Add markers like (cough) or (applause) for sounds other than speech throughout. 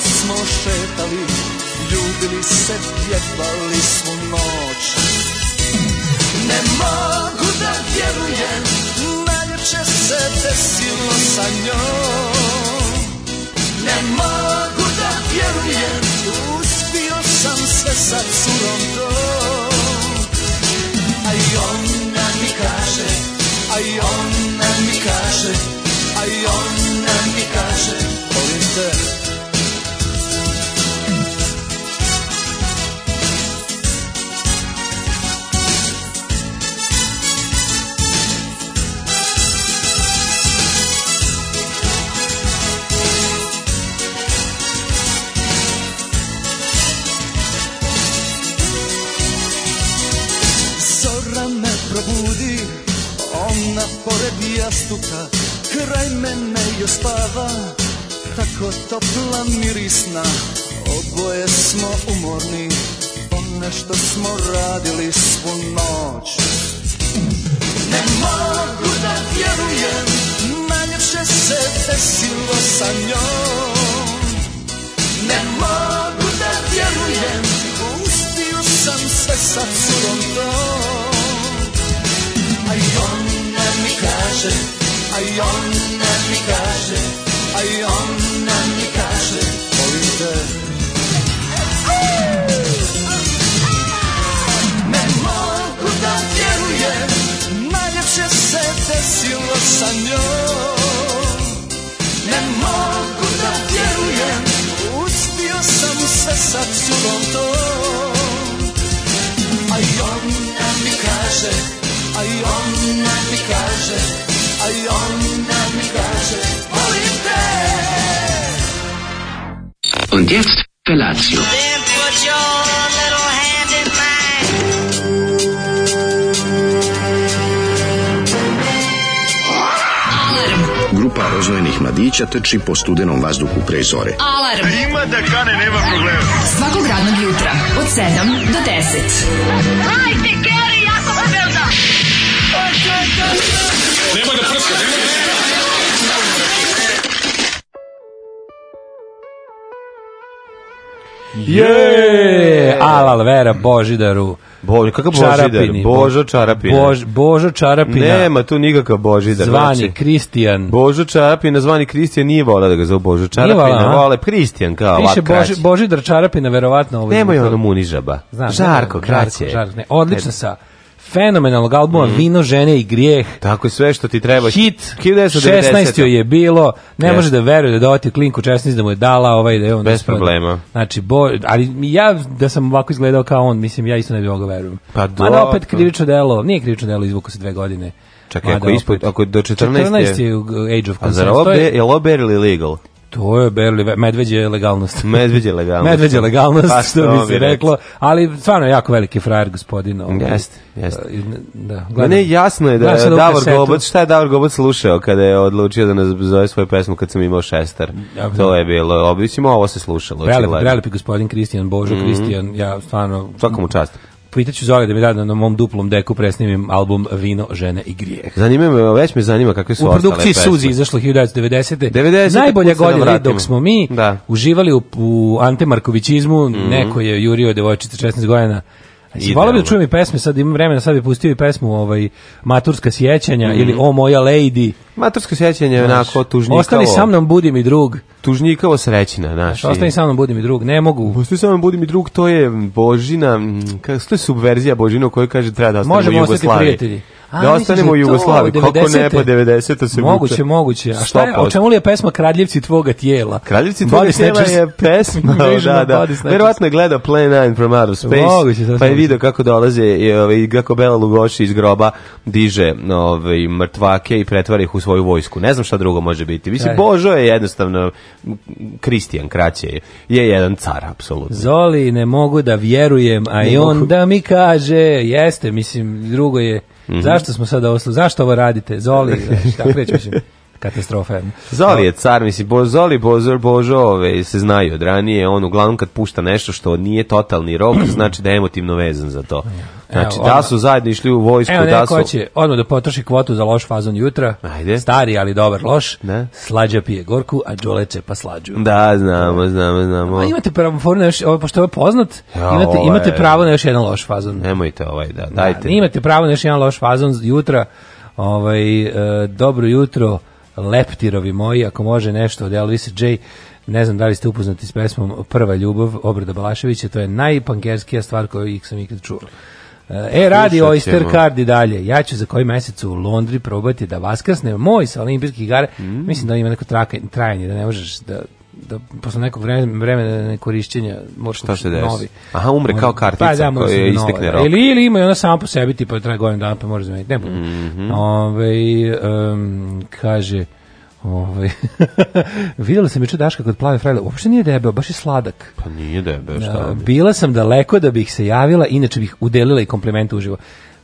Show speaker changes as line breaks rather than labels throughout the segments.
smo šetali, ljubili se, pjevali smo noć. Ne mogu da vjerujem, najljepše se desilo sa njom. Ne mogu da vjerujem, uspio sam sve sa curom tom. A i ona mi kaže, a i ona mi kaže, a i ona mi kaže, volim te. Zora me probudi, ona pored jastuka, kraj mene joj spava, tako topla mirisna, oboje smo umorni, ponešto smo radili svu noć. Ne mogu da vjerujem, najljepše se desilo sa njom. Ne mogu da vjerujem, pustio sam sve sa curom tom. A i ona mi kaže, a i ona mi kaže, a i ona mi kaže, volim te. Ne mogu da vjerujem, najljepše se desilo sa njom. Ne mogu da vjerujem, uspio sam sve sa curom tom. A i ona mi kaže, a i ona mi kaže, a i ona mi kaže, volim te.
Und jetzt Felatio.
Then put your little hand in mine.
Grupa rozvojenih mladića trči po studenom vazduhu pre zore.
Alarm.
Ima da kane, nema problema.
Svakog radnog jutra od 7 do 10.
Je, Alal Vera Božidaru.
Bože, kakav Božidar?
Čarapini.
Božo Čarapina.
Bož, Božo Čarapina.
Nema tu nikakav Božidar.
Zvani
znači.
Kristijan.
Božo Čarapina, zvani Kristijan, nije vola da ga zove Božo
vola,
Čarapina,
a?
vole Kristijan kao
Piše
ovak
Boži,
kraće.
Božidar Čarapina, verovatno. Ovaj
Nemoj ono munižaba.
Znam,
žarko,
ne,
kraće. Mhm.
Žarko, žarko, ne. Odlično sa fenomenalnog albuma Vino, žene i grijeh.
Tako je sve što ti treba.
Hit,
1990.
16. joj je bilo, ne
Jeste.
može da veruje da dovati klinku 16 da mu je dala ovaj da je on...
Bez
da smo-
problema.
Znači, bo, ali ja da sam ovako izgledao kao on, mislim, ja isto ne bi mogao verujem.
Pa
Mada
dobro.
opet krivično delo, nije krivično delo, izvuku se dve godine.
Čekaj, ako
Mada
ispod-
opet-
ako do 14
14 je u- Age of
A zar
Consent.
ovo
To
be,
je,
je li ovo barely legal?
to je Berli, medveđe je
(laughs)
legalnost.
Medveđe legalnost.
Medveđe legalnost, (laughs)
Pa
što bi se
mi reći.
reklo. Ali stvarno je jako veliki frajer gospodin. ovaj.
Jeste, jeste.
I ne- Da,
Ma
gledam.
ne, jasno je da
Gledam
je
sad ovu
Davor
kasetu.
Gobac, šta je Davor Gobac slušao kada je odlučio da nas zove svoju pesmu kad sam imao šestar.
Ja bi-
To je bilo, obično ovo se slušalo.
Prelepi,
očigledno.
prelepi gospodin Kristijan, Božo Kristijan, ja stvarno...
Svakom Mhm. mu čast.
Pitaću Zoli da mi da na, na mom duplom deku presnimim album Vino, žene i grijeh.
Zanima me, već me zanima kakve su
U
ostale
produkciji
pesme.
Suzi izašlo 1990.
90-te,
Najbolja
kud se da
godina
vratimo.
dok smo mi
Da. Mhm.
uživali u, u antemarkovićizmu, neko je jurio devojčice 16 godina. Znači,
Idealno.
volao bi da čujem i pesme, sad imam vremena, sad bi pustio i pesmu ovaj, Maturska sjećanja ili O moja lady.
Matursko sjećanje je Mhm. onako Znači- tužnjikavo.
Ostani sa mnom, budi mi drug.
Tužnjikavo srećina, znaš.
Ostani sa mnom, budi mi drug. Ne mogu.
Ostani sa mnom, budi mi drug, to je Božina, mm, kak- to je subverzija Božina u kojoj kaže treba da ostanemo
Možemo
u
ostati
Jugoslaviji.
prijatelji. A,
da
misliš
ostanemo
da
u
je to
Jugoslaviji, kako ne,
90-te?
pa 90-te se
Moguće,
vuče.
moguće. A šta je, o
100%.
čemu li je pesma Kradljivci tvoga tijela?
Kraljevci tvoga
Body (laughs)
tijela
Snatchers.
je pesma,
Vision
da,
of
da.
Body Snatchers.
Verovatno je gledao Play 9 from Outer Space,
Moguće, sasvim
pa je
moguće.
video kako dolaze i, ovaj, i kako Bela Lugoši iz groba diže ovaj, mrtvake i pretvara ih u svoju vojsku. Ne znam šta drugo može biti. Mislim,
Da.
Božo je jednostavno, m, Kristijan kraće je, je jedan car, apsolutno.
Zoli, ne mogu da vjerujem, a i on da mi kaže, jeste,
Mhm. (laughs)
mislim, drugo je, zašto smo sad ovo, slu- zašto ovo radite, Zoli, znaš, šta kreću, mislim, katastrofa. jedna.
Zoli je car, mislim, bo, Zoli, Bozor, Božo, ove, se znaju od ranije, on uglavnom kad pušta nešto što nije totalni
(clears throat)
rok, znači da je emotivno vezan za to. Znači,
Evo,
da
ono-
su zajedno išli u vojsku,
Evo
da
neko
su...
hoće odmah da potroši kvotu za loš fazon jutra.
Ajde.
Stari, ali dobar loš.
Da.
Slađa pije gorku, a džole pa slađu.
Da, znamo, znamo, znamo.
A imate pravo for na još, ovo, pošto je ovo poznat,
Ja,
imate,
ovo
imate
je-
pravo na još jedan loš fazon.
Nemojte ovaj, da,
Da,
dajte.
imate pravo na još jedan loš fazon z- jutra. Ovaj, e, dobro jutro, leptirovi moji, ako može nešto od Elvisa J. Ne znam da li ste upoznati s pesmom Prva ljubav Obrada Balaševića, to je najpankerskija stvar koju ih sam ikad čuo. E, radi
Slušat
Oyster
ćemo.
Card i dalje. Ja ću za koji mesec u Londri probati da vaskrsne moj sa olimpijskih igara.
Mm.
Mislim da ima neko traka, trajanje, da ne možeš da da posle nekog vremena, vremena nekorišćenja moraš
Šta se
kupiti
desi?
novi.
Aha, umre kao kartica
pa, da, mora
kojoj
se nova,
istekne
da.
rok.
Ili, ili ima i ona sama po sebi, tipa traje godinu dana pa može zameniti. Ne bude.
Mhm.
Ovaj, em, kaže, ovaj, (laughs) vidjela sam juče Daška kod plave frajle, uopšte nije debel, baš je sladak.
Pa nije debe, šta
Da,
vam je?
bila sam daleko da bih se javila, inače bih udelila i komplimente uživo.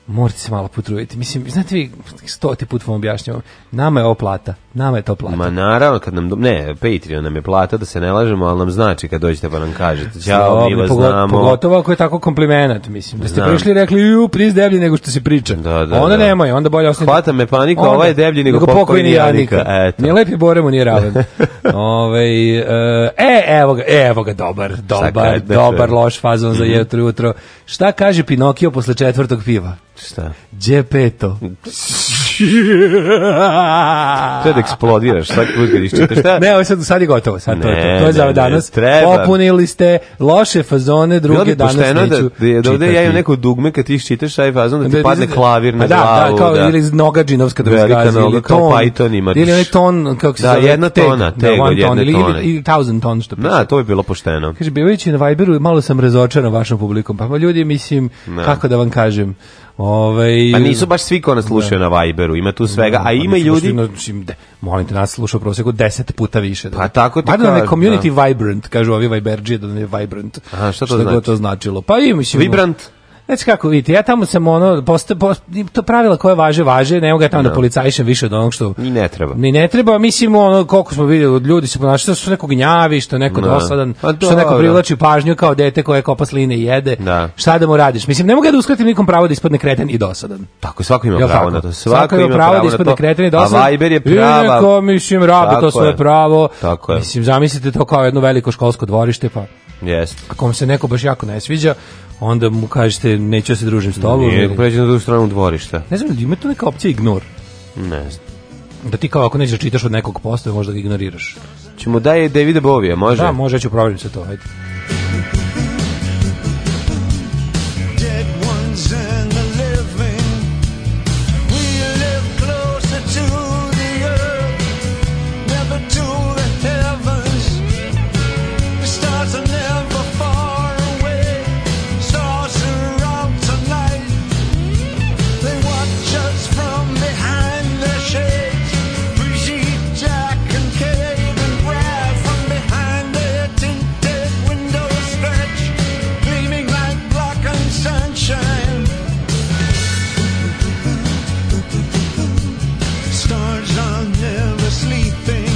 Morate se malo potruditi. Mislim, znate vi, stoti put vam objašnjavam, nama je ovo plata, nama je to plata.
Ma naravno, kad nam, do- ne, Patreon nam je plata, da se ne lažemo, ali nam znači kad dođete pa nam kažete. Ćao, mi
Slobodno,
vas
pogo-
znamo.
Pogotovo ako je tako komplimenat, mislim. Da ste
Znam.
prišli i rekli, ju, pris deblji nego što se priča.
Da, da,
onda
da.
nemoj, onda bolje ostaviti.
Hvata me panika, ovaj je deblji nego pokojni Janika. Eto.
Nije lepi bore mu nije
(laughs)
ravan. Ovaj, e, e, evo ga, e, evo ga, dobar, dobar,
kaže, da
dobar,
čujem.
loš fazon
Mhm.
za jutro, jutro. Šta kaže Pinokio posle četvrtog piva?
Šta?
Džepeto.
Treba da eksplodiraš, svaki put kad
(laughs)
iščitaš. Šta?
Ne, ovo je sad, sad je gotovo, sad to je to.
Ne,
To je
ne,
za
ne,
danas.
treba.
Popunili ste loše fazone,
Bilo
druge
bi
danas neću
pošteno da, da, da ovde
čitati.
ja imam neko dugme kad ti iščitaš taj fazon da ti
Da,
padne
da,
klavir na
pa da,
glavu.
Da, kao, ili noga džinovska da mi
Velika
zgazi,
noga,
ili
kao
ton.
Python ima.
Ili onaj ton, kako se
Da,
zove,
jedna
teg, da,
tona, teg
one
od
ton,
jedne
ili,
tone.
Ili, ili thousand ton, što piše.
Na, to bi bilo pošteno.
Kaže, bivajući na Viberu, malo sam razočaran vašom publikom. Pa ma, ljudi, mislim, kako da vam kažem, ovaj...
Pa nisu baš svi ko nas slušaju na Viberu, ima tu svega, a
Pa
ima
nisu
ljudi...
baš- znači, de- molim te, nas sluša u proseku 10 puta više.
Pa tako ti
Bar da ne
kažem,
community vibrant, kažu ovi Viberđije da ne je vibrant.
Aha, šta to
god
znači?
to značilo. Pa i mislim...
Vibrant?
Znači kako vidite, ja tamo sam ono, posta, posta, to pravila koje važe, važe, ne mogu ja tamo da policajišem više od onog što...
Ni ne treba.
Ni ne treba, mislim ono koliko smo vidjeli od ljudi se ponašaju, što su neko gnjavi, što je neko
Da.
dosadan,
Pa
što neko
dobro.
privlači pažnju kao dete koje kopa sline i jede.
Da.
Šta da mu radiš? Mislim, ne mogu ja da uskratim nikom pravo da ispadne kreten i dosadan.
Tako, svako ima
Jel
pravo
tako?
na to. Svako ima pravo
da
na
ispadne
to.
kreten i dosadan.
A Viber je
I neko,
prava...
mislim, rabe
Tako
to svoje
je.
pravo.
Tako je.
Mislim, zamislite to kao jedno veliko školsko dvorište, pa
Jeste.
ako vam se neko baš jako ne sviđa, onda mu kažete neću ja se družim s tobom.
Nije
ili-
pređe na drugu stranu dvorišta.
Ne znam, ima tu neka opcija ignor.
Ne znam.
Da ti kao ako nećeš da čitaš od nekog postoja, možda ga ignoriraš.
Ćemo daje Davida Bovija, može?
Da, može, ja ću proverim se to, ajde.
dead ones and the living. We live closer to the earth, never to the heavens. The stars are never far away. Stars are out tonight. They watch us from behind their shades. Brigitte, Jack, and Kate, and Brad from behind their tinted windows stretch, gleaming like black and sunshine. Stars are never sleeping.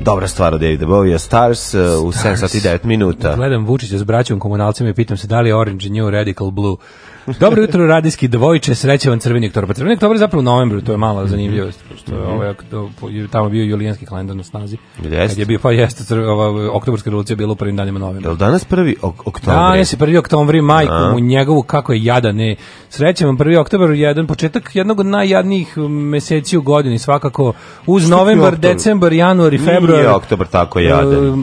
Dobra stvar od Davida Bovija, Stars, uh, u 7 sati i 9 minuta.
Gledam Vučića s braćom komunalcima i pitam se da li je Orange New Radical Blue. Dobro jutro, radijski dvojče, sreće vam crveni oktobar. Crveni oktobar je zapravo u novembru, to je
Mhm.
malo zanimljivo, što je ovaj, to- je tamo bio julijanski kalendar na snazi.
Jeste.
Kad je bio, pa jeste, crve, ova, oktobarska revolucija je bila u prvim danima novembra.
Jel danas prvi ok oktober?
Da, ja se prvi oktobar majku mu njegovu kako je jadan. E, srećan vam prvi oktobar, jedan početak jednog od najjadnijih meseci u godini svakako uz novembar,
oktobar?
decembar, januar i februar.
Nije oktobar tako jadan.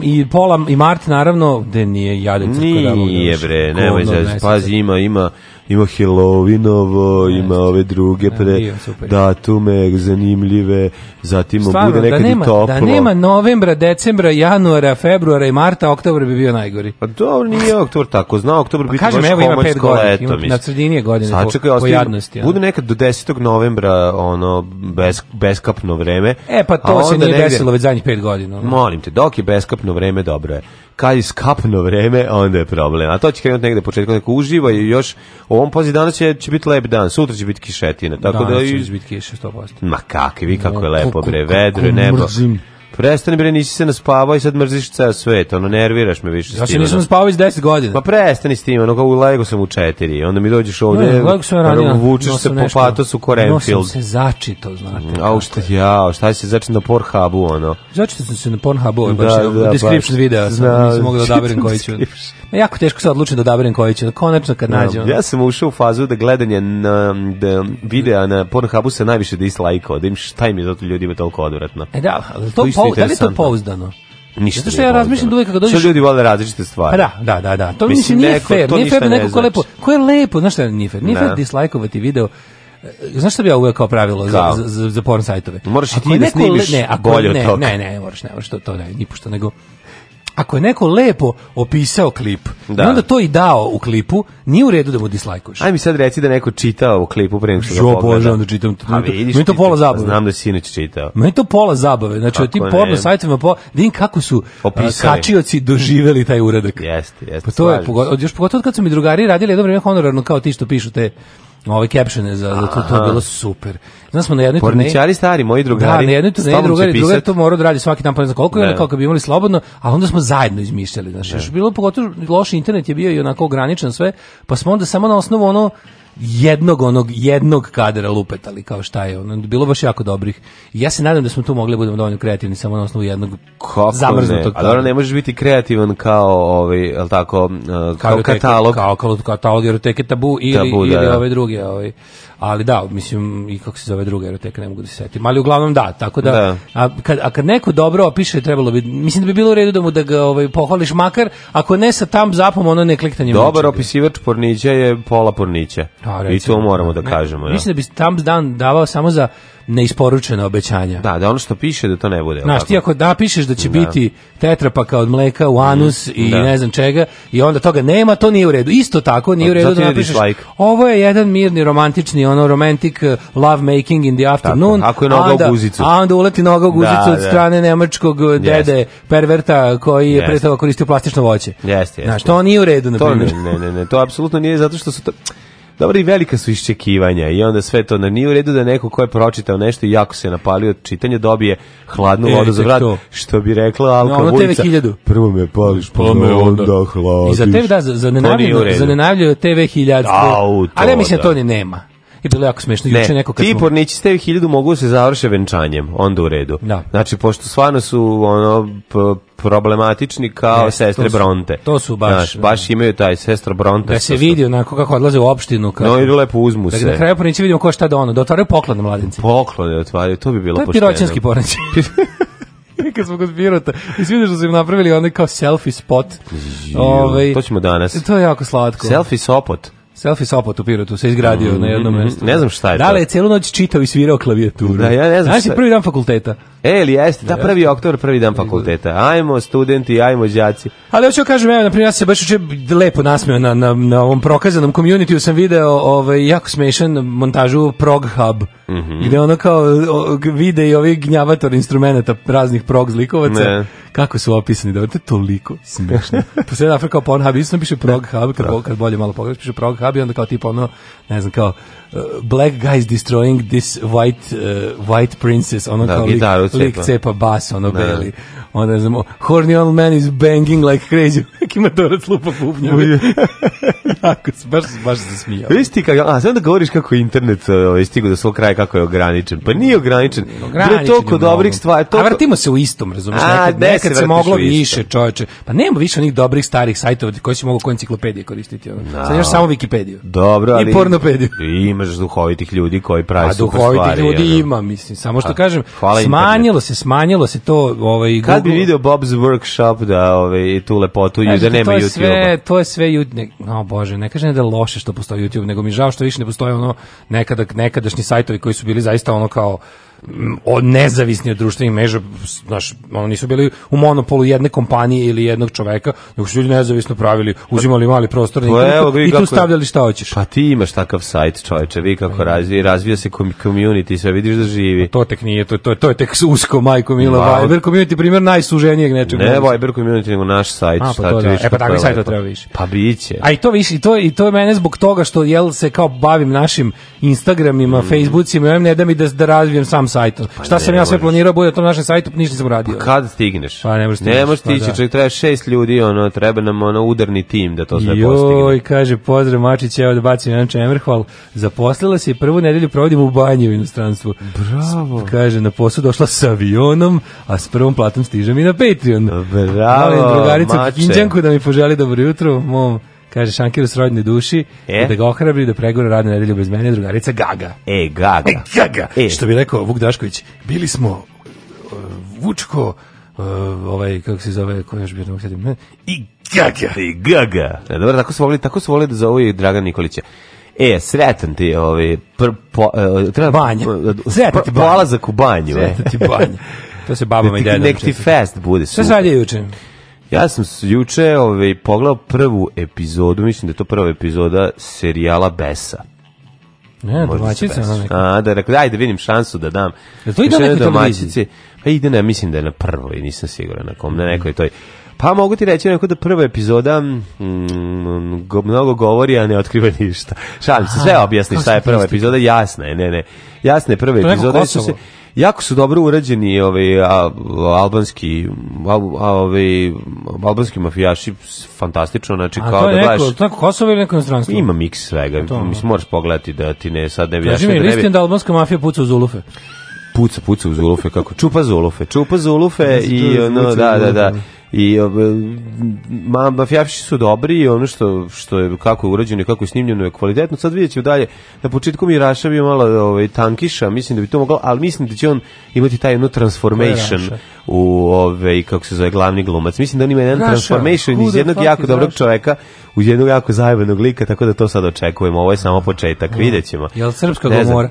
E, I pola i mart naravno, gde nije jadan crko da mogu da
Nije
još.
bre,
Govno
nemoj pa,
od
se,
meseca.
pazi, ima, ima, ima Halloweenovo, ima ove druge pre
bio, super.
datume zanimljive, zatim
Stvarno,
bude
da
nekad
nema,
i toplo.
da nema novembra, decembra, januara, februara i marta, oktobar bi bio najgori.
Pa dobro, nije oktobar tako, zna oktobar biti baš
Pa kažem, evo, ima pet
komarsko
godina,
leto,
ima-
mislim.
na sredini je godine po-
čekaj,
po
ostavi-
jadnosti, ono.
Bude nekad do 10. novembra, ono, bez, beskapno vreme.
E pa
a
to se
onda
nije
negde-
desilo već zadnjih pet godina. ono.
Molim te, dok je beskapno vreme, dobro je. Kad je skapno vreme, onda je problem. A to će krenuti negde početkom, tako uživaj i još, u ovom pozi danas će, će biti lep dan, sutra će biti kišetina, tako da...
Danas će
i-
već biti kiše 100%.
Ma kakvi, vi kako je
No,
lepo,
kako-
bre,
kako
vedro je nebo.
mrzim.
Prestani bre, nisi se naspavao i sad mrziš ceo svet, ono, nerviraš me više. s
Ja se
tim,
nisam
ono.
spavao već 10 godina.
Pa prestani s tim, ono kao u Lego sam u četiri, onda mi dođeš ovde,
Ne, Lego sam ja radio,
ono, vučeš se
nosio
po
nešto.
patosu
Nosio
Korenfield.
sam se začito, znate.
Au, šta, ja, šta si se začin na Pornhubu, ono?
Začito sam se na Pornhubu, ovaj
Da,
baš
da,
da,
baš.
description videa sam,
Znam,
nisam mogao
(laughs)
da odaberem
čitam
koji ću.
description.
Ma jako teško se odlučim da odaberem koji ću, konačno kad nađem. ono.
Ja sam ušao u fazu da gledanje na, da videa na Pornhubu se najviše dislajkao, da im šta im je zato ljudima toliko odvratno.
E da, ali
To
to
je isto
pou, da li je to
interesantno.
pouzdano?
Ništa
Zato što
nije
ja
bolno.
razmišljam da uvek kad dođeš-
Što ljudi vole različite
Pa
stvari.
da, da, da, da. To
Mislim,
mislim, nije
neko-
fair,
to
nije
ništa
fair da
ne
neko ko
znači.
lepo, ko je lepo, znaš šta nije fair? Nije
Ne.
fair dislajkovati video E, Znaš šta bi ja uvek kao pravilo za,
Kao?
za, za porn sajtove?
Moraš i
Ako
ti
je
da
neko
snimiš
le- ne, ako
bolje od
ne,
toga.
Ne, ne, ne moraš, ne moraš, to, to ne, nipošto, nego ako je neko lepo opisao klip
Da.
i onda to i dao u klipu, nije u redu da mu dislajkuješ.
Aj mi sad reci da je neko čitao u klipu pre nego što ga
Jo,
pogleda.
Bože, onda čitam to.
A
Meni to-
vidiš
meni to
ti,
pola
pa
zabave.
Znam da si sinoć čitao.
Meni je to pola zabave, znači od tim
Kako ne?
porno sajtovima, po, da vidim kako su a,
Opisali.
kačioci doživeli taj uradak.
Jeste, jeste.
Pa to je,
slažem se.
pogo- od- još pogotovo od kad su mi drugari radili jedno vreme honorarno kao ti što pišu te ove captione za, za to, to je bilo super. Znaš smo na jednoj turneji,
Porničari stari, moji
da,
drugari.
na jednoj turneji
stalno će
drugari,
pisat-
drugari to morao da radi svaki dan, pa ne znam koliko, i onda
Ne.
kao kad bi imali slobodno, a onda smo zajedno izmišljali, znaš, još je bilo pogotovo loš internet je bio i onako ograničen sve, pa smo onda samo na osnovu ono jednog onog jednog kadra lupetali kao šta je ono bilo baš jako dobrih I ja se nadam da smo tu mogli da budemo dovoljno kreativni samo na osnovu jednog
Kako
zamrznutog
ne? A dobro,
kadra.
ne možeš biti kreativan kao, ovaj, je li tako, uh, kao,
Karoteke,
katalog.
Kao, kao katalog eroteke tabu ili,
Tabu, da,
ili
da.
ove druge. Ovaj. Ali da, mislim, i kako se zove druga eroteka, ne mogu da se setim. Ali uglavnom da, tako da,
Da.
A, kad, a kad neko dobro opiše, trebalo bi, mislim da bi bilo u redu da mu da ga ovaj, pohvališ, makar ako ne sa tam zapom, ono ne kliktanjem.
Dobar
ničega.
opisivač pornića je pola pornića.
Da,
I
recimo,
to moramo da
ne,
kažemo. ja.
Mislim da bi tam dan davao samo za neisporučena obećanja.
Da, da ono što piše da to ne bude.
Znaš, ti
ovako.
ako napišeš da će biti tetrapaka od mleka u anus i
Mhm. da.
ne znam čega, i onda toga nema, to nije u redu. Isto tako nije u
Pa,
redu
zato
da
ide
napišeš.
dislike.
Ovo je jedan mirni, romantični, ono, romantic uh, love making in the afternoon.
ako je noga
a
u
onda-
guzicu.
A onda uleti noga u guzicu
Da,
od
da.
strane nemačkog uh, dede perverta koji je
Jeste.
pre toga koristio plastično voće.
Jeste, jeste.
Znaš, to nije u redu, na
To ne,
primjer.
ne, ne, ne, to apsolutno nije zato što su to... Dobro, i velika su iščekivanja i onda sve to, na nije u redu da neko ko je pročitao nešto i jako se napalio od čitanja dobije hladnu
E,
vodu za
tek
vrat,
to.
što bi rekla Alka
ono TV
Vujica,
1000.
Prvo me pališ, pa me onda hladiš.
I za TV, da, za, za
To nije u
nenavljeno,
redu.
za nenavljeno TV 1000.
Au, to
Ali ja mislim da
da.
to ni nema. I bilo je jako smešno. Juče
Ne,
neko kad
ti
smo-
pornići s TV 1000 mogu se završe venčanjem, onda u redu.
Da.
Znači, pošto stvarno su ono, p- problematični kao
Jeste,
sestre
to su-
Bronte.
to su baš,
Znaš,
da.
baš imaju taj sestra Bronte.
da
što
se
su-
vidi onako kako odlaze u opštinu. Kako,
No, idu lepo uzmu
Da
se.
na kraju pornići vidimo ko šta da ono, da otvaraju poklon na mladenci.
Poklone otvaraju, to bi bilo
to je
pošteno.
piroćanski
(laughs)
pornići. Kad smo kod Pirota, izvidio što su im napravili onaj kao selfie spot. Ovaj,
to ćemo danas.
To je jako slatko.
Selfie sopot.
Selfie sopot u Pirotu se izgradio na jednom
mhm,
mestu.
ne znam šta je
Mm, da
to.
li je celu noć čitao i svirao klavijaturu?
Da, ja ne znam
Znaš,
šta je.
prvi dan fakulteta.
E, ili jeste, da, prvi oktober, prvi dan fakulteta. Ajmo, studenti, ajmo, đaci.
Ali hoću da kažem, evo, na primjer, ja sam se baš uče lepo nasmeo na, na, na ovom prokazanom communityu, sam video ovaj, jako smešan montažu Prog Hub,
Mhm.
gde ono kao o, g- vide i ovi gnjavator instrumenta raznih prog zlikovaca,
Ne.
kako su opisani, da to je toliko
(laughs)
smešno. Pa to se Afrika kao Pornhub, isto piše Prog Hub, kad, bo- kad bolje malo pogledaš, piše Prog Hub i onda kao tipa ono, ne znam, kao Black guys destroying this white uh, white princess, ono
Da,
kao lik,
gitaru cepa.
lik cepa bas, ono beli. Onda ne znam, horny old man is banging like crazy, (laughs) neki matorac lupa bubnjeve. (laughs) Jako, se- baš, baš se smijao.
Viš Pa ti kako, a sad da govoriš kako je internet ovaj, stigo do svog kraja, kako je ograničen. Pa nije ograničen. Ograničen je toliko
mnogo.
dobrih stvari.
A
Toliko...
vrtimo se u istom, razumiješ,
A,
nekad,
gde se
nekad se
vrtiš
moglo
u istom?
više, čoveče. Pa nema više onih dobrih starih sajtova koji si mogao ko enciklopedije koristiti. Ono. Sad imaš samo Wikipediju.
Dobro, ali...
I pornopediju.
I imaš duhovitih ljudi koji pravi
A
super
duhovitih
stvari,
ljudi
ono.
ima, mislim. Samo što
A,
kažem,
hvala
smanjilo se, smanjilo se to ovaj,
Kad bi
Google-
video Bob's Workshop da ove, i tu lepotu i
Kažete,
da nema
to je
YouTube-a?
Sve, to je sve YouTube. Ne, no bože, ne kažem da je loše što postoji YouTube, nego mi je žao što više ne postoje ono nekada nekadašnji sajtovi koji su bili zaista ono kao mm, o, nezavisni od društvenih mreža, znaš, ono nisu bili u monopolu jedne kompanije ili jednog čoveka, nego su ljudi nezavisno pravili, uzimali mali prostor na
Pa
internetu
evo ga i
i
kako
tu
je.
stavljali šta hoćeš.
Pa ti imaš takav sajt, čoveče, vi kako razvija, razvija se kom- community, sve vidiš da živi.
To tek nije, to, to, to je tek usko, majko Mila,
Ma,
Viber community primjer najsuženijeg nečega.
Ne Viber community, nego naš sajt.
A, pa
šta
to
ti
da.
vidiš
E, pa
kako
takvih
je
sajtova
lepo.
treba više.
Pa biće.
A i to više, i to, i to je mene zbog toga što jel se kao bavim našim Instagramima, Facebookima, ja ne da mi da, da razvijem sam sajt. Šta sam
Mm. Pa ne
ja sve
možeš.
planirao, bude to na našem sajtu, ništa nisam radio.
Kad stigneš?
Pa ne možeš stići,
Ne možeš
pa
stići,
da.
čovjek treba šest ljudi, ono, treba nam ono udarni tim da to sve postigne.
Joj, kaže, pozdrav Mačić, evo da bacim jedan čemer, hval. Zaposlila se i prvu nedelju provodim u banji u inostranstvu. Bravo. Kaže, na posao došla s avionom, a s prvom platom stižem i na Patreon.
Bravo,
Molim drugaricu
Mače.
Kikinđanku da mi poželi dobro jutro, mom kaže Šankiru s rodne duši,
E?
i da ga ohrabri da pregore radne nedelje bez mene, drugarica Gaga.
E, gaga.
Gaga.
E.
Što bi rekao Vuk Dašković, bili smo e, Vučko, e, ovaj, kako se zove, ko je još bio, ne mogu sjetim, ne? i Gaga.
I gaga. E, dobro, tako su volili, tako su volili da zovu i Dragan Nikolića. E, sretan ti, ovaj, pr, po, e, treba,
Banja. Sretan ti
pr-
banja.
polazak u banju. e.
Sveta ti
(laughs)
banja. To se babama i
Nek ti-
dedama.
Nek ti
često.
fest bude.
Šta se
super.
radio juče?
Ja sam s- juče ovaj, pogledao prvu epizodu, mislim da je to prva epizoda serijala Besa.
Ne,
Možda se
domaćica. ono,
Besa.
ona neka.
A, da rekao, ajde vidim šansu da dam.
Jel to ide
Još
na
jednoj
nekoj
domaćici.
televiziji?
Pa ide, ne, mislim da je na prvoj, nisam siguran na kom, na nekoj toj. Pa mogu ti reći onako da prva epizoda mm, go, mnogo govori, a ne otkriva ništa. Šalim se, sve objasni
kako
šta je
sam to
prva
isti-
epizoda, jasna je, ne, ne. Jasna je prva
To je neko
epizoda. jer su se-
Kosovo.
Jako su dobro urađeni ovaj a, albanski al, a, ovaj albanski mafijaši s- fantastično znači
A
kao
to
da
je
gledaš
neko, to je Kosovo ili neko inostranstvo?
ima miks svega
To,
mislim moraš pogledati da ti ne sad ne bi
Kaži
jašnio
mi,
da ne bi-
listin da albanska mafija puca u Zulufe.
puca puca uz ulufe kako čupa za ulufe čupa za ulufe i
čupa za
ono
ulufe.
da da da i ob- ma mafijaši su dobri i ono što što je kako je urađeno i kako je snimljeno je kvalitetno sad vidjet ćemo dalje na početku mi je Raša bio malo ovaj tankiša mislim da bi to moglo ali mislim da će on imati taj jedno transformation
Raša?
u ovaj kako se zove glavni glumac mislim da on ima jedan
Raša,
transformation
who
iz
the
jednog
fuck
jako
is
dobrog
Raša?
čoveka u jednog jako zajebanog lika tako da to sad očekujemo ovo je samo početak videćemo
Jel srpska
Ne znam.
gomora?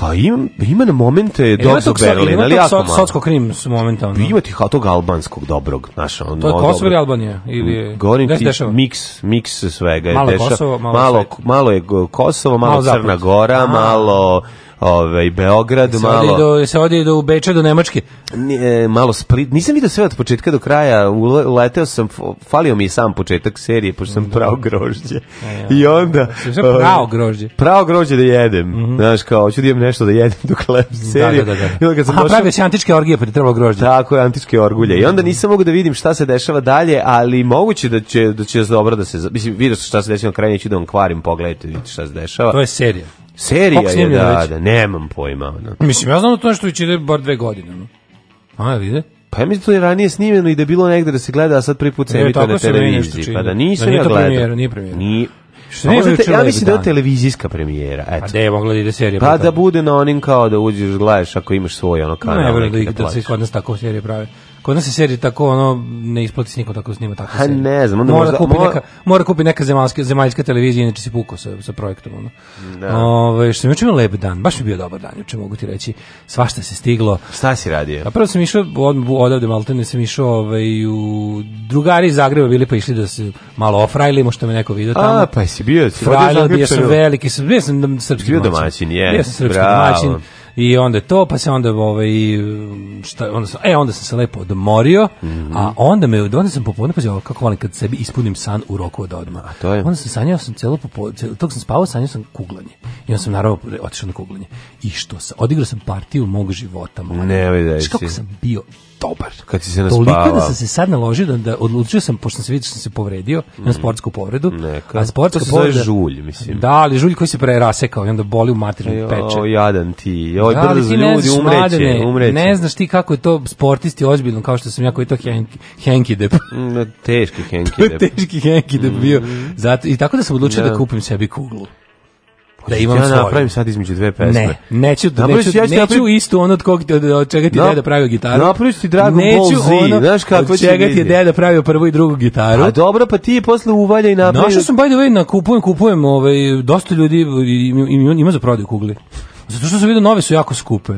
Pa ima, ima na momente
Jel ima
dozu
tog so-
Berlin,
jel
ali
Ima
jako
tog so-
malo.
socko krim s momentalno.
Ima ti ha- tog albanskog dobrog, znaš, on,
ono. To je
on
Kosovo ili
dobro.
Albanija? Ili je,
Govorim
gde se
ti
dešava?
miks, miks svega je
Malo je
deša-
Kosovo, malo
malo,
svet.
malo je go- Kosovo, malo,
Malo zapad.
Crna Gora,
A.
malo ovaj Beograd,
Se ode i
malo
do, se ode i do Beča, do Nemačke.
ni- e, malo Split. Nisam vidio sve od početka do kraja. ule- Uleteo sam, f- falio mi je sam početak serije pošto sam pravo grožđe. I onda
E, Sve
ovaj,
pravo grožđe.
pravo grožđe da jedem. Znaš, kao, hoću da imam nešto da jedem dok lep seriju.
Mhm. Da, da, da.
I onda kad sam
Aha,
došao-
pravio si antičke orgije, pa ti je trebalo grožđe.
Tako je, antičke orgulje. I onda nisam mogu da vidim šta se dešava dalje, ali moguće da će, da će dobro da se... Mislim, vidio sam šta se dešava na kraju, neću da vam kvarim, pogledajte, vidite šta se dešava.
To je serija.
Serija
Koliko
je,
snimljeno
da,
već?
da, nemam pojma. Ono.
Mislim, ja znam da to nešto već ide bar dve godine. No. A, vide?
Pa ja mislim da to je ranije snimljeno i da je bilo negde da se gleda, a sad prvi put se
E,
emituje
tako
na
se meni nešto
televiziji.
čini.
Pa da
Da
nisam
nije
ja
to
gledao.
premijera, nije premijera.
Ni-
Što
A
nema
možda
juče
te- ja
Lepi
mislim da je
dan?
televizijska premijera,
A
eto.
gde je mogla da ide serija?
Pa
potom?
da bude na onim kao da uđeš, gledaš ako imaš svoj ono
Ne,
kanal.
verujem
neki
da, da se
plaćaš.
kod nas tako serije prave. Kod nas se serije tako, ono, ne isplati se nikom tako da snima tako
Ha,
serije.
ne znam, onda
mora
možda-
Kupi
mo-
neka, mora kupi neka zemaljska, zemaljska televizija, inače si pukao sa, sa projektom. Ono.
Da.
Ove, što sam juče imao lep dan, baš mi je bio dobar dan, juče mogu ti reći. Svašta se stiglo.
Šta si radio?
A prvo sam išao, od, odavde maltene sam išao ovaj, u drugari iz Zagreba bili pa išli da se malo ofrajlimo, što me neko vidio tamo.
A, pa si bio, si vodio
Frajlio, bio
zaključenu.
sam veliki, sam, bio sam dom- srpski
Bio domaćin, je,
Bio sam srpski
bravo.
domaćin. I onda je to, pa se onda ovaj šta onda sam, e onda sam se lepo odmorio,
Mhm.
a onda me onda sam popodne pa kako volim kad sebi ispunim san u roku od odma. A
to je?
Onda sam sanjao sam celo popodne, tog sam spavao, sanjao sam kuglanje. I onda sam naravno otišao na kuglanje. I što sam, odigrao sam partiju mog života. mladen.
Nemoj da
Znaš kako
si.
sam bio dobar.
Kad si se
Toliko
naspavao.
da sam se sad naložio da, da odlučio sam, pošto sam se vidio što sam se povredio, na sportsku povredu.
Mhm. Neka.
A sportska
To se zove
povreda...
žulj, mislim.
Da, ali žulj koji se prerasekao i onda boli u materinu peče.
O, jadan ti. Joj,
Da, ali
brzo
ti ne
ljudi,
znaš,
umreće,
Mladene,
umreće.
Ne znaš ti kako je to sportisti ozbiljno, kao što sam ja koji je to henki, henkidep.
Mm, Teški
To
Henki. Mhm.
je (laughs) teški henkidep bio. Zato, I tako da sam odlučio
Da.
da kupim sebi kuglu. Da imam
ja
svoju.
napravim sad između dve pesme.
Ne, neću,
Napraviš-
neću,
ja ću
neću
napraviti-
istu ono od, kog, od, od čega ti
Da.
deda pravio gitaru.
Napraviš ti Dragon Ball
neću
Z,
ono
znaš kako
od
će
čega ti je
biti.
deda pravio prvu i drugu gitaru.
A dobro, pa ti je posle uvalja i napravi.
Našao sam by the way na kupujem, kupujem, ovaj dosta ljudi im, im, im- ima za prodaju kugle. Zato što sam video nove su jako skupe.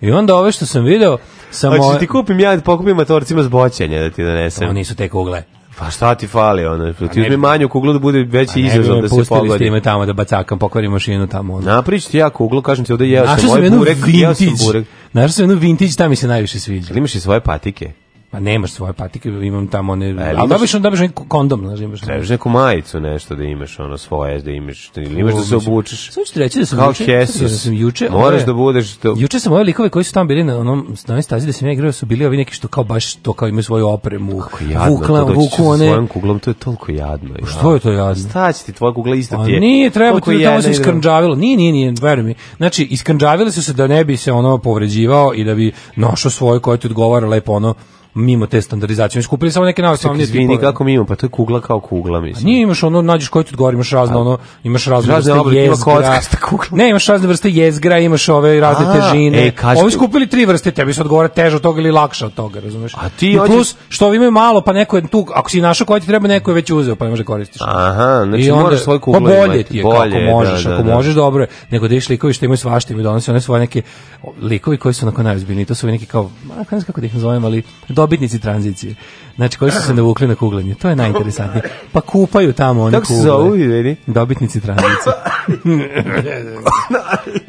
I onda ove što sam video sam
Hoćeš
ove-
Znači, ti kupim ja, pokupim matorcima s boćanja da ti donesem.
Ovo nisu te kugle.
Pa šta ti fali, ono, ti
Pa ne
uzmi
bi- Pa
manju kuglu da bude veći
Ne bi
izazov
me
da se
pustili s
pogodi.
time tamo da bacakam, pokvarim mašinu tamo. Ono.
Naprič ti ja kuglu, kažem ti ovde jeo sam
Našao sam
moj
jednu
burek, jeo sam
vintage.
burek.
Našao sam jednu vintage, ta mi se najviše sviđa.
Ali imaš i svoje patike.
Pa nemaš svoje patike, imam tamo one...
ali
ali
E, imaš-
dobiš, on- dobiš onaj kondom, znaš, imaš.
Trebaš neku majicu, nešto da imaš, ono, svoje, da imaš, da imaš da se
Mislim,
obučeš.
Samo ću ti reći da sam
Kao
juče, sad ću ti reći da
Jesus.
sam juče,
Moraš
ove-
da budeš... Da...
Juče sam ove likove koji su tamo bili na onom na onoj stazi da sam ja igrao su bili ovi neki što kao baš to kao imaju svoju opremu.
Jadno,
vukla,
to doći ću
vuku
sa
one. Pa
svojom kuglom, to je toliko jadno. Ja.
Što je to jadno?
Šta će ti, tvoja kugla isto
A
ti je.
Pa nije treba
Toliko
ti da tamo
jedna
se
i druga.
iskrnđavilo. Nije, nije, nije, veruj mi. Znači, iskrnđavili su se da ne bi se ono povređivao i da bi našao svoje koje ti odgovara lepo ono mimo te standardizacije. Mi skupili samo neke najosnovnije
Izvini,
tipove.
kako mi imamo, pa to je kugla kao kugla, mislim.
Nije imaš ono, nađeš koji ti odgovara, imaš razno ono, imaš razne,
Razne
vrste
oblike, ima
jezgra.
kockasta kugla.
Ne, imaš razne vrste jezgra, imaš ove razne
A,
težine.
e, kaži
ovi
ti.
skupili tri vrste, tebi se odgovara teže od toga ili lakše od toga, razumeš?
A ti
I
hoćeš-
plus, što ovi imaju malo, pa neko je tu, ako si našao koji ti treba, neko je već uzeo, pa ne može da koristiš.
Aha, znači
I onda-
moraš svoju kuglu
pa bolje
imati,
ti je
bolje, da,
kako možeš,
da,
ako
da.
možeš dobro je, nego da iš likovi što imaju svašta imaju donose one svoje neke likovi koji su onako najozbiljniji, to su ovi neki kao, ma, ne znam kako da ih nazovem, ali dobitnici tranzicije. Znači koji su se navukli na kuglanje, to je najinteresantnije. Pa kupaju tamo one
Kako se
kugle.
zovu, vidi?
Dobitnici
(laughs)
tranzicije.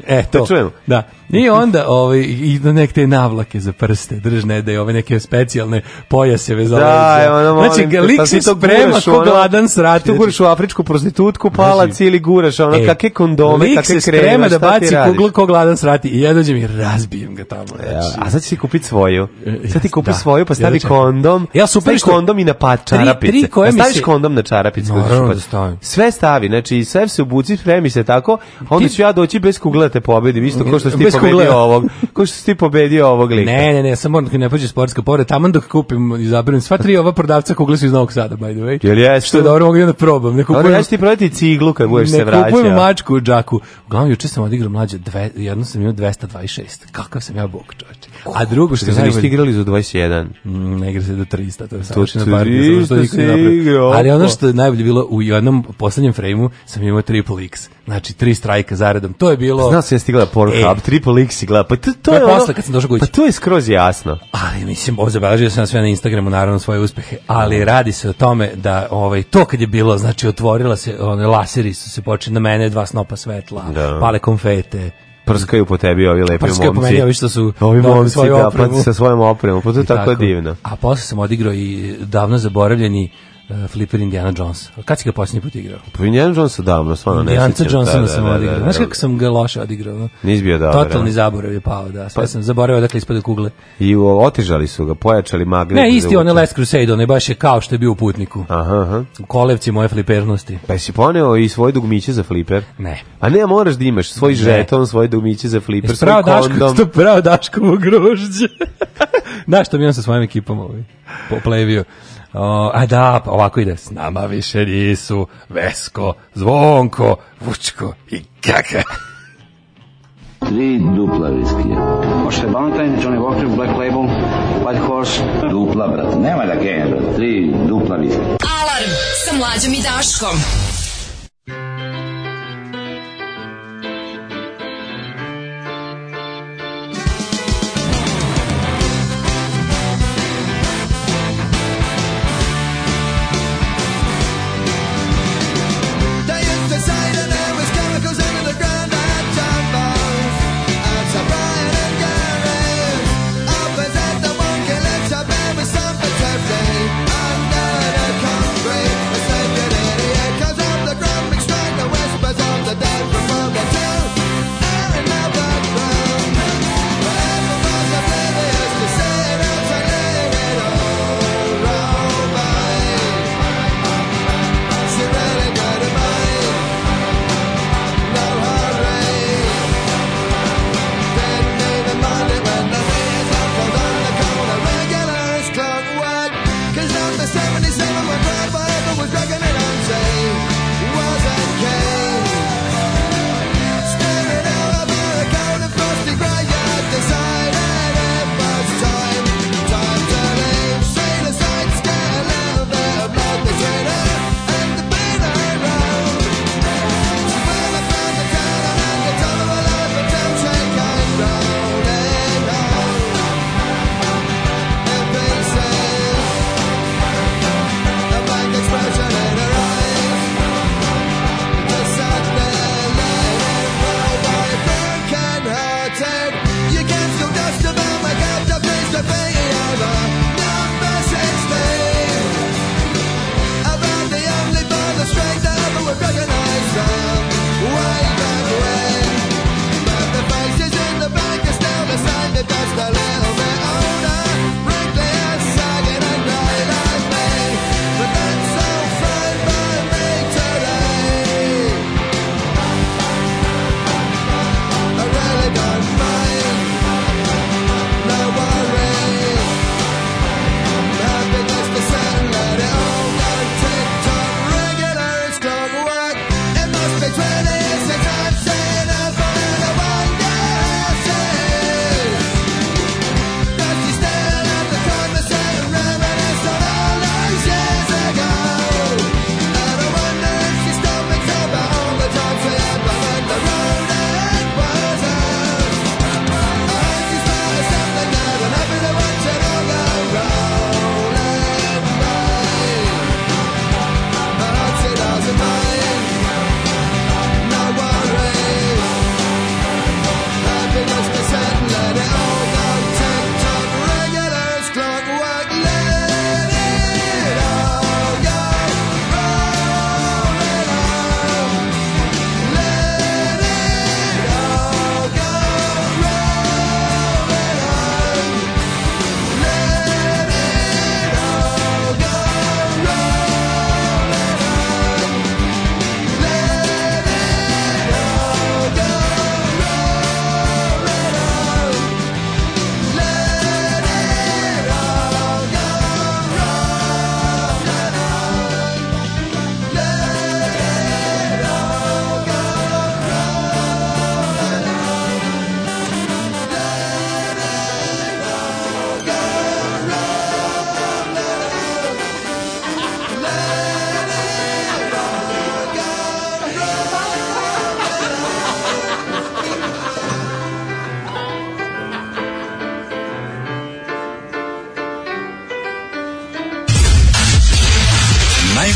e, to.
Da čujemo.
Da. I onda ovaj, i na neke te navlake za prste, držne da je ove neke specijalne pojaseve za
Da,
leđa.
evo, ono, molim
Znači,
te,
lik
pa
se
ti to
sprema
guraš u
ko
ono-
gladan srati.
Ti guraš u afričku prostitutku, palac ili guraš ono,
Znači, E,
kakve kondome,
lik
kakve
se
kreme,
sprema da
šta ti
baci
radiš?
kuglu ko gladan srati i ja dođem i razbijem ga tamo. znači. e,
A sad će si kupiti svoju. Sad ti kupi
Da.
svoju, pa stavi
Ja da čekam.
kondom.
Ja super
stavi
što-
kondom i na pa čarapice.
tri koje
Pa
mi
staviš
se-
kondom na čarapice. kad
Naravno
ćeš
da
pa-
stavim.
Sve stavi, znači sve se obuci, spremi se tako, a onda ću ja doći bez kugle da te pobedim, isto kao što si ti
Bez kugle.
pobedio ovog. Kao što si ti pobedio ovog lika.
Ne, ne, ne, samo moram kad ne pođe sportska povreda, taman dok kupim i zaberem sva tri ova prodavca kugle su iz Novog Sada, by the way.
Jel jesu?
Što je dobro, mogu i onda probam. Ne
Dobro,
kupujem,
ja ću ti prodati ciglu kad budeš se
ne kupujem
vraćao.
mačku u džaku. Uglavnom, juče sam odigrao mlađe, dve, jedno sam imao 226. Kakav sam ja bog, čoveče. A drugo što je
Znači, niste
najbolje,
igrali za 21.
Mm, ne igra se do 300, to je savršena
300
partija. samo što niko
se
nije napravio.
igra, opa.
Ali ono što je najbolje bilo, u jednom poslednjem frejmu sam imao triple X. Znači, tri strajka zaredom. To je bilo...
Znao sam ja stigla Pornhub,
E.
Triple X si gleda, pa to, to
To je
je ono...
posle kad sam došao kući.
Pa to je skroz jasno.
Ali mislim, ovo zabeležio sam sve na Instagramu, naravno svoje uspehe, ali radi se o tome da ovaj, to kad je bilo, znači otvorila se, one, laseri su se počeli na mene, dva snopa svetla,
Da.
pale konfete,
Prskaju po tebi ovi lepi
prskaju
momci.
po meni ovi što su
Ovi
dobili
momci,
svoju
da,
opremu.
pa sa svojom opremom, pa to je
I
tako, divno.
A posle sam odigrao i davno zaboravljeni uh, Flipper Indiana Jones. A Kad si ga posljednji put igrao?
Pa Indiana Jones odavno, stvarno Pa ne
Janca
sjećam,
Johnsona
da,
sam
da, da,
odigrao.
da,
Znaš
da.
kako sam ga loše odigrao? no?
Nisi bio dobar,
Totalni
a?
zaborav je pao, da. Sve sam zaboravio odakle ispade kugle.
I u- otežali su ga, pojačali magnet.
Ne,
za
isti
uče.
onaj Last Crusade, onaj baš je kao što je bio u putniku.
Aha, aha.
U kolevci moje flipernosti.
Pa si poneo i svoje dugmiće za fliper?
Ne.
A ne, moraš da imaš svoj žeton, svoje dugmiće za fliper,
Jesi
svoj
pravo Daško,
kondom.
(laughs) to pravo Daškovo grožđe. (laughs) Znaš što mi on sa svojim ekipom ovaj, poplevio. O, a da, pa ovako ide. S nama više nisu Vesko, Zvonko, Vučko i Kaka.
Tri dupla viskija. Možete Valentine, Johnny Walker, Black Label, White Horse. Dupla, brate. Nema da genja, brate. Tri dupla viskija.
Alarm sa mlađom i Daškom.
They used to say that there was chemicals in the ground that turned bones and surprise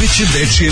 Kreće dečije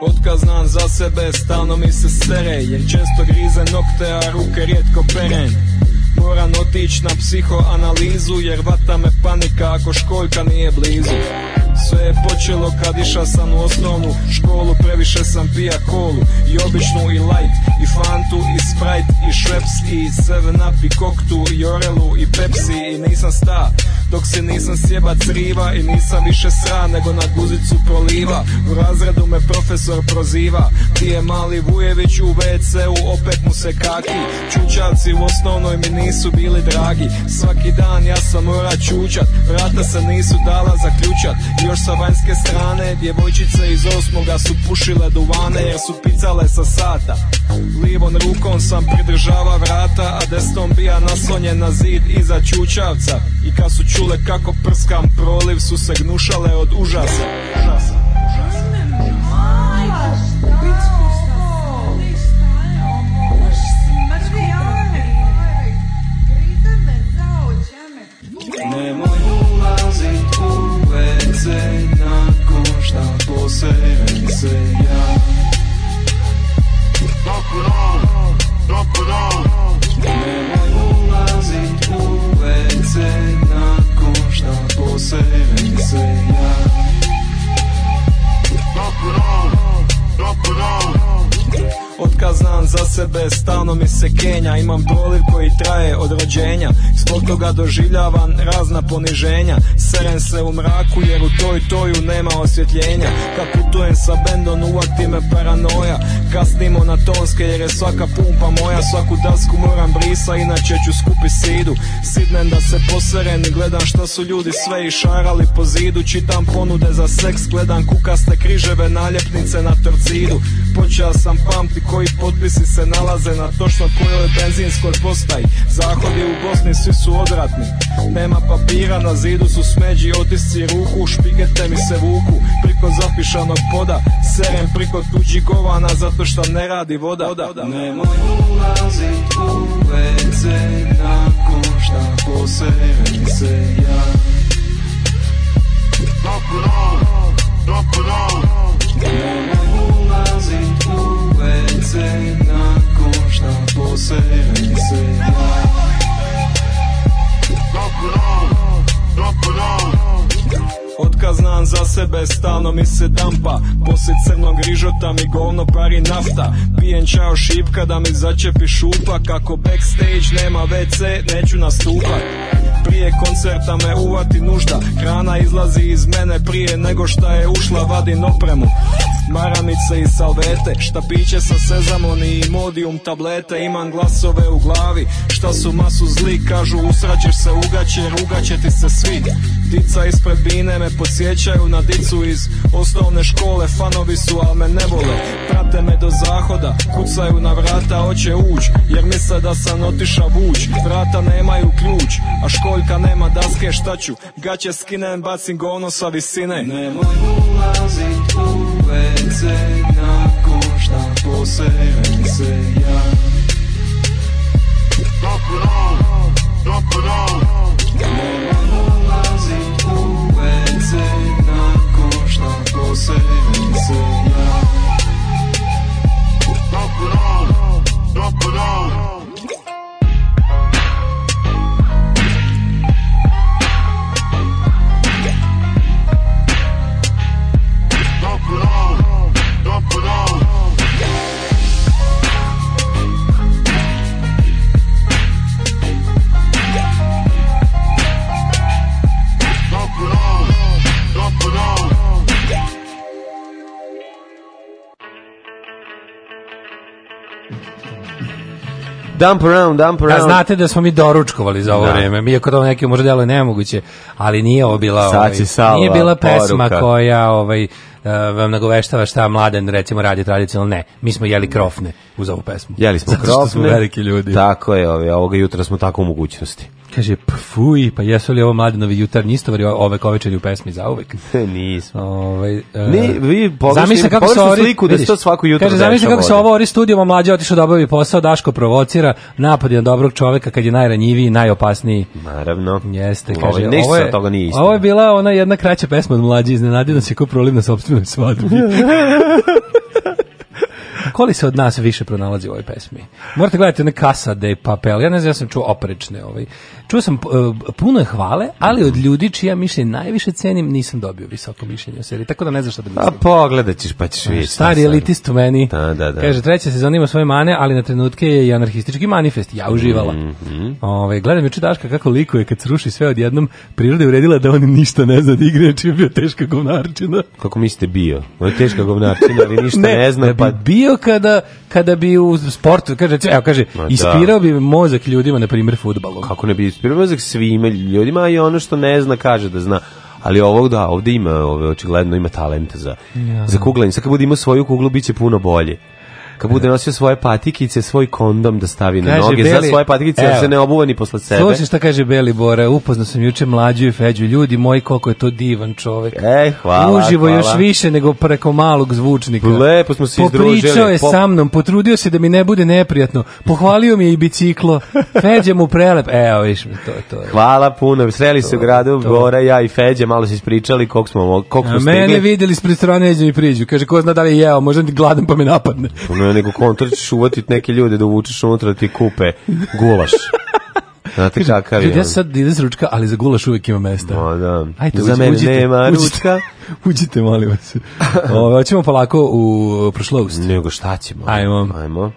Otkaz znam za sebe, stalno mi se sere Jer često grize nokte, a ruke rijetko peren Moram otić na psihoanalizu Jer vata me panika ako školjka nije blizu Sve je počelo kad iša sam u osnovnu školu Previše sam pija kolu I običnu i light I fantu i sprite i šveps I seven up i koktu i orelu i pepsi I nisam sta dok se nisam sjebac riva I nisam više sra nego na guzicu proliva U razredu me profesor proziva Ti je mali Vujević u WC-u opet mu se kaki Čučaci u osnovnoj mi nisu bili dragi Svaki dan ja sam mora čučat Vrata se nisu dala zaključat Još sa vanjske strane Djevojčice iz osmoga su pušile duvane Jer su picale sa sata Livom rukom sam pridržava vrata A desnom bija naslonjen na zid iza čučavca I kad su čule kako prskam proliv Su se gnušale od užasa Užasa Nemoj ulazit u WC nakon šta posebem se ja Nemoj ulazit u WC nakon šta posebem se ja Otkad znam za sebe, stalno mi se kenja Imam proliv koji traje od rođenja Zbog toga doživljavam razna poniženja Serem se u mraku jer u toj toju nema osvjetljenja Kad putujem sa bendom uvakti me paranoja Kasnimo na tonske jer je svaka pumpa moja Svaku dasku moram brisa inače ću skupi sidu Sidnem da se poseren i gledam šta su ljudi sve išarali po zidu Čitam ponude za seks, gledam kukaste križeve naljepnice na torcidu Počeo sam pamti koji potpisi se nalaze na točno kojoj benzinskoj postaji Zahodi u Bosni svi su odratni Nema papira, na zidu su smeđi otisci ruku Špigete mi se vuku priko zapišanog poda Serem priko tuđih govana zato što ne radi voda Nemoj ulazit u WC nakon šta posebem se ja Nemoj ulazit u WC nakon šta posebem se ja Otkaz znam za sebe, stalno mi se dampa Poslije crnog rižota mi govno pari nafta Pijen čao šipka da mi začepi šupa Kako backstage nema WC, neću nastupat Prije koncerta me uvati nužda Hrana izlazi iz mene prije nego šta je ušla Vadim opremu Maramice i salvete Štapiće sa sezamon i modium tablete Imam glasove u glavi Šta su masu zli Kažu usraćeš se ugaće jer ugaće ti se svi Dica ispred bine me podsjećaju na dicu iz osnovne škole Fanovi su al me ne vole Prate me do zahoda Kucaju na vrata hoće uć Jer misle da sam otiša vuć Vrata nemaju ključ A školjka nema daske šta ću Gaće skinem bacim govno sa visine Nemoj ulazit u WC nakon šta posebem se ja Nemoj ulazit u WC nakon šta posebem se ja
Dobre jutro,
Dump around, dump
Da
around.
znate da smo mi doručkovali za ovo
Da.
vreme. Iako to neki možda delo nemoguće, ali nije ovo bila
Sad
ovaj,
će Salva
nije bila pesma
poruka.
koja ovaj eh, vam nagoveštava šta mladen recimo radi tradicionalno ne. Mi smo jeli krofne uz ovu pesmu.
Jeli smo
(laughs) Zato što
krofne.
smo veliki ljudi.
Tako je, ove, ovoga jutra smo tako u mogućnosti.
(laughs) Kaže, pfuj, pa jesu li ovo mladenovi jutarnji istovari o- ove kovečeri u pesmi za uvek?
Nismo.
Ovaj, e,
Ne, vi pogrešni-
zamisli kako se
pogrešnu
ori-
sliku da se
vidiš,
to svako jutro
Kaže, zamisli
dešava
kako se
ovde.
ovo ori studijom, a mlađe otišao da obavi posao, Daško provocira, napad je na dobrog čoveka kad je najranjiviji i najopasniji.
Naravno.
Jeste,
Ovo-
kaže, ovo,
ništa
je,
od toga nije istina.
ovo je bila ona jedna kraća pesma od mlađe, iznenadio nas je ko proliv na sobstvenoj
(laughs)
svadbi. Koli se od nas više pronalazi u ovoj pesmi? Morate gledati one kasa de papel. Ja ne znam, ja sam čuo oprečne. Ovaj. Čuo sam e, puno je hvale, ali od ljudi čija mišljenje najviše cenim nisam dobio visoko mišljenje o seriji. Tako da ne znam šta da
A
mislim.
Pa pogledat ćeš pa ćeš vidjeti. šta
Stari
sad.
elitist u meni.
Da, da, da.
Kaže, treća sezona ima svoje mane, ali na trenutke je i anarhistički manifest. Ja uživala.
Mhm.
Ove, gledam juče Daška kako likuje kad sruši sve odjednom. Priroda je uredila da on ništa ne zna da igra, čim je bio teška govnarčina.
Kako mislite bio? Ovo je teška govnačina,
(laughs)
ali ništa ne,
da
znam,
bi
pa
bio kada, kada bi u sportu, kaže, recimo, evo, kaže,
Ma da.
ispirao bi mozak ljudima, na primjer, futbalom.
kako ne bi ispirio mozak svima ljudima a i ono što ne zna kaže da zna. Ali ovog da, ovde ima, ove, očigledno ima talenta za, za kuglanje. Sad kad bude imao svoju kuglu, bit će puno bolje. Kad bude nosio svoje patikice, svoj kondom da stavi na
E. Kaže,
noge,
Beli-
za svoje patikice,
Evo.
da se ne obuva ni posle sebe.
Slušaj šta kaže Beli Bora, upoznao sam juče mlađu i Feđu, ljudi moji koliko je to divan čovek.
E, hvala,
Uživo
hvala.
još više nego preko malog zvučnika.
Lepo smo se
Popričao
izdružili.
je
Pop-
sa mnom, potrudio se da mi ne bude neprijatno. Pohvalio mi je i biciklo. Feđa mu prelep. Evo, viš mi, to je to. Je.
Hvala puno. Sreli se u gradu,
to.
Bora, ja i Feđa, malo se ispričali koliko smo, mo- koliko smo
A
stigli.
mene videli s strane neđe mi priđu. Kaže, ko zna da li je jeo, možda ti gladan pa me napadne.
Ono, nego kontra ćeš uvatit neke ljude da uvučeš unutra da ti kupe
(laughs)
gulaš. Znate kakav je.
Ljudi, ja sad idem s ručka, ali za gulaš uvek ima mesta.
O, da.
Ajde,
Za
uđi-
mene
uđite,
nema
uđite.
ručka.
(laughs) Uđite, molim
(laughs)
vas. Ove, hoćemo polako u prošlost.
Nego šta ćemo?
Ajmo.
Ajmo.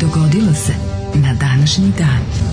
Dogodilo se na današnji dan.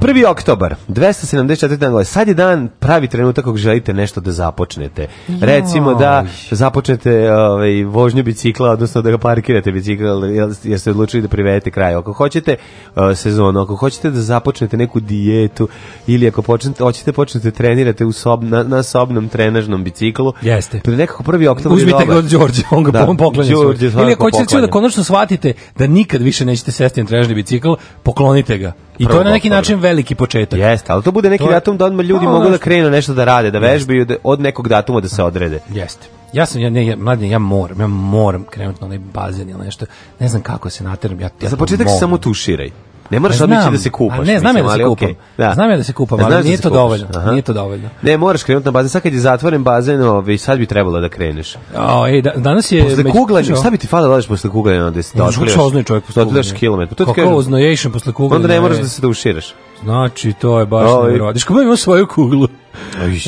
1. oktobar, 274. dan godine. Sad je dan, pravi trenutak ako želite nešto da započnete. Recimo da započnete ovaj, vožnju bicikla, odnosno da ga parkirate bicikla, jer- jer ste odlučili da privedete kraj. Ako hoćete eh, sezonu, ako hoćete da započnete neku dijetu ili ako počnete, hoćete počnete trenirate u sob, na, na sobnom trenažnom biciklu.
Jeste.
Pre nekako 1. oktobar je
Uzmite
dobar.
ga od Đorđe, on ga
Da,
da, poklanja.
Đorđe
svoj.
svakako
Ili ako hoćete recimo da
poklanja.
konačno shvatite da nikad više nećete sesti na trežni bicikl, poklonite ga. I to
Prvo
je na neki
poklon.
način veliki početak.
Jeste, ali to bude neki
To je-
datum da odmah ljudi
Pa,
mogu
ono
da
što-
krenu nešto da rade, da vežbaju, da, od nekog datuma da se odrede.
Jeste. Ja sam, ja, ne, ja, mladine, ja moram, ja moram krenuti na onaj bazen ili nešto. Ne znam kako se nateram, ja, ja to
Za početak se
moram.
samo tuširaj. Ne moraš
Pa
odmići
znam,
da se kupaš.
a ne, znam ja da
mislim,
se
ali
kupam.
okej.
Znam ja da se kupam, ali
Znaš da
nije
se
to
kupaš,
dovoljno,
aha.
nije to dovoljno.
Ne, moraš krenuti na bazen. Sad kad je zatvoren bazen, ovaj, sad bi trebalo da kreneš.
A, ej, da, danas je...
Posle
E, među-
kuglanja,
Znaš,
šta bi ti falo da odeš posle kuglanja? Onda se
Ne, zvuči oznoj čovjek posle
Odlaš
kuglanja.
kilometar. To ti
Kako
kažem.
oznojation posle kuglanja,
Onda ne moraš
e.
da Ovaj- se duširaš.
Znači, to je baš
Oj.
nevjerojatno. Ško imam svoju
Pa
kuglu. Ovi.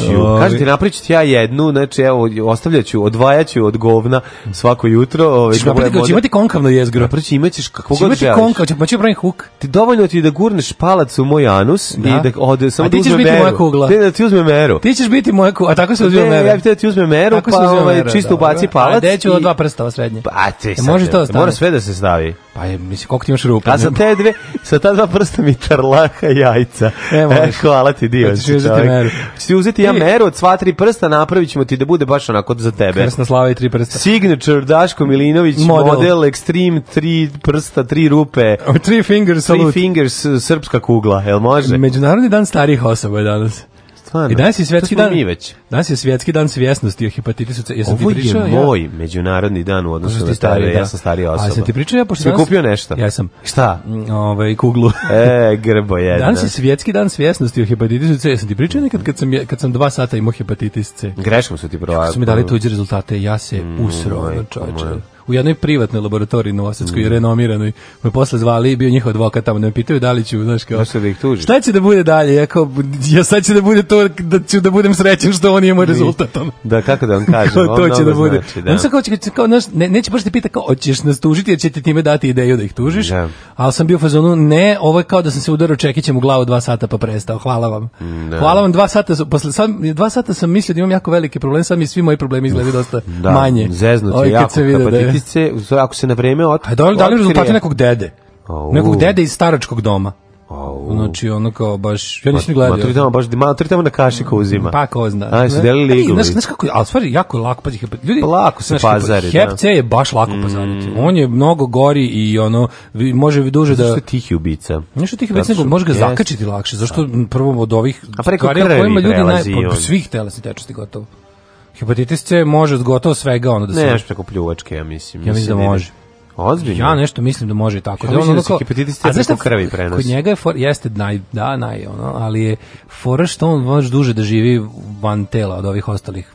Kažem ti, napričit ću ja jednu, znači evo, ostavljaću, odvajaću od govna svako jutro. Ovaj,
Ćeš napraviti kao- će imati konkavno jezgro.
Napriči, imaćeš kako
Će
god
imati
želiš.
konkav, će, pa će napravim huk.
Ti dovoljno ti je da gurneš palac u moj anus
Da.
i da ode samo
A ti
da
ćeš
uzme
biti
meru.
moja kugla.
Ne, da ti uzme meru.
Ti ćeš biti moja kugla, a tako se uzima
Pa Ne,
mere.
ja bih teo da ti uzme meru,
Tako
pa,
se uzima
ovaj,
mere,
čisto
dobro.
ubaci palac
A gde ću od
i-
dva prsta ova srednje?
Pa ti sad.
Može to
ne,
ostane?
Mora sve da se stavi.
Pa je, mislim, koliko ti imaš rupa?
A sa te dve, sa ta dva prsta mi trlaha jajca.
E, može.
hvala ti, divan
Hoćeš
si
uzeti
čovjek.
meru.
Hoćeš ti uzeti ja
Ti-
meru od sva tri prsta, napravit ćemo ti da bude baš onako za tebe.
Krsna slava i tri prsta.
Signature Daško Milinović,
Model.
model, Extreme, tri prsta, tri rupe,
Three finger
three
salute.
fingers, srpska kugla, jel može?
Međunarodni dan starih osoba je danas.
Stvarno.
I danas je
To
svjetski
smo
dan.
Mi već.
Danas je svjetski dan svjesnosti o hepatitisu C. Jesam
Ovo
ti pričao,
je
ja? Pa
moj međunarodni dan u
Pošto
odnosu
ti
na starije,
da.
ja sam starija osoba.
A sam ti pričao ja pošto
Jesi mi kupio nešto?
Ja sam.
Šta?
Ovaj
(laughs)
kuglu.
E, grbo jedna.
(laughs) Danas je svjetski dan svjesnosti o hepatitisu C. Jesam ti pričao nekad kad sam, je- kad sam dva sata imao hepatitis C?
Greškom su ti provali. Mm, pa
Su mi dali tuđe rezultate i ja se usro, ono, čoveče. u jednoj privatnoj laboratoriji na Osečkoj,
Mm.
renomiranoj, me posle zvali i bio njihov advokat tamo, da me pitaju da li ću, znaš, kao,
Znaš šta da ih tužiš?
šta će da bude dalje, ja kao, ja sad će da bude to, da ću da budem srećen što on nije moj rezultat, ono.
Da, kako da vam
(laughs)
kažem,
Kao,
on
to će
mnogo
da bude.
znači, da.
On sad kao, će, će- kao, znaš, ne, neće baš te pita kao, hoćeš nas tužiti jer će ti time dati ideju da ih tužiš,
Da.
ali sam bio u fazonu, ne, ovo je kao da sam se udarao čekićem u glavu dva sata pa prestao, hvala vam.
Mm,
Hvala vam, dva sata, su- posle, sad, dva sata sam mislio da imam jako velike probleme, sad mi svi moji problemi izgledaju dosta
da,
manje.
Zeznut
Ovi
je
kad
jako
se vide da je-
hepatitis C, u stvari, ako se na vreme ot...
A da li, da li
otkrije-
rezultati nekog dede?
Au.
Nekog dede iz staračkog doma.
Au.
Znači, ono kao baš, ja nisam ni
Ma, tri
gledao.
tamo baš, ma, tri tamo na kašiku uzima.
Pa ko zna.
A, su delili
A nije,
iglu.
Znaš, znaš kako, je- ali stvari jako je lako, pazi, hepa- ljudi,
Lako se
znaš, hepa-
pazari, da. Mm.
Hep C je baš lako pazariti. On je mnogo gori i ono, vi- može vi duže
Zašto
da...
je tihi ubica?
Nešto tih
Zato
već nego
što-
može ga
jeste.
zakačiti lakše. Zašto prvo od ovih
A preko
stvari na
krvi
kojima ljudi naj,
prelazi
pa,
on.
svih telesnih tečnosti gotovo. Hepatitis C može od gotovo svega ono da se...
Ne, još preko pljuvačke, ja mislim.
Ja mislim da
ne-
može.
Ozbiljno?
Ja nešto mislim da može i tako.
Ja
Da on
mislim da
ono
se
kao-
hepatitis C
A znaš šta,
preko krvi prenosi.
Kod njega je for, jeste naj, da, naj, ono, ali je fora što on baš duže da živi van tela od ovih ostalih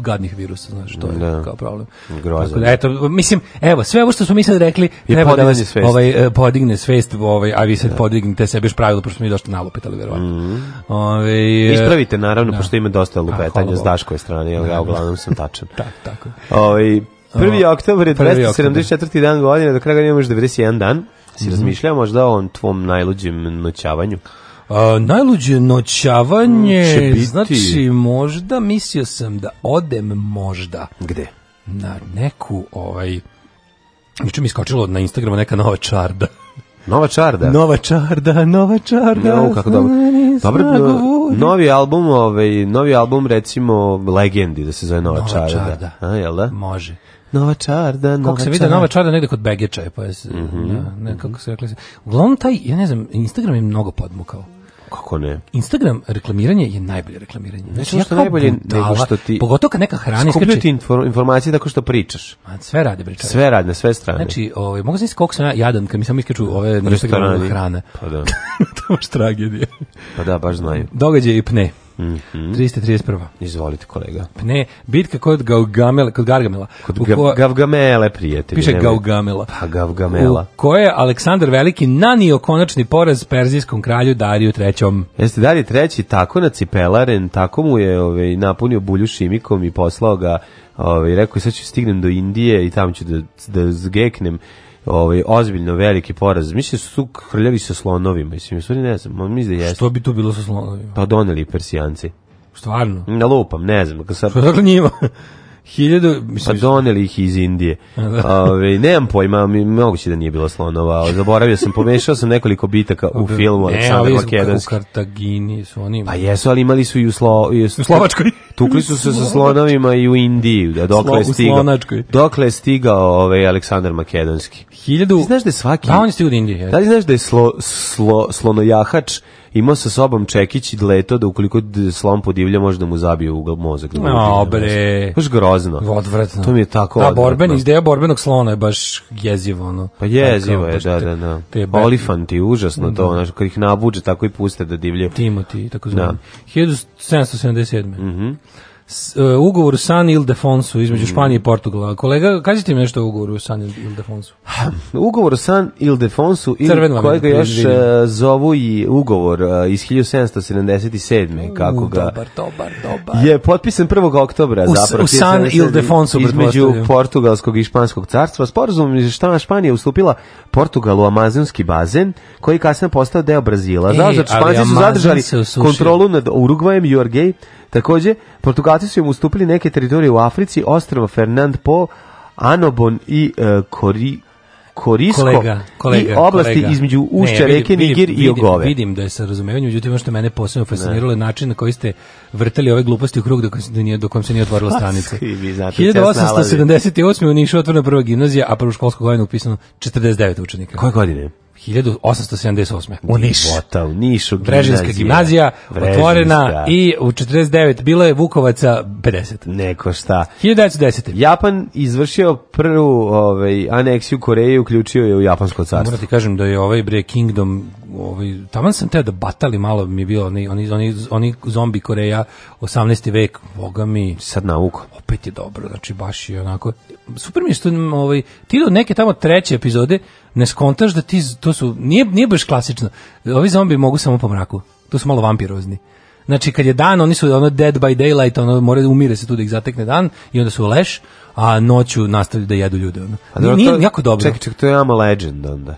gadnih virusa, znaš, to je
Da.
kao problem.
Grozno.
Tako da, eto, mislim, evo, sve ovo što smo mi sad rekli,
Je
treba da
podiganje
vas
svesti.
ovaj, e, podigne svest, ovaj, a vi sad podignite sebi još pravilo, pošto smo mi došli nalupetali, verovatno.
Mhm.
Ovaj, e,
Ispravite, naravno, pošto ima dosta
hvala
lupetanja
Bogu.
s Daškove strane, jer ja uglavnom sam
(laughs)
tačan.
Tak, tako. je.
Ovaj 1. oktober je
Prvi oktober.
274. dan godine, do kraja godine imaš 91 dan. Si
Mhm.
razmišljao možda o ovom tvom najluđem noćavanju?
A, najluđe
Mm, Će
noćavanje,
biti.
znači možda, mislio sam da odem možda
Gde?
na neku ovaj Juče mi je iskočilo na Instagramu neka nova čarda.
Nova čarda.
Nova čarda, nova čarda.
Jo, kako dobro.
stvari
Dobro, no-
govori.
novi album, ovaj, novi album recimo Legendi, da se zove Nova,
Nova
čarda.
čarda.
A, jel da?
Može.
Nova čarda, Mhm. Nova
Kako se vidi, nova čarda negde kod Begeča je, pa je, se- da, ne, kako se rekli. Uglavnom taj, ja ne znam, Instagram je mnogo podmukao.
Kako ne?
Instagram reklamiranje je najbolje reklamiranje. Znači, ja
samo ono što
kao
najbolje, nego
budala,
što ti-
Pogotovo kad neka hrana
Skupljaju
iskače.
ti infor- informacije tako što pričaš.
Ma, Sve rade, bre, čarda.
Sve rad, na sve strane.
Znači, ovaj, mogu znaći koliko sam ja jadan kad mi samo iskaču ove na Instagramu
Restorani.
hrane. (laughs)
Pa da,
to je baš tragedija.
pa da, baš znaju.
Događaj i pne.
Mhm.
331.
Izvolite kolega.
Pne, bitka kod Gaugamela, kod Gargamela.
Kod
u
gav,
ko-
Gavgamele, prijatelji.
piše
nemoj-
Gaugamela.
Pa Gavgamela.
U koje je Aleksandar Veliki nanio konačni poraz perzijskom kralju Dariju III.
Jeste dalje treći tako na cipelaren, tako mu je ovaj, napunio bulju šimikom i poslao ga, ovaj, rekao je, sad ću stignem do Indije i tamo ću da, da zgeknem ovaj, ozbiljno veliki poraz. Mislim su hrljavi sa slonovima, mislim, u stvari ne znam, ali mislim da jesu.
Što bi tu bilo sa slonovima?
Pa doneli persijanci.
Stvarno.
Na lupam, ne znam. kad Sad,
Pa dakle njima. (laughs) Hiljadu, mislim,
pa doneli ih
(laughs)
iz Indije. Ove, nemam pojma, mi- moguće da nije bilo slonova, ali zaboravio sam, pomešao sam nekoliko bitaka u
(laughs)
filmu
ne, ali
Aleksandar
u- u
Makedonski.
Kartagini su oni.
Pa jesu, ali imali su i u, slo, i
U
(laughs)
Slovačkoj.
Tukli su se sa slonovima i u Indiji, da dokle je
Slo- u
stigao.
Slonačkoj.
Dokle je stigao ovaj Aleksandar Makedonski.
Hiljadu...
Ti znaš da je svaki...
Da, on je stigao od Indije. jeste.
Da li znaš da je slo, slo, slonojahač imao sa sobom čekić i leto da ukoliko d- slon podivlja može da mu zabije u mozak. Da mu
A,
udri u mozak.
bre.
Baš grozno.
Odvratno.
To mi je tako
Da,
odvratno.
borben, ideja borbenog slona je baš jezivo, ono.
Pa jezivo je,
Baš
da,
te-
da, da.
Te be- Mhm.
Olifanti, užasno to, znaš, kad ih nabuđe, tako i puste da divljaju.
Timothy, tako
Da. Mhm.
zvani. 1777. S, e, ugovor u San Ildefonsu između Španije i Portugala. Kolega, kažite mi nešto o ugovoru u San Ildefonsu.
Ugovor o San Ildefonsu ili
Crven vam je,
kojega još
vidim.
e, zovu i ugovor e, iz 1777. E, kako
U,
ga
Dobar, dobar, dobar.
je potpisan 1. oktobra
U-
zapravo
u San
1777,
Ildefonsu,
između
pretpostavljam.
portugalskog i španskog carstva. Sporazum je šta Španija ustupila Portugalu amazonski bazen koji je kasnije postao deo Brazila.
E,
Zato što
ali
Španci su
Amazon
zadržali
se osušio.
kontrolu nad Urugvajem i Jorgej. Takođe, Portugalci su im ustupili neke teritorije u Africi, ostrava Fernand Po, Anobon i e, Kori, Korisko
Kolega, kolega,
i oblasti
kolega.
između ušća
Ne, vidim,
reke
vidim,
Niger i
vidim,
Ogove.
Vidim da je sa razumevanjem, međutim ono što je mene posebno fasciniralo je način na koji ste vrtali ove gluposti u krug dok, se nije, dok vam se nije otvorila stranica.
Pa, svi vi znate, sve
1878. u Nišu otvorena prva gimnazija, a prvo školsko godinu upisano 49 učenika.
Koje godine?
1878. U Nišu.
Vota, u Nišu,
Brežinska gimnazija,
Brežinska.
otvorena i u 49 bilo je Vukovaca 50.
Neko šta.
1910.
Japan izvršio prvu ovaj, aneksiju Koreje i uključio je u Japansko carstvo.
Moram ti kažem da je ovaj bre Kingdom ovaj, taman sam teo da batali malo mi je bilo oni, oni, oni, oni zombi Koreja 18. vek, boga mi
Sad nauko.
opet je dobro, znači baš je onako super mi je što mm, ovaj, ti do neke tamo treće epizode ne skontaš da ti, z- to su, nije, nije baš klasično ovi zombi mogu samo po mraku to su malo vampirozni Znači, kad je dan, oni su ono dead by daylight, ono, mora, umire se tu da ih zatekne dan i onda su leš, a noću nastavljaju da jedu ljude. Ono.
dobro,
Nije
to-
jako dobro.
Čekaj, čekaj, to je Ama Legend onda.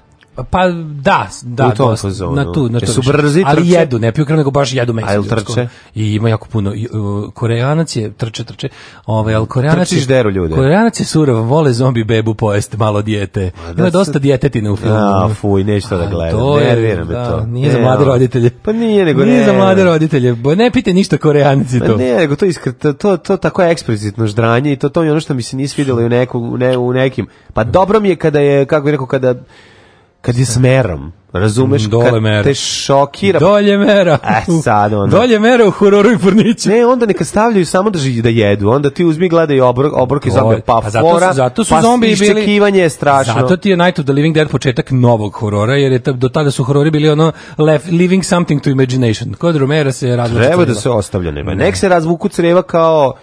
Pa da, da,
U tom
dosta,
fazonu.
na tu, na to.
Jesu
više.
brzi,
ali
trče?
jedu, ne piju krv, nego baš jedu meso.
A jel
ljudsko.
trče?
I ima jako puno i, uh, Koreanac je trče, trče. Ovaj al Koreanac
Trčiš
je,
deru ljude.
Koreanac je surov, vole zombi bebu pojesti malo dijete.
da
Ima
se-
dosta dijetetine u filmu.
A, fuj, neću to da
A,
gledam.
to je,
Nervira me
da,
to.
Nije za
Ne,
mlade
ono.
roditelje.
Pa nije, nego
Nije
ne, Pa
za mlade
ne.
roditelje. Bo ne pite ništa Koreanci
Ma
to.
ne, nego to iskr, to, to, to tako je eksplicitno ždranje i to to je ono što mi se nije svidelo i u, neku, u ne, u nekim. Pa dobro mi je kada je, kako bih rekao, kada, kad je smerom, razumeš,
Mm, dole
kad
mera.
te šokira.
Dolje mera.
E, sad ono.
Dolje mera u hororu i furniću.
Ne, onda neka stavljaju samo da, ži- da jedu, onda ti uzmi gledaj obrok, obroke zombi, pa,
zato su-
fora,
zato su
pa
zombi bili-
iščekivanje je strašno.
Zato ti je Night of the Living Dead početak novog horora, jer je ta, do tada su horori bili ono lef, living something to imagination. Kod Romera se različito.
Treba da se ostavljene. Ma nek se razvuku creva kao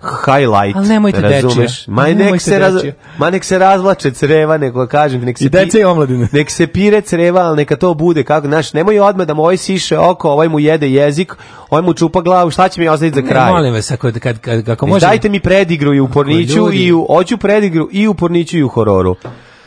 highlight.
Ali nemojte
razumeš?
dečije.
Ma
Nemojte
nek, se raz,
dečije.
ma nek se razvlače creva, nego kažem, nek se
I dece
pi-
i omladine.
Nek se pire creva, ali neka to bude kako, znaš, nemoj odmah da mu ovaj siše oko, ovaj mu jede jezik, ovaj mu čupa glavu, šta će mi ostaviti za kraj?
Molim vas, ako, kad, kad, ako može...
Dajte mi predigru i u porniću
ljudi-
i u oću predigru i u porniću i u hororu.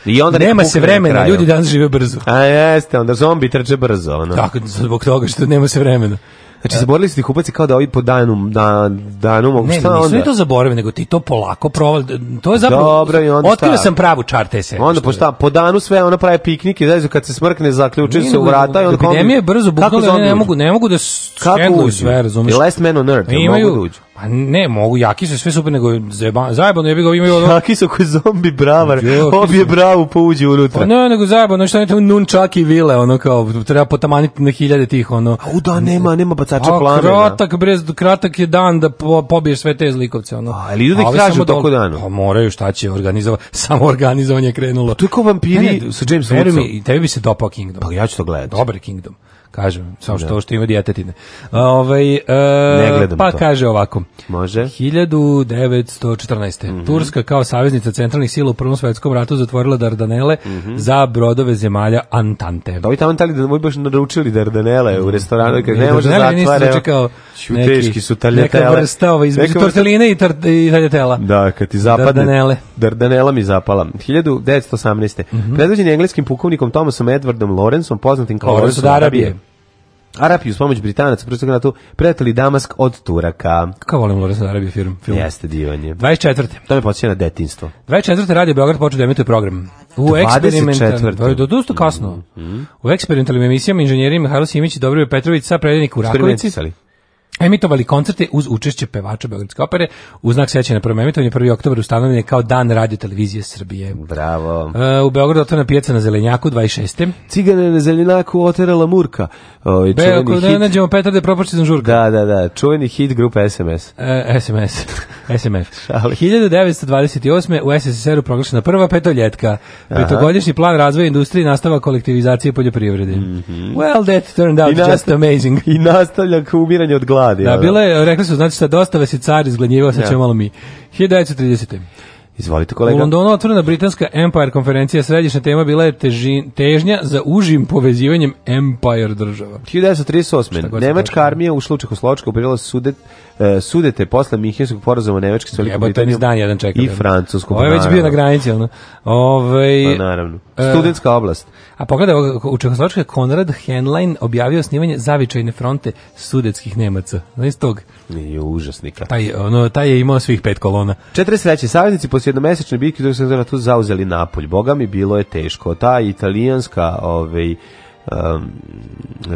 I onda neka
nema
pukne
se
na
vremena,
kraju.
ljudi danas žive brzo.
A jeste, onda zombi trče brzo, ono.
Tako, zbog toga što nema se vremena.
Znači, zaborili su ti kupaci kao da ovi po danu, da, danu mogu,
Ne,
šta
nisu
onda?
ni to zaboravili, nego ti to polako provali. To je zapravo...
Dobro, i onda
Otkrio
šta?
sam pravu čar te serije.
Onda po šta, po danu sve ona pravi piknike, znači kad se smrkne zaključuje se u vrata i onda
epidemija je brzo buknula,
zombi
oni ne
uđu?
mogu, ne mogu da
Kako
skenduju
uđu?
sve, razumeš?
I Last Man on Earth, jel mogu da uđu.
Pa ne, mogu, jaki su sve super, nego zajeba- zajebano, jebi ga,
(laughs)
imaju ono...
Taki su koji zombi bravar,
Jo, kako
obje bravu pa uđe
Pa
unutra.
ne, nego zajebano, šta je to nunčaki i vile, ono kao, treba potamaniti na hiljade tih, ono...
U da, nema, nema bacača
A
plamena.
Pa, kratak, brez, kratak je dan da po, pobiješ sve te zlikovce, ono.
A, ali idu da ih
A ovi
traže
samo
u toku
dol-
dana.
Pa moraju, šta će (laughs) organizovati, samo organizovanje je krenulo.
To je kao vampiri
Ne, ne,
sa Jamesom
veruj
Woodsom.
mi, i tebi bi se dopao Kingdom.
Pa ja ću to gledati.
Dobar je Kingdom, kažem, samo što, što ima djetetine. Ovaj, e,
Ne gledam
pa
to.
kaže ovako.
Može.
1914.
Mhm.
Turska kao saveznica centralnih sila u Prvom svetskom ratu zatvorila Dardanele
Mhm.
za brodove zemalja Antante.
Da ovi tamo tali da ovi baš naručili dardanele u restoranu i kad ne može
Dardanele nisu
zatvara.
dočekao
Ću,
neki-
teški su taljatele.
Neka vrsta ovaj, između
Neka vrsta-
torteline i, tar, i taljatela.
Da, kad ti zapadne...
Dardanele. Mhm.
Dardanela mi zapala. 1918. Predvođen je engleskim pukovnikom Thomasom Edwardom Lawrenceom, poznatim kao
Lawrence od
Lawrence
Arabije.
Arabije. Arapi uz pomoć Britanaca u Prvom svjetskom ratu preteli Damask od Turaka.
Kako volim Lorenzo Arabije film? film.
Jeste divan je.
24.
To me podsjeća na detinstvo.
24. Radio Beograd počeo da emituje program. U
24..
eksperimentalnim, do dosta kasno.
Mhm.
U eksperimentalnim emisijama inženjeri Mihajlo Simić i Dobrivoje Petrović sa predenik u Rakovici
Eksperimentisali.
emitovali koncerte uz učešće pevača Beogradske opere u znak sećanja na prvom emitovanju 1. oktober ustanovljen je kao dan radio televizije Srbije.
Bravo.
E, u Beogradu otvorena pijaca na Zelenjaku 26.
Cigane na zeljenaku oterala Murka. O, i
Be, ako
čuveni
ne
hit.
nađemo Petar da propuštim žurka.
Da, da, da. Čuveni hit grupe SMS.
E, SMS. SMF. 1928. u SSSR-u proglašena prva petoljetka. Petogodišnji plan razvoja industrije i nastava kolektivizacije poljoprivrede. Well, that turned out
Mhm. I nast-
just amazing.
(laughs) I nastavlja k umiranje od gladi.
Da,
ono.
bilo je, rekli su, znači šta, dosta vas je car izgladnjivao, sad
Da.
ćemo malo mi. 1930.
Izvolite
U
kolega.
Londonu otvorena britanska Empire konferencija, središnja tema bila je teži- težnja za užim povezivanjem Empire država.
1938.
god se
Nemačka
kaže.
armija ušla u Čehoslovačku, ubirala sudet, e, sudete posle Minhenskog porazuma Nemačke s Velikom
Jebote, ni
Britanijom
dan jedan čekam.
i Francuskom.
Ovo je već
naravno.
bio na granici, ono. Ovaj,
Pa, naravno.
E,
Studentska oblast.
A pogledaj, ovoga, u Čehoslovačkoj je Konrad Henlein objavio snimanje zavičajne fronte sudetskih Nemaca. Znaš tog?
Nije užasnika.
Taj, ono, taj je imao svih pet kolona.
43. Saveznici poslije jednomesečne bitke drugog svjetskog rata zauzeli Napolj. Boga mi bilo je teško. Ta italijanska, ovaj, um,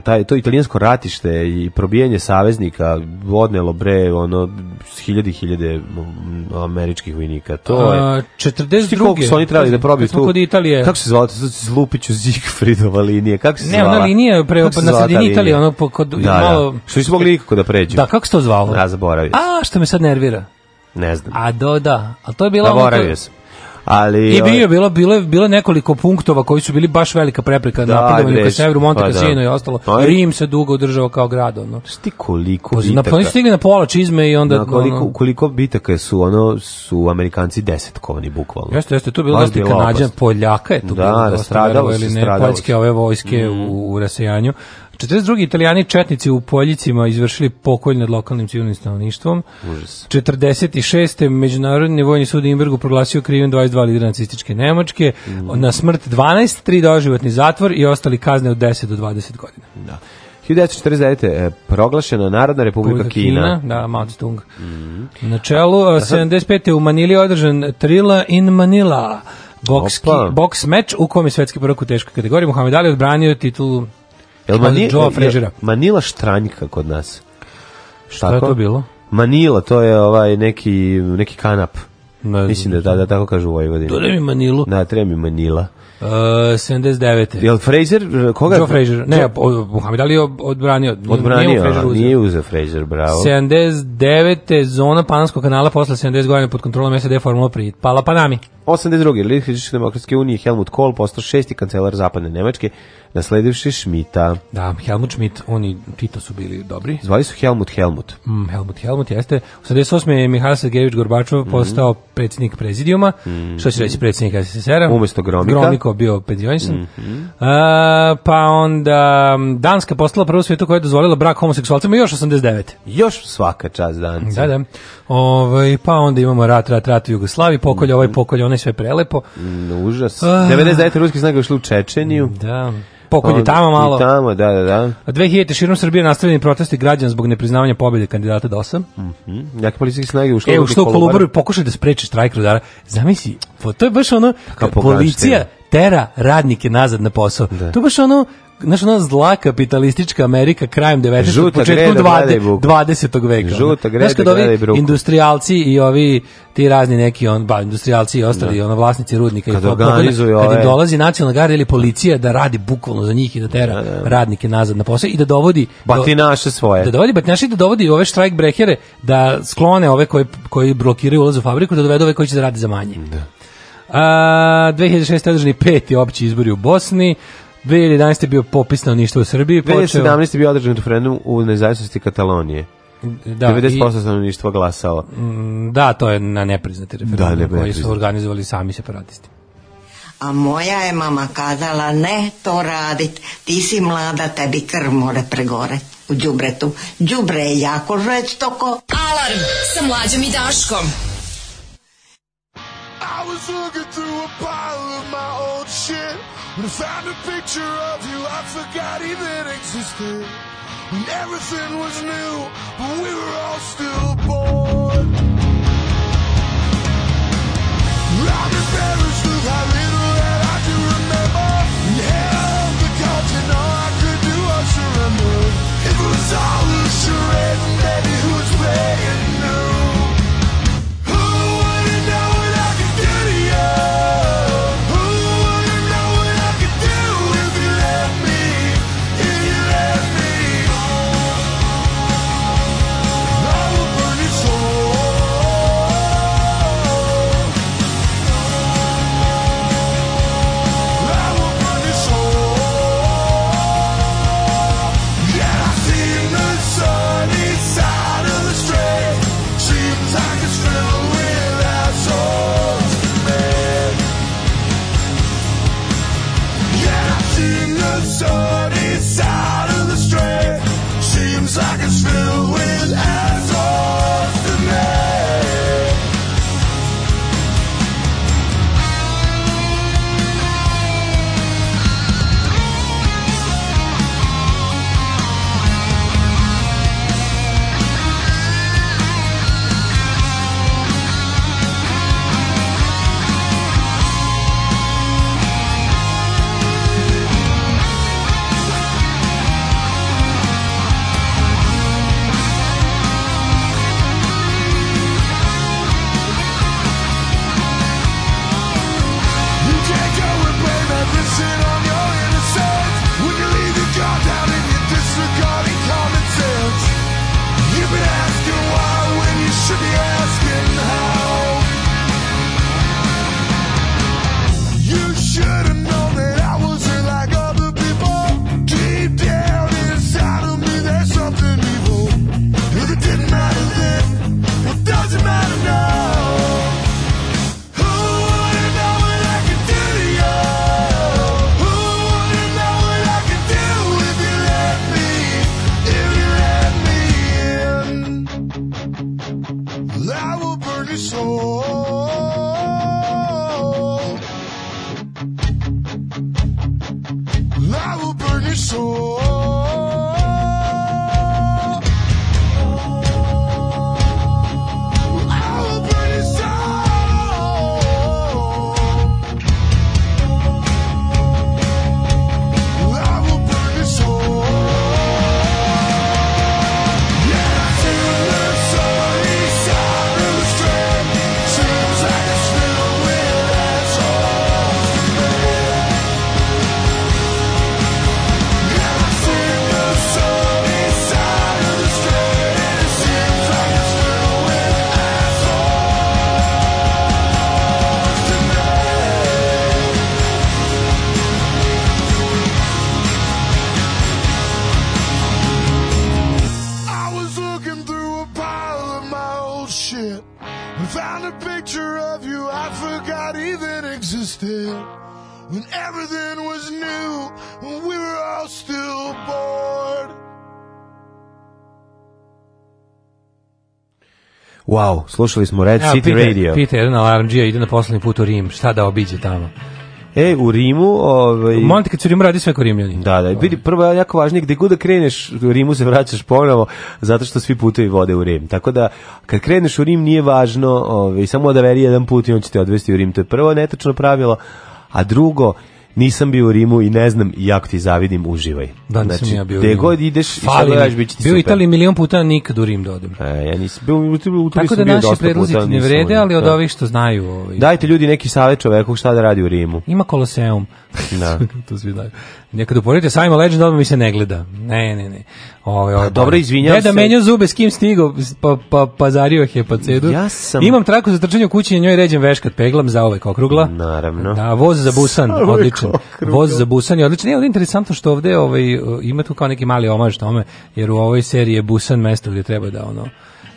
taj, to italijansko ratište i probijanje saveznika odnelo bre ono hiljade i hiljade mm, američkih vojnika. To je
A, 42.
Ti koliko su oni trebali da probiju
Kad smo
tu?
Kod Italije.
Kako se zvala? To su Zlupiću Zigfridova linija. Kako se
Ne,
zvala?
ona linija pre-
Kako se
na
zvala ta
sredini
linija?
Italije, ono, po- kod-
da,
malo-
Da. Što nisu mogli nikako da pređu.
Da, kako se to zvalo?
Ja zaboravio.
A, što me sad nervira.
Ne znam.
A, do, da. A to je bila... ono-
Zaboravio sam. Ali,
I bio
ovaj,
je bilo bilo je- bilo je nekoliko punktova koji su bili baš velika prepreka
Da,
na napredovanju ka
bre,
severu Monte
pa da.
Cassino i ostalo.
Pa i-
Rim se dugo održao kao grad ono.
Ti koliko
Poz- Na
bitaka-
oni stigne na pola čizme i onda
na koliko,
ono,
koliko bitaka su ono su Amerikanci desetkovani bukvalno.
Jeste, jeste, tu je bilo
Baš
dosta i
bila
Kanadjan,
opasno.
Poljaka je tu
Da,
bilo dosta,
stradalo
verovali
se,
ili ne,
stradalo
Poljske
se. Mm.
ove vojske u, u rasejanju. 42. italijani četnici u Poljicima izvršili pokolj nad lokalnim civilnim stanovništvom. Užas. 46. Međunarodni vojni sud u Imbergu proglasio krivim 22 lidera nacističke Nemačke,
Mm.
na smrt 12, 3 doživotni zatvor i ostali kazne od 10 do 20 godina.
Da. 1949. je e, proglašena Narodna republika, Kina. Mhm.
Da, Mao Zedong. Na čelu, a, 75. u Manili je održan Trila in Manila. Bokski,
Opa.
boks meč u kom je svetski prvak u teškoj kategoriji. Muhammed Ali odbranio titulu
Jel
od
Mani-
Joe
jel-
Frežera.
Manila štranjka kod nas.
Šta je to bilo?
Manila, to je ovaj neki, neki kanap.
Ne
Mislim da, da, da tako kažu u Vojvodini.
Dodaj mi Manilu.
Da, treba mi Manila.
E, 79.
Jel Fraser, koga?
Joe Frazier. Ne, o- Muhammed Ali je ob- odbranio. Nije-
Odbranio,
Nije mu
a,
Frazier uzeo.
nije uzeo Fraser, bravo.
79. zona Panamskog kanala posle 70 godina pod kontrolom SAD Formula pri Pala Panami.
82. Lidih Hrvatske demokratske unije Helmut Kohl postao šesti kancelar zapadne Nemačke, nasledivši Šmita.
Da, Helmut Schmidt, oni Tito su bili dobri.
Zvali su Helmut Helmut.
Mm, Helmut Helmut jeste. U 78. je Mihajl Sergejević Gorbačov
Mhm.
postao predsjednik prezidijuma, što će reći predsjednik SSR-a.
Umesto Gromika. Mhm.
Gromiko bio penzionisan. A, pa onda m, Danska postala prvo svijetu koja je dozvolila brak homoseksualcima još 89.
Još svaka čast danca.
Da, da. Ovaj, pa onda imamo rat, rat, rat u Jugoslaviji, pokolj
Mhm.
ovaj, pokolj onaj, sve prelepo.
Mm, Užas. 99. ruske snage ušli u Čečeniju.
Ah. Da. Pokolj je
Onda-
tamo malo.
I tamo, da, da, da.
A 2000. širom Srbije nastavljeni protesti građana zbog nepriznavanja pobjede kandidata DOS-a.
Mm, Jake policijske snage ušli
E, što u Kolubaru pokušaj da spreči štrajk rudara. Zamisli, po, to je baš ono,
Kao po
policija
Galštini.
tera radnike nazad na posao. To je baš ono, znaš, ona zla kapitalistička Amerika krajem 19.
Žuta
početkom
greda, gledaj
20.
buku.
20. veka. ono.
Žuta greda,
Znaš, kad ovi
gledaj bruku.
industrijalci i ovi ti razni neki on ba industrijalci i ostali ono vlasnici rudnika
Kad
i to
organizuju
kad im
ove-
dolazi nacionalna garda ili policija da radi bukvalno za njih i da tera radnike nazad na posao i da dovodi do-
Batinaše Pa svoje.
da dovodi batinaši da dovodi ove štrajk brekere da sklone ove koji koji blokiraju ulaz u fabriku da dovedu ove koji će da rade za manje. Da. A 2006 održani peti opći izbori u Bosni. 2011 je bio popis na u Srbiji, počeo
2017. je bio održan referendum u nezavisnosti Katalonije.
da,
Da,
i-
90% stanovništva glasalo.
da, to je na nepriznati
Da,
referendum koji
nepriznati.
su organizovali sami separatisti.
A moja je mama kazala ne to radit, ti si mlada, tebi krv more pregore u đubretu. Đubre je jako žestoko.
Alarm sa mlađom i Daškom.
I was looking through a pile of my old shit when I found a picture of you I forgot even existed. When everything was new, but we were all still bored. I'm embarrassed with how little that I do remember. And hell, because you know I could do a surrender. It was all a charade, and baby, who's playing new? Who would've known what I could do to you? Who would've known what I could do if you left me? If you left me, I will burn your soul. I will burn your soul. Yeah, I've seen the sunny side of the street. Seems like it's filled with assholes, man. Yeah, I've seen the sunny side of the street. Seems like it's filled with assholes, man. I pišu I'll burn his soul. I will burn his soul. Yeah, I feel the soul inside of the strand. Seems like it's filled with assholes. Yeah, I feel the soul inside of the strand. And it seems like it's filled with assholes to me. I was looking through a pile of my old shit and found a picture of you I forgot even existed. When everything was new, when we were all still bored.
Wow, slušali smo Red
Evo,
City
pita-
Radio.
Pita jedan alarmđija, ide na poslednji put u Rim, šta da obiđe tamo.
E, u Rimu, ovaj...
Monte kad su u Rimu radi sve ko Rimljani.
Da, da,
Ovaj.
vidi, prvo je jako važnije, gde god da kreneš, u Rimu se vraćaš ponovo, zato što svi putevi vode u Rim. Tako da, kad kreneš u Rim nije važno, ovaj, samo da veri jedan put i on će te odvesti u Rim. To je prvo netačno pravilo, a drugo, nisam bio u Rimu i ne znam, jako ti zavidim, uživaj.
Da, nisam ja bio u
gde
Rimu.
god ideš i šta
Fali mi.
gledaš, bit će ti
Bio u
super.
Italiji milion puta, a nikad u Rim da odem.
E, ja nisam bio, u, u, u, u,
Tako da naši predlozi ti ne vrede, ali od ovih što znaju. Ovaj,
Dajte ljudi neki savjet čoveku šta da radi u Rimu.
Ima Koloseum. (laughs)
Da.
to svi znaju. Nekad uporedite sajma Legend, odmah mi se ne gleda. Ne, ne, ne. Ove, ove,
dobro, izvinjam
Deda
se.
menja zube s kim stigo, pa, pa, pazario je pacedu.
Ja sam-
Imam traku za trčanje u kući, na njoj ređem veškat peglam za ove okrugla.
Naravno.
Da, voz za busan,
Za uvek
odličan.
okrugla.
Voz za busan je odličan. E, ovdje je interesantno što ovde ovaj, ima tu kao neki mali omaž tome, jer u ovoj seriji je busan mesto gdje treba da ono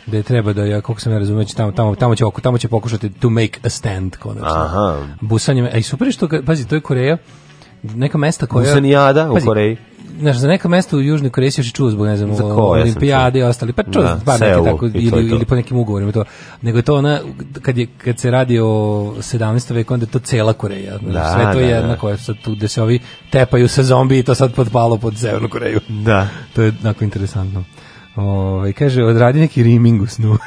gde treba da ja koliko sam ja razumeo će tamo tamo tamo će oko- tamo će pokušati to make a stand konačno
Aha.
busanjem. A i super je što, ga- pazi, to je Koreja, neka mesta koja...
Busanijada u Koreji.
Znaš, za neka mesta u Južnoj Koreji se još i čuo zbog, ne znam,
Za ko? Ja sam
olimpijade i ostali, pa čuo
Da,
da, bar neke
Seul
tako,
i to
ili,
je to.
ili po nekim ugovorima i to. Nego je to ona, kad, je, kad se radi o 17. veku, onda je to cela Koreja. Znaš,
Da,
sve to je
da,
jedna
da.
koja sad tu, gde se ovi tepaju sa zombi i to sad podpalo pod Severnu Koreju.
Da.
To je jako interesantno. Ove, kaže, odradi neki riming u snu. (laughs)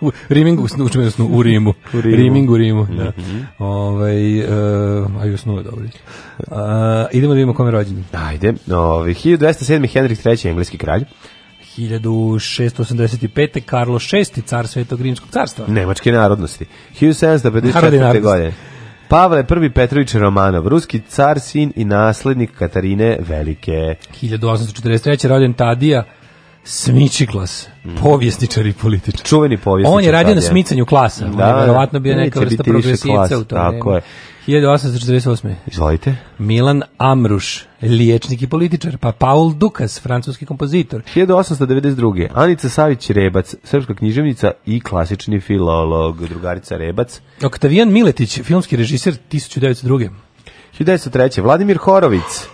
U- riming u snu, učinu snu, u Rimu.
U Rimu. Mhm.
Riming u Rimu, da. Ovaj, e, a i u snu je dobro. A, idemo da vidimo kome je rođen.
Ajde, ovi, 1207. Henrik III. engleski kralj,
1685. Karlo VI, car Svetog Rimskog carstva.
nemačke narodnosti.
Narodi
1754.
narodnosti.
godine. Pavle I. Petrović Romanov, ruski car, sin i naslednik Katarine Velike.
1843. rođen Tadija Smičiklas, povjesničar i političar.
Čuveni povjesničar.
On je radio na
Tadija.
smicanju klasa. On
Da,
je verovatno bio
neće
neka
biti
vrsta
više
progresivca
klas,
u to
tako
vreme. 1848.
Izvolite.
Milan Amruš, liječnik i političar, pa Paul Dukas, francuski kompozitor.
1892. Anica Savić Rebac, srpska književnica i klasični filolog, drugarica Rebac.
Oktavijan Miletić, filmski režisir 1902.
1903. Vladimir Horovic.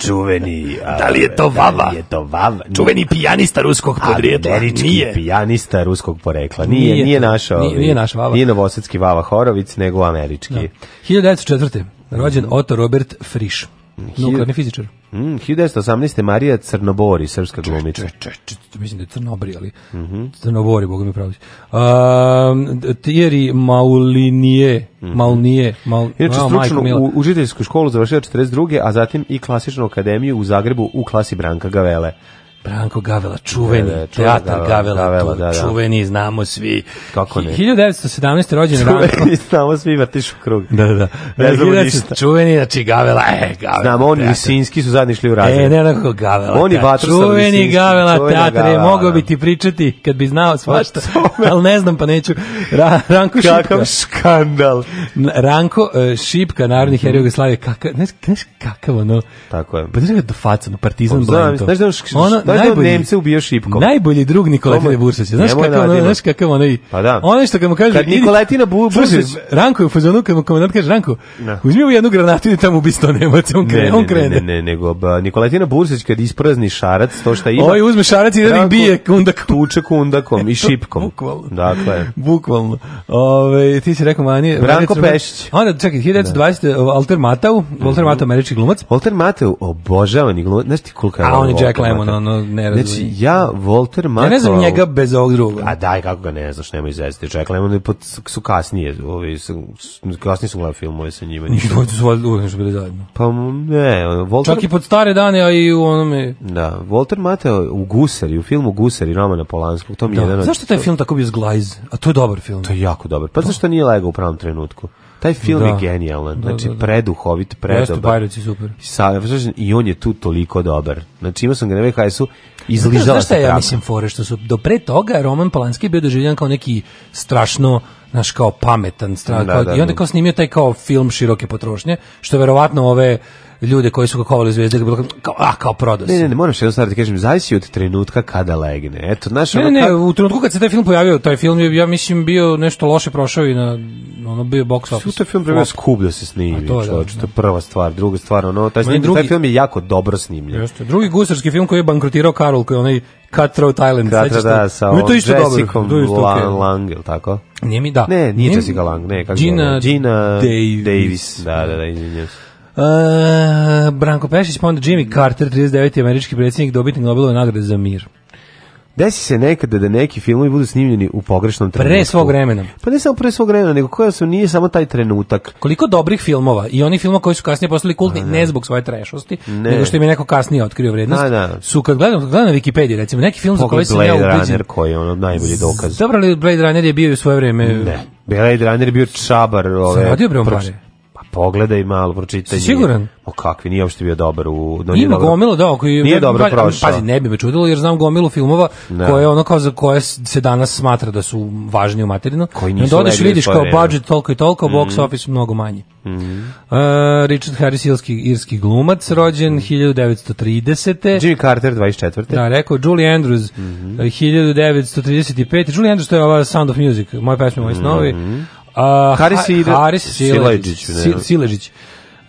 Čuveni. (laughs) Da li je to vava? Da li je to vava? Čuveni pijanista ruskog podrijetla. Američki pijanista ruskog porekla. Nije,
Nije
nije,
to.
naša.
Nije-
ovi-
nije naš vava.
Nije novosadski vava Horovic, nego američki.
1904. rođen Otto Robert Frisch, nuklearni fizičar.
Mm, 1918. Marija Crnobori, srpska glumica.
Če, če, če, mislim da je Crnobri, ali Crnobori, boga mi pravi. Um, Thierry Maulinije, Maulinije, Mal,
Mhm. Inače,
a, majko
stručnu
mila.
u, učiteljsku školu završila 42. a zatim i klasičnu akademiju u Zagrebu u klasi Branka Gavele.
Branko Gavela, čuveni,
Da, da, čuveni
teatar Gavela,
Gavela, Gavela,
tu,
da, da.
čuveni, znamo svi.
Kako ne?
1917. rođen
(laughs)
Ranko.
Čuveni, samo svi vrtiš u krug.
(laughs) Da, da, da.
Ne znamo
1900
ništa.
Čuveni, znači Gavela, e, Gavela.
Znamo, oni
teatar.
Lisinski su zadnji šli u razred.
E, ne onako Gavela.
Oni
teatar.
Vatroslav
Čuveni
Lisinski,
Gavela
čuvena
teatre,
Gavela.
mogao bi ti pričati kad bi znao svašta, (laughs)
O tome.
ali ne znam pa neću. Ra, Ranko Šipka.
Kakav skandal.
N- Ranko e, Šipka, narodni heroj Jugoslavije, kakav, ne znaš kakav ono,
Mhm. Tako je.
pa znaš kako do faca, ono, partizan
Znam,
blento.
znaš da je on š- š-
Ono,
da Znaš da
najbolji-
Nemce ubio šipkom?
Najbolji drug Nikoletine
Tome-
Bursaća. Znaš
Nemoj
kakav ono,
nadimak.
znaš kakav onaj.
Pa da.
Onaj što kad mu kaže
Kad
idi-
Nikolatina Bu-
Slušaj,
Bursić-
Ranko je u fazonu kad mu komandant kaže Ranko,
Da.
uzmi ovu jednu granatu i tamo ubi sto Nemaca, on krene,
Ne,
on
ne, ne,
krene.
ne, ne, nego ba, Nikolatina Bursić kad isprazni šarac, to šta ima,
Ovaj uzme šarac i ide da ih
Ranko-
bije kundak.
tuče kundakom i šipkom.
Bukvalno.
Dakle,
Bukvalno. Ove, ti si rekao manje...
Branko
manje crven-
Pešić. Mhm.
Onda, čekaj, 1920. Da. Alter e, Matau, Alter Matau, američki glumac.
Walter Mateu obožavan i glumac, znaš ti koliko je
A
ovo
on je Jack
Walter
Lemmon,
Matthau?
ono, ne
Znači,
razumije.
ja Walter Mateu...
Ja ne znam njega bez ovog drugog.
A daj, kako ga ne znaš, nemoj izvesti. Jack Lemmon je pod, su kasnije, ovi, su, kasnije su gledali filmove sa njima.
Njih (laughs) dvojica su valjda uvek nešto bili zajedno.
Pa ne, ono, Walter...
Čak i pod stare dane, a i u onome...
Da, Walter Mateo u Gusari, u filmu Gusari Romana Polanskog, to mi je jedan
Da.
od...
Zašto je taj film tako bio zglajz? A to je dobar film.
To je jako dobar. Pa zašto nije legao u pravom trenutku? Taj film
Da.
je genijalan,
Da,
znači
da, da.
preduhovit,
Jeste,
predobar.
Pirates je super.
Sa, I on je tu toliko dobar. Znači imao sam ga na VHS-u,
Znaš-
izližala
Znaš šta
se
je, ja
traka.
mislim fore što su do pre toga Roman Polanski je bio doživljen kao neki strašno naš kao pametan strah
Da,
kao,
da,
i onda
da.
kao snimio taj kao film široke potrošnje što verovatno ove ljude koji su ga kovali zvezde bilo kao, kao a kao prodao
Ne,
se.
ne, ne, moram što jednu stvar ti kažem, zavisi od trenutka kada legne. Eto, znaš,
Ne, ne,
ono
ne,
kako-
u trenutku kad se taj film pojavio, taj film je, ja mislim, bio nešto loše prošao i na, ono, bio box office.
Svi taj film prvo
Flop.
skup da se snimi,
A Pa to
to,
je,
čovječ,
da,
to je prva stvar, druga stvar, ono, taj,
Ma i
snim,
drugi-
taj film je jako dobro snimljen.
Jeste. Drugi gusarski film koji je bankrotirao Karol, koji je onaj Cutthroat Island.
Da, da,
sećaš
da,
se?
sa
Ovo je
ovom
to isto dobro,
Jessicom
to je isto okej.
Lang, Lang, ili tako?
Nije mi da.
Ne, nije
mi-
Jessica Lang, ne, kako
Gina
se zove? Gina
Davis.
Da, da, da, izvinjam se.
E, Branko Pešić, pa onda Jimmy Carter, 39. američki predsjednik, dobitnik Nobelove nagrade za mir.
Desi se nekada da neki filmovi budu snimljeni u pogrešnom trenutku.
Pre svog vremena.
Pa ne samo pre svog vremena, nego koja su nije samo taj trenutak.
Koliko dobrih filmova i onih filmova koji su kasnije postali kultni, ne zbog svoje trešosti,
Ne.
nego što im je neko kasnije otkrio vrednost,
Da, da.
su kad gledam, kad gledam na Wikipediji, recimo, neki film za koji
Pogled
sam ja
Blade
ubiđen.
Runner koji je ono najbolji dokaz.
Dobro, ali Blade Runner je bio i u svoje vreme.
Ne. Blade Runner je bio čabar. Ove,
radio bre on
proč-
pare?
Pa pogledaj malo, pročitaj.
Si siguran?
O kakvi, nije uopšte bio dobar u... No,
Ima gomilu, da, koji
Nije
ja-
dobro
pa-
prošao.
Pazi, ne bi me čudilo jer znam gomilu filmova
Da.
koje ono kao za koje se danas smatra da su važni u materinu.
Koji
I
nisu
onda odeš i
legli Mhm. u
vidiš
svoje
kao
vreme.
budžet toliko i toliko, box office mnogo manji.
Mhm.
E, Richard Harris, ilski, irski glumac, rođen
Mhm.
1930.
Jimmy Carter, 24.
Da, rekao Julie Andrews,
Mhm.
eh, 1935. Julie Andrews, to je ova Sound of Music, moje pesme,
Mhm.
moji snovi. A,
Haris
Ha-
Ide-
Haris
Silajdžić,
Silajdžić.
ne.
Sil- Silajdžić. Uh,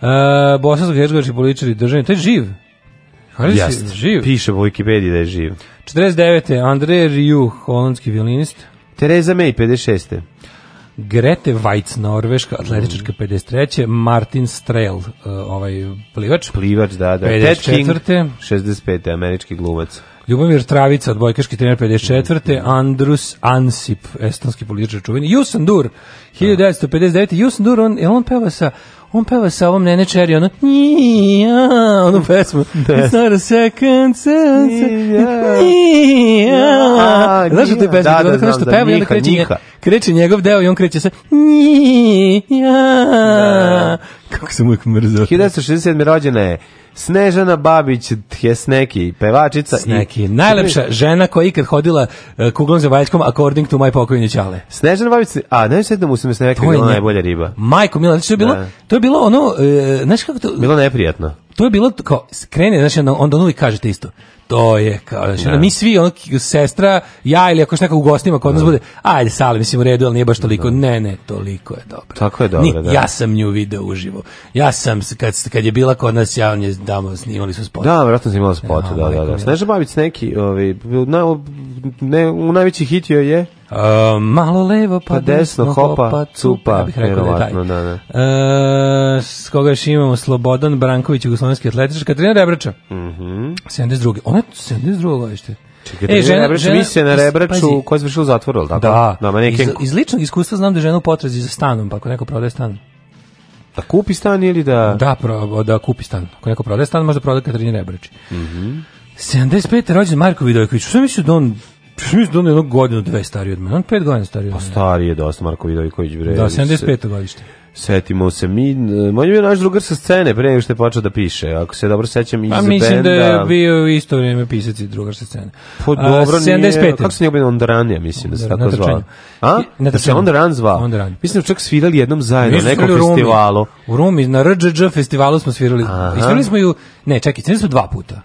Bosansko-hercegovački političar i državni, to je živ. Haris je
Jeste.
živ.
Piše u Wikipediji da je živ.
49. Andrej Rieu, holandski violinist.
Tereza May, 56.
Grete Weitz, norveška, atletičarka
Mhm.
53. Martin Strel, eh, ovaj plivač.
Plivač, da, da. Ted King,
54..
65. Američki glumac.
Ljubomir Travica, odbojkaški trener 54. Andrus Ansip, estonski političar čuveni. Jusen Dur, 1959. Jusen Dur, on, jel on peva sa on peva sa ovom Nene Čeri, ono "Nija", onu pesmu. It's not a second sense.
Nija.
Nija.
Ja,
Znaš što te
nija.
pesme?
Da,
Da,
da,
da, nešto
znam, da,
peva i onda
Njiha,
kreće, nje-
Njiha.
kreće njegov deo i on kreće sa Nija. Kako sam uvijek mrzao.
1967. rođena je Snežana Babić Tjesneki, pevačica. i-
Neki. Najlepša žena koja je ikad hodila eh, kuglom za valjskom according to my pokojni čale.
Snežana Babić, a ne sjetno mu se mi se
To
neka
je
bila
nje-
najbolja riba.
Majko Mila, znači to je bilo,
Da.
to je bilo ono, e, znaš kako to,
Bilo neprijatno.
to je bilo kao, skrene, znači onda, onda on uvijek kažete isto. To je kao, znači, onda mi svi, ono, k- sestra, ja ili ako još neka u gostima kod nas bude, ajde, sale, mislim, u redu, ali nije baš toliko. Ne, ne, toliko je dobro.
Tako je dobro,
Ni-
da.
Ja sam nju video uživo. Ja sam, s- kad, kad je bila kod nas, ja on je, damo, snimali su spot.
Da, vjerojatno sam imala spot,
Ja,
da, da,
majko
da.
mila.
Snežana Babić neki, ovi, na, ne, u najveći hit joj je
E, malo levo, pa,
Ehm, Pa desno, hopa, cupa,
Ja bih rekao da je taj.
verovatno, da, da.
E, s koga još imamo? Slobodan Branković, jugoslovenski atletičar, Katarina Rebrača. Mm
Mhm.
72. Ona je 72. godište.
Čekaj, e, žena, žena, misija na
iz-
Rebraču
pazi,
koja je završila u zatvoru, ali tako?
Da,
Da, ma neke,
iz, iz ličnog iskustva znam da je žena u potrazi za stanom, pa ako neko prodaje stan.
da kupi stan ili da...
Da, pro, da kupi stan. Ako neko prodaje stan, možda prodaje Katarini Rebrači.
Mhm.
75. rođen Marko Vidojković. Što mislio da on, što mislio da on je jedno godinu, dve stariji od mene? On pet godina stariji od mene.
Stari je dosta Marko Vidojković, bre.
Da,
ali Pa se-
75. godište.
Setimo se, mi, e, on je bio naš drugar sa scene pre nego što je počeo da piše, ako se dobro sećam iz
Pa
benda.
mislim da je bio u isto vrijeme pisac i drugar sa scene.
Po
A,
Pa dobro nije,
75..
kako se njegov on Run, ja mislim da se
Da,
tako
na
zvao.
trčanju.
A?
I- na
Da se
trčanju.
On Run zvao.
On the Run.
Mislim da čak svirali jednom zajedno
Mi
na
smo
nekom
svirali u Rumi.
festivalu.
U Rumi, na Rđđ festivalu smo svirali.
Aha.
I svirali smo ju, ne, čekaj, svirali smo dva puta.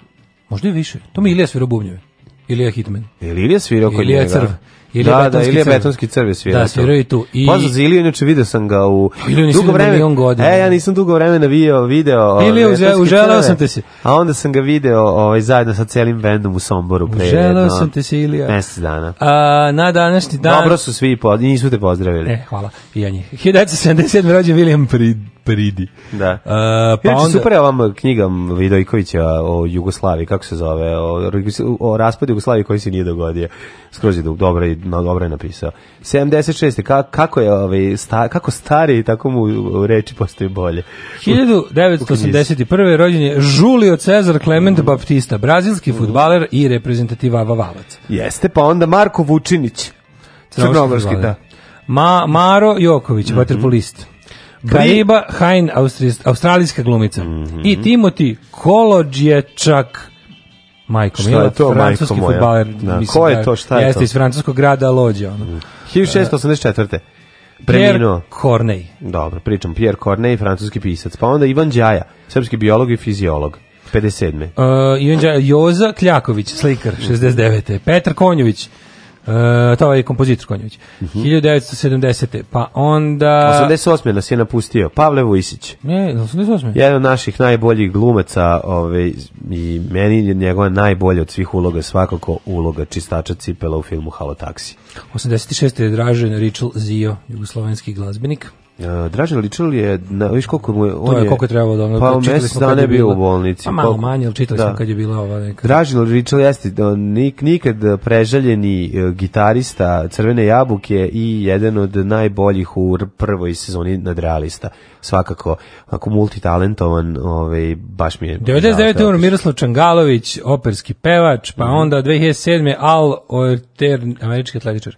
Možda i više. To mi Ilija svira bubnjeve. Ilija Hitman.
Ili Ilija svirao kod
Ilija
njega?
Crv. Ilija
da, da,
Betonski
Ilija
Crv.
Betonski crv je svirao.
Da, svirao je tu. I-
I... Pozdrav za Iliju, inače video sam ga u...
Iliju nisam
dugo
vidio milion godina.
E, ja nisam dugo vremena bio, video...
Ilija,
ove,
uze-
Betonske
uželeo
crve.
sam te se.
A onda sam ga video ovaj, zajedno sa celim bendom u Somboru. pre
Želeo
jedno
sam te se, Ilija.
Mesec dana.
A, na današnji dan...
Dobro su svi, po, nisu te pozdravili.
E, hvala. I ja njih. 1977. rođen William Prid- Pridi.
Da.
A,
Pa
pa onda...
super je vam knjiga Vidojkovića o Jugoslaviji, kako se zove, o, o raspadu Jugoslavije koji se nije dogodio. Skroz je do- dobro, i- no, dobro je napisao. 76. Ka, kako je ovaj, sta, kako stari, tako mu u reči postoji bolje. U
1981. rođen je Julio Cezar Clement Baptista, brazilski fudbaler i reprezentativa Vavalac.
Jeste, pa onda Marko Vučinić. Crnogorski, da.
Ma, Maro Joković,
Mhm.
mm vaterpolist. Kariba Hain, austrijs- australijska glumica.
Mhm.
I Timothy Kolodječak, majko
Šta
mila,
je to,
francuski
majko moja?
futbaler.
Da. Ko je to, šta je
jeste
to?
iz francuskog grada Lođa. Ono.
1684.
Pierre
Preminuo.
Corneille.
Dobro, pričam. Pierre Corneille, francuski pisac. Pa onda Ivan Đaja, srpski biolog i fiziolog. 57.
Uh, Ivan Đa- Joza Kljaković, slikar,
Mhm.
69. Petar Konjović, uh, to je kompozitor Konjović,
Mhm.
1970. Pa onda...
88. nas je napustio. Pavle Vujsić.
Ne, 88.
Jedan od naših najboljih glumaca ovaj, i meni je njegova najbolja od svih uloga svakako uloga čistača cipela u filmu Halo taksi.
86. je Dražen Richel Zio, jugoslovenski glazbenik.
E, Dražen Ličil je, na, viš koliko mu je...
To je koliko je trebalo da ono...
Pa
čitali
mesec
smo kad
dana je
je
bio
bila-
u bolnici.
Pa malo
Koliko-
manje, ali čitali
Da.
smo kad je bila ova neka...
Dražen Ličil jeste da, nik, nikad preželjeni e, gitarista Crvene jabuke i jedan od najboljih u r- prvoj sezoni nadrealista. Svakako, ako multitalentovan, ovaj, baš mi je... žao što
99.
je
umro ono, Miroslav Čangalović, operski pevač,
Mhm.
pa onda 2007. Al Ortern, američki atletičar.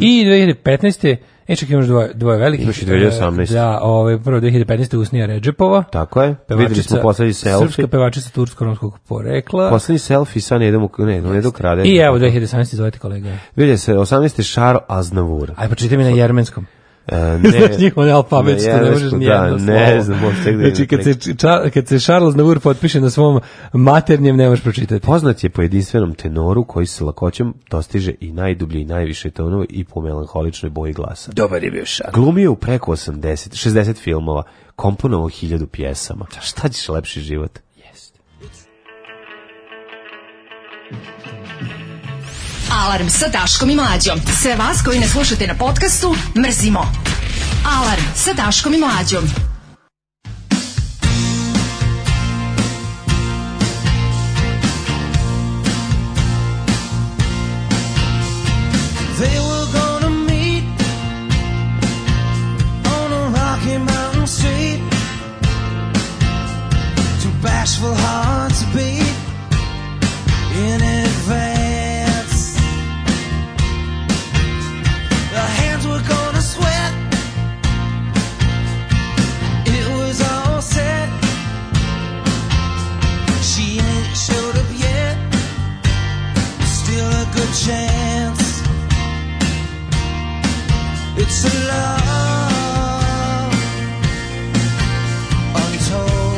I 2015. E, čak imaš dvoje, dvoje velikih.
Mhm. Imaš i 2018..
Da, ovaj, prvo 2015. Usnija Ređepova.
Tako je. Videli smo poslednji selfie.
Srpska pevačica tursko-romskog porekla.
Poslednji selfie sa Nedom, ne, Nedom Krade.
I evo 2018. izvolite kolega.
Vidje se, 18. Šaro
(laughs)
Aznavur.
Aj, pročitaj mi na jermenskom.
E,
(laughs) Znaš njih onaj alfabet, što ne možeš
da,
ni jedno
Ne znam,
(laughs)
možete gde
Znači, kad se, ča, kad se Charles Navour potpiše na svom maternjem, ne možeš pročitati.
Poznat je po jedinstvenom tenoru koji se lakoćem dostiže i najdublje i najviše tonova i po melanholičnoj boji glasa.
Dobar je bio Charles.
Glumio je u preko 80, 60 filmova, komponovao hiljadu pjesama. Šta ćeš lepši život?
Alarm sa Daškom i Mlađom. Sve vas koji ne slušate na podcastu, mrzimo. Alarm sa Daškom i Mlađom.
They were gonna meet on a rocky mountain street. Two bashful hearts beat in advance. Their hands were gonna sweat. It was all set. She ain't showed up yet. Still a good chance. It's a love untold.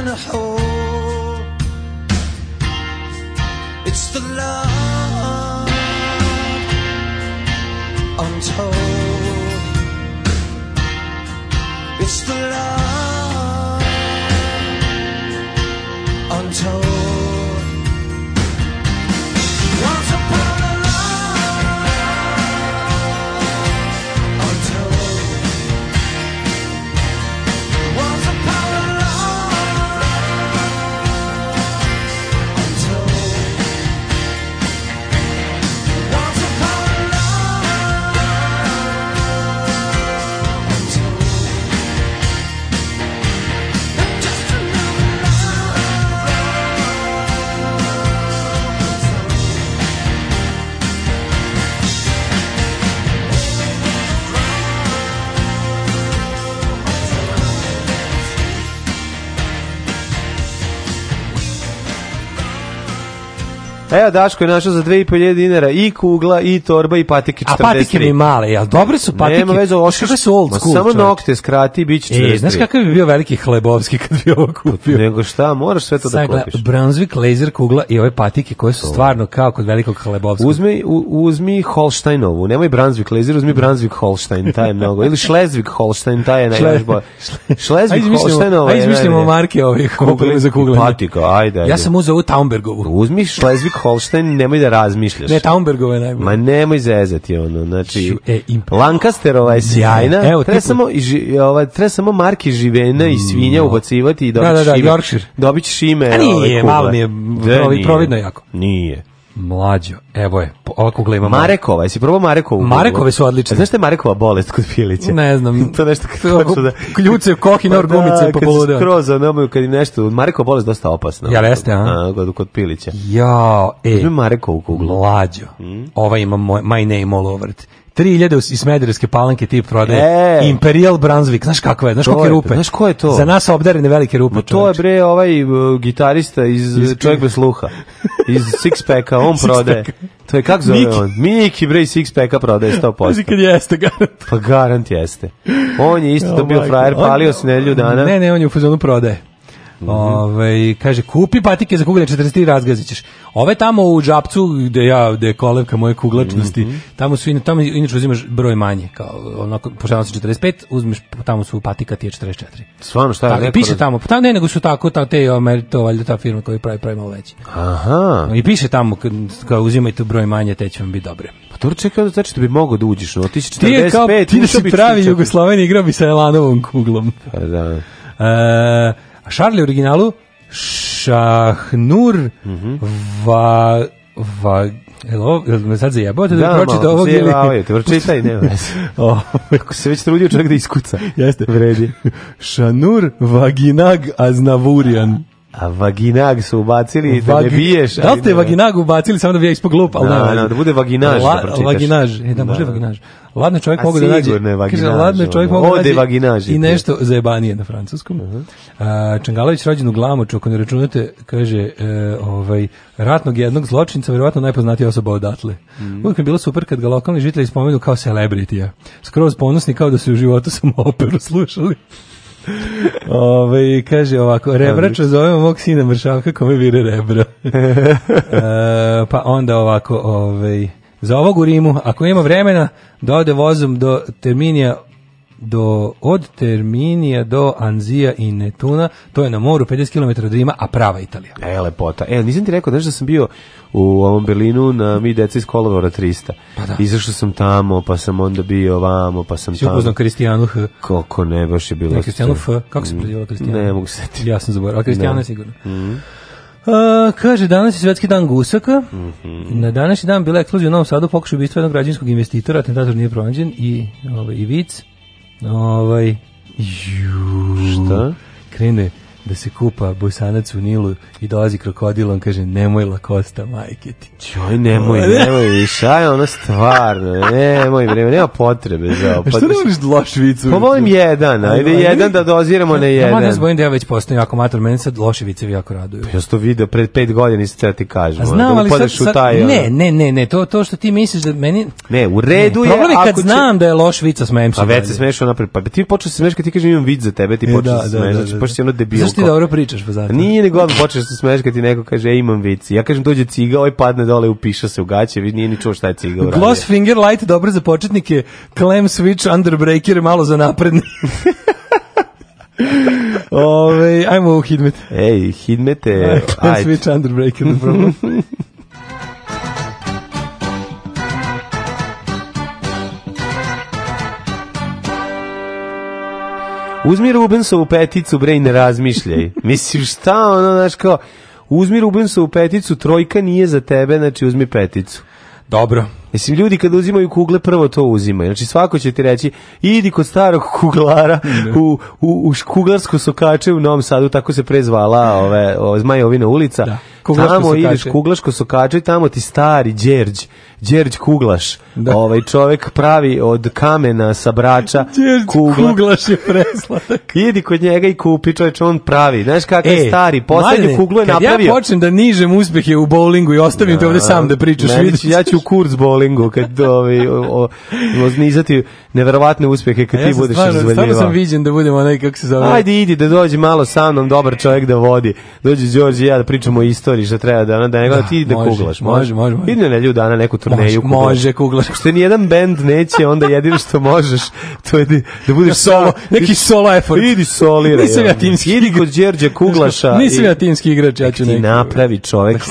in a hole. It's the love untold. It's the love untold. Once upon a love untold. Once upon a love untold. Once upon a love untold. Just another love untold.
Evo, Daško je našao za 2500 dinara i kugla, i torba, i patike 43.
A patike mi male, jel dobre su patike?
Nema veze, ošiš.
Pa Kakve su old
Ma,
school,
Samo
čovječe?
nokte skrati, bit će 43.
E, znaš kakav bi bio veliki hlebovski kad bi ovo kupio?
Nego šta, moraš sve to da
Sagla,
kupiš.
Brunswick laser kugla i ove patike koje su stvarno kao kod velikog hlebovskog.
Uzmi, u, uzmi Holsteinovu, nemoj Brunswick laser, uzmi Brunswick Holstein, taj je mnogo. Ili Schleswig Holstein, taj je
(laughs)
najbolj.
Ajde
Schleswig
izmislimo-
Holsteinova
ajde
je
izmislimo
najbolje.
marke ovih kugle za kugle.
Patika, ajde, ajde.
Ja sam uzeo ovu Taumbergovu.
Uzmi Schleswig Holstein, nemoj da razmišljaš.
Ne, Taumbergova je najbolja.
Ma nemoj zezati ono, znači
Šu, e, imp-
Lancasterova je sjajna.
Evo,
Evo, treba
tipu-
samo i ži, ova treba samo marki živena i svinja ubacivati i dobićeš
Mm. Da, da, da,
ime.
Yorkshire.
Dobićeš ime.
A nije,
ove, kugle.
malo mi je provi-
nije.
providno jako.
Nije.
Mlađo, evo je, po- ova kugla ima mare.
Marekova, jesi probao Marekovu? kuglu?
Marekove su odlične.
A Znaš šta je Marekova bolest kod pilića?
Ne znam.
(laughs) to je nešto
To
kako su da...
kljuce, koki, nor, gumice,
da,
pa
kad
poludeo.
se skroz, ono, kad im nešto... Marekova bolest dosta opasna.
Jel jeste, a?
kod, kod pilića.
Jao, e,
Uzmi Marekovu kuglu.
mlađo,
Mm.
ova Ovaj ima moj, my name all over it. 3000 iz Smederevske palanke tip prodaje.
E.
Imperial Brunswick, znaš kakva je, znaš
To
kolike
je-
rupe.
znaš ko je to?
Za nas obdarene velike rupe.
Ma to je bre ovaj uh, gitarista iz,
Iz-
čovjek bez sluha. Iz Sixpacka, on
(laughs) Sixpacka.
prodaje. To je kako zove
Miki.
on? Miki bre iz Sixpacka prodaje
Pazi
100%.
kad jeste, garant.
Pa garant jeste. On je isto
O,
to bio
Oh, majko.
frajer,
On-
palio se nedelju dana.
Ne, ne, on je u fazonu prodaje.
Mhm.
Ovaj kaže kupi patike za kugle 43 razgazićeš. Ove tamo u džapcu gde ja gde je kolevka moje kuglačnosti,
Mhm.
tamo su ina- tamo inače uzimaš broj manje, kao onako pošaljem se 45, uzmeš tamo su patika ti je 44.
Stvarno šta je
Tako,
rekao?
piše
da-
tamo, pa ne, nego su tako, ta, te, Amer- to valjda ta firma koja pravi, pravi malo veće.
Aha.
I piše tamo, kad, kao uzimajte broj manje, te će vam biti dobre.
Pa to čekaj, onda znači da bi mogao da uđeš. No, ti si
Ti je kao,
45,
ti da
ušao
si
bi
pravi
44.
Jugosloven igrao bi sa Elanovom kuglom.
Pa Da.
E, a Charlie u originalu Šahnur va va Elo, jel me sad zajebao te da, da pročita ovog ili...
zjevavaju
(laughs)
te, pročitaj, nema veze.
O,
Ako se već trudio čovjek da iskuca.
Jeste.
Vredi.
Šanur Vaginag Aznavurian.
A vaginag su ubacili da ne
Vagi-
biješ.
Da li
ali
ste
ne.
vaginag ubacili samo da bi ja ispog glup, ali
Da,
nema veze.
da, da bude vaginaž da pročitaš.
Vaginaž, e, da, može
Da.
vaginaž. Ladno čovjek
A
mogu da nađe.
sigurno je vaginaž,
Kaže, ladno je čovjek
ono,
mogu da
ode
nađe
vaginaž je Mhm.
I
to.
nešto zajebanije na francuskom. A, Čangalović rođen u Glamoču, ako ne računate, kaže, e, ovaj, ratnog jednog zločinca, verovatno najpoznatija osoba odatle.
Mhm.
Uvijek mi je bilo super kad ga lokalni žitelji spomenu kao celebritija. Skroz ponosni kao da su u životu samo operu slušali. Ove, kaže ovako, rebrača zovemo mog sina mršavka kome vire
(laughs)
rebra. E, pa onda ovako, ovaj, za ovog u Rimu, ako ima vremena, da ode vozom do Terminija, do, od Terminija do Anzija i Netuna, to je na moru 50 km od Rima, a prava Italija.
E, lepota. E, nisam ti rekao, znaš da sam bio u ovom Berlinu na Mi deca iz Kolovora 300. Pa
da.
Izašao sam tamo, pa sam onda bio vamo, pa sam
Si Znači, upoznao
tamo.
Kristijanu H.
Kako ne, baš je bilo.
Ne, Kristijanu F. Kako se prezivala Kristijana?
Ne mogu se setiti.
Ja sam zaboravio, a Kristijana
Da. Mhm.
je sigurno. A, kaže, danas je svetski dan gusaka.
Mhm.
Na današnji dan bila je eksplozija u Novom Sadu, pokušaj ubistva jednog građanskog investitora, atentator nije pronađen i, ovaj, i vic. Ovaj, ju,
Šta?
krene da se kupa bosanac u Nilu i dolazi krokodil, on kaže, nemoj lakosta, majke ti. (laughs)
Joj, nemoj, nemoj više, aj ono stvarno, nemoj, vreme, nema potrebe za ovo.
A E, što ne voliš loš vic?
Pa volim jedan, ajde
Ajde.
jedan da doziramo na
Ja
jedan.
moram da se bojim da ja već postajem jako mator, meni sad loši vicevi jako raduju.
Ja sam to video pred pet godina, nisam cijela ti kažem.
A
ono,
znam,
da
ali sad,
upadneš u
sad
taj, ono.
ne, ne, ne, ne, to, to što ti misliš da meni...
Ne, u redu je.
Problem je kad
ako će-
znam da je loš vica, smejem se.
Pa već
dalje.
se smešao napred. Pa ti počeo se smešati kad ti kažem imam vid za tebe, ti
E,
počeo
da, da,
se smešati,
da,
znači
da.
počeo si ono debilka.
Znaš
ti dobro pričaš, pa zato.
Nije nego odmah počneš da se smeješ kad ti neko kaže, ej, imam vici. Ja kažem, dođe ciga, ovaj padne dole, upiša se u gaće, vidi, nije ni čuo šta je ciga uradio.
Gloss Finger Light, dobro za početnike, Clam Switch, Underbreaker, malo za
(laughs)
napredni. Ove, ajmo u Hidmet.
Ej,
(laughs)
hidmete,
Clam
E, ajde.
Switch, Underbreaker, da probam.
Uzmi Rubensovu peticu, bre, i ne
(laughs)
razmišljaj. Mislim, šta ono, znaš, kao, uzmi Rubensovu peticu, trojka nije za tebe, znači uzmi peticu.
Dobro.
Mislim, ljudi kad uzimaju kugle, prvo to uzimaju. Znači, svako će ti reći, idi kod starog kuglara u, u, u š- kuglarsko sokače u Novom Sadu, tako se prezvala ove, ove Zmajovina ulica.
Da, kuglaško
Tamo
sokače.
ideš kuglaško sokače i tamo ti stari Đerđ, Đerđ kuglaš.
Da.
Ovaj čovek pravi od kamena sa
(laughs)
brača kugla.
Kuglaš je
(laughs)
preslatak.
Idi kod njega i kupi, čoveč, on pravi. Znaš kakav je E, stari, poslednju
Mladene,
kuglu je
E, kad
napravio.
ja počnem da nižem uspehe u bowlingu i ostavim te ovde sam da pričaš,
Meni
vidiš.
će- ja ću u kurz bowlingu
(laughs)
kad ovaj o- o- oznizati neverovatne uspehe kad ti
sam
budeš
stvarno- Stvarno sam
razvaljivao.
viđen da budem onaj, kako se zove.
Ajde, idi da dođi malo sa mnom, dobar čovjek da vodi. Dođi Đorđe i ja da pričamo o istoriji što treba da ona da nego
Da,
ti idi da
može,
kuglaš.
može, može, može.
Idi na nedelju dana neku
Može,
turneju. kuglaš.
može kuglaš.
Što ni jedan bend neće, onda jedino što možeš, to je da, da budeš
Solo,
solo.
neki solo effort.
Idi soliraj.
Nisam ja
ono.
timski
Idi kod Đerđe Kuglaša.
Nisam
i-
ja timski igrač, ja ću
ti
neki.
napravi
(laughs)
čovek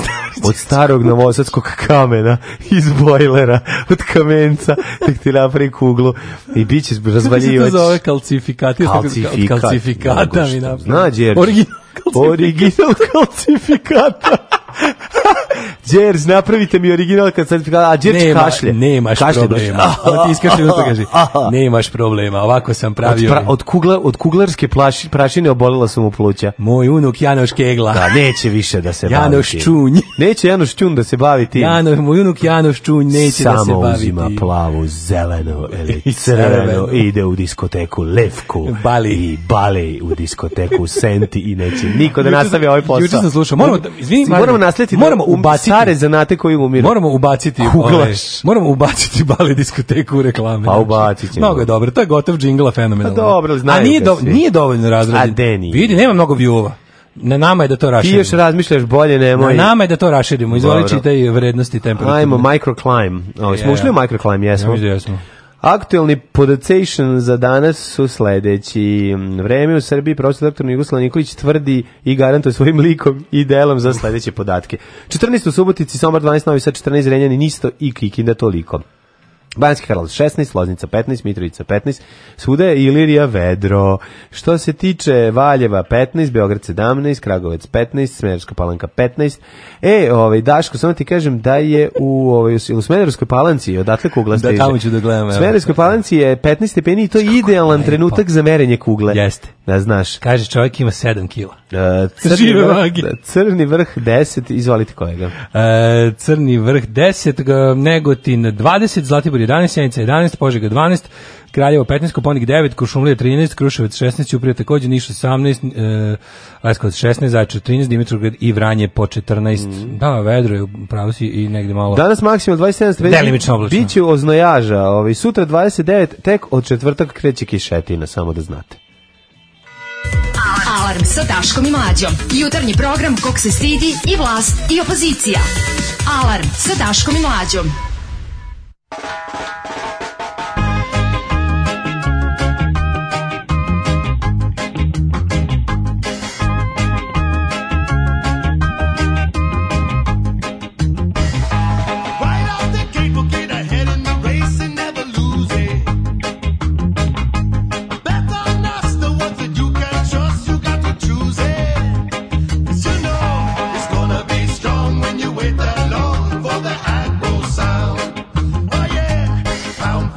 od starog novosadskog kamena iz bojlera, od kamenca, tek ti napravi kuglu i bit će
Kako se to
razvaljivač.
zove kalcifikat? Ja sam rekao,
Kalcifikat.
od Kalcifikata
Moguće.
mi napravio.
Zna, Đerđe.
Original kalcifikat.
Original kalcifikata. Đerz, napravite mi original kalcifikata. A Đerz
Nema,
kašlje.
nemaš
Kašlje,
problema.
baš.
Ovo ti
(laughs)
iskašlje da to kaži. Nemaš problema, ovako sam
Od,
pravio.
pra, od, kugla, od kuglarske plaši, prašine obolila su mu pluća.
Moj unuk Janoš Kegla.
Da, neće više da se bavi.
Janoš
tim.
Čunj.
Neće Janoš Čun da se bavi tim.
Jano, moj unuk Janoš Čunj neće
Samo
da se bavi.
uzima
tim.
plavu, zelenu ili
(laughs) I
crvenu
crvenu.
i ide u diskoteku Levku
Bali.
i bali u diskoteku
(laughs)
Senti i neće niko da
Juče sam-
nastavi ovaj posao.
juče sam slušao. Moramo da- izvini, Marine,
moramo naslediti
moramo
da, um,
ubaciti-
stare zanate koji umiru.
Moramo
(laughs)
ubaciti
Kuglaš.
ove, moramo ubaciti bali diskoteku u reklame. znači.
Pa ubacit ćemo.
Mnogo je dobro, to je gotov džingla fenomenalno.
Pa dobro, ali znaju
A nije,
ga
do,
svi.
nije dovoljno razrađen.
A de nije.
Vidi, nema mnogo view-ova. Na nama je da to
Ti
raširimo.
još razmišljaš bolje, nemoj.
Na nama je da to raširimo. Izvoli
Dobro.
čitaj vrednosti temperature.
Ajmo, microclimb. Ovo, smo
Je.
ušli u microclimb,
Ja
jesmo.
mislim da smo.
Aktualni podactation za danas su sledeći. Mm, Vreme u Srbiji prof. dr. Jugoslav Nikolić tvrdi i garantuje svojim likom i delom za sledeće podatke. 14. u Subotici, Somar 12, Novi Sad 14, Renjani Nisto i Kikinda toliko. Banjski Karlovac 16, Loznica 15, Mitrovica 15, svuda je Ilirija vedro. Što se tiče Valjeva 15, Beograd 17, Kragovec 15, Smederska palanka 15. E, ovaj, Daško, samo ti kažem da je u, ovaj, u Smederskoj palanci, odatle kugla
Da,
stiže.
tamo ću da gledam, evo.
Smederskoj palanci je 15 stepeni i to je idealan trenutak za merenje kugle.
Jeste.
Da znaš.
Kaže čovjek ima 7 kila.
E,
Žive
vrh-
vage.
crni vrh 10, izvolite kojega.
E, Crni vrh 10, g- Negotin 20, Zlatibor 11, Sjenica 11, Požega 12, Kraljevo 15, Koponik 9, Kuršumlija 13, Kruševac 16, Ćuprija takođe, Niš 18, e, Leskovac 16, Zaječar 13, Dimitrovgrad i Vranje po 14.
Mm.
Da, vedro je, pravo si i negde malo.
Danas maksimalno 27 stepeni.
Delimično oblačno.
Biće oznojaža, ovaj, sutra 29, tek od četvrtak kreće kišetina, samo da znate.
Alarm sa Daškom i Mlađom. Jutarnji program kog se stidi i vlast i opozicija. Alarm sa Daškom i Mlađom.
Right off the gate, we'll get ahead in the race and never lose it. Bet on us, the ones that you can trust, you got to choose it. 'Cause you know it's gonna be strong when you wait that long for the aggro sound. Oh,
Oh,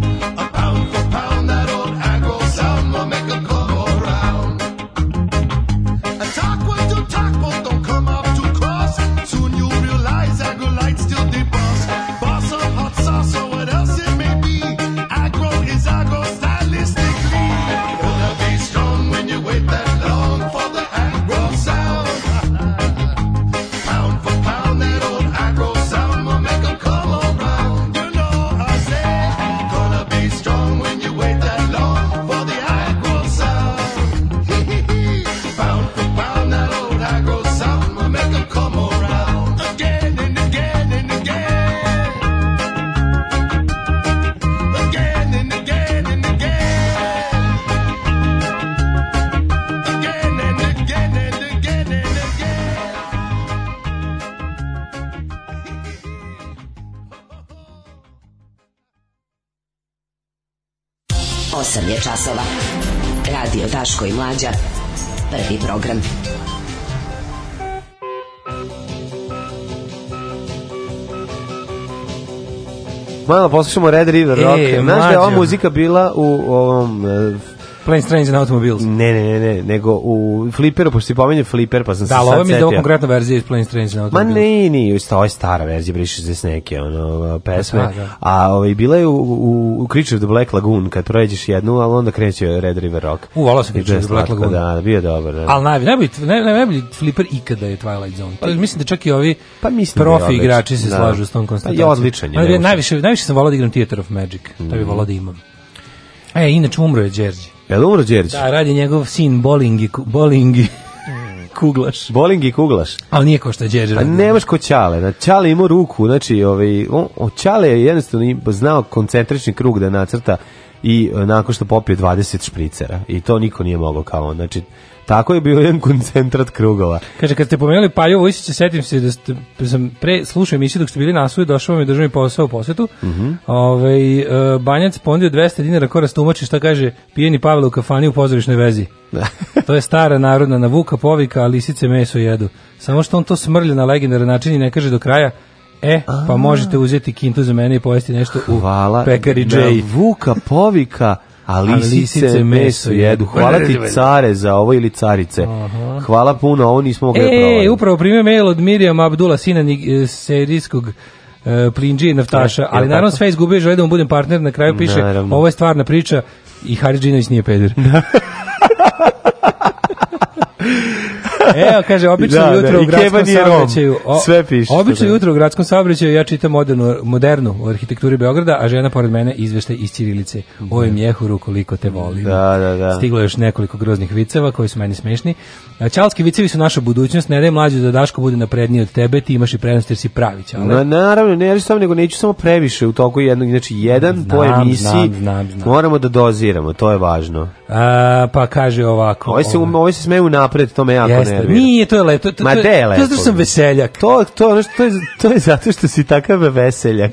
Oh, Uh, (laughs) (laughs)
8 je časova. Radio Daško i Mlađa. Prvi program.
Malo poslušamo Red River
E,
Rock. Znaš da je ova
mlađo.
muzika bila u ovom... Uh,
Planes, Trains and Automobiles.
Ne, ne, ne, ne, nego u Flipperu, pošto si pominje Flipper, pa sam se
Da, ali
sad
ovo mi je da ovo
setio.
konkretna verzija iz Planes, Trains and
Ma
Automobiles.
ne, ni, isto, ovo je stara verzija, briše se s neke ono, pesme.
Da, da.
A ovaj, bila je u, u, u Creature of the Black Lagoon, kad prođeš jednu, ali onda kreće Red River Rock.
U, volao sam
I to je
Creature of the Black
slatko,
Lagoon.
Da, da, bio je dobar. Da.
Ali najbolji, najbolji, naj- naj- najbolji flipper ikada je Twilight Zone. To, je- mislim da čak i ovi
Pa mislim da je
profi
odličan.
igrači se
Da.
slažu s tom
Pa je
konstatacijom.
odličan je,
Ma,
ne
ja
može. Mhm.
najviše, najviše sam volao da igram Theater of Magic. To bi volao da imam. E, inače umro je Đerđe.
Jel umro Đerić?
Da, radi njegov sin Bolingi, ku- Bolingi kuglaš.
Boling i kuglaš.
Ali nije kao što je Đerđe.
Mhm. Pa
radio.
nemaš ko Ćale, na Ćale imao ruku, znači ovaj, on, on, Ćale je jednostavno im- znao koncentrični krug da nacrta i e, nakon što popio 20 špricera i to niko nije mogao kao on, znači tako je bio jedan koncentrat krugova.
Kaže, kad ste pomenuli Paju Vojsića, setim se da ste, sam pre slušao emisiju dok ste bili na suju, došao vam je državni posao u posetu. Ovaj, e, banjac pondio 200 dinara ko rastumači šta kaže pijeni Pavle u kafani u pozorišnoj vezi. (laughs) to je stara narodna navuka, povika, a lisice meso jedu. Samo što on to smrlja na legendaran način i ne kaže do kraja, e, pa možete uzeti kintu za mene i pojesti nešto u
Hvala.
pekari
na
J.
Vuka povika, a lisice,
lisice
meso
meso
jedu.
jedu.
Hvala ti care za ovo ili carice. Hvala puno, ovo nismo mogli da
E,
probamo.
upravo primio mail od Mirjam Abdula, sina nig- e, serijskog e, Plinđije
E,
naftaša,
jel
ali naravno
tako?
sve izgubio, žele da mu budem partner, na kraju piše,
Naravno.
ovo je stvarna priča i Haridžinović nije
(laughs)
peder. Evo, kaže, obično
Da, da,
jutro
i
u gradskom
Keba nije Rom.
saobraćaju... o-
Sve piše,
Obično
da.
jutro u gradskom saobraćaju ja čitam modernu, modernu o arhitekturi Beograda, a žena pored mene izvešta iz Ćirilice. Ojem jehuru koliko te volim.
Da, da, da.
Stiglo je još nekoliko groznih viceva koji su meni smešni. A, Čalski vicevi su naša budućnost. Ne daj mlađu da Daško bude napredniji od tebe, ti imaš i prednost jer si pravi čale.
Na, naravno, ne ja samo nego neću samo previše u toku jednog, znači jedan po
Znam,
emisiji
znam, znam, znam.
moramo da doziramo, to je važno.
A, pa kaže ovako.
Ovo se,
ovo-
ovo se smeju napred, to me Ovaj jako
Jeste.
nervira.
Nije, to je lepo. To, to,
Ma
to-
de je
to
lepo.
zato što sam veseljak.
To, to, je ono što- to, je, to je zato što si takav veseljak.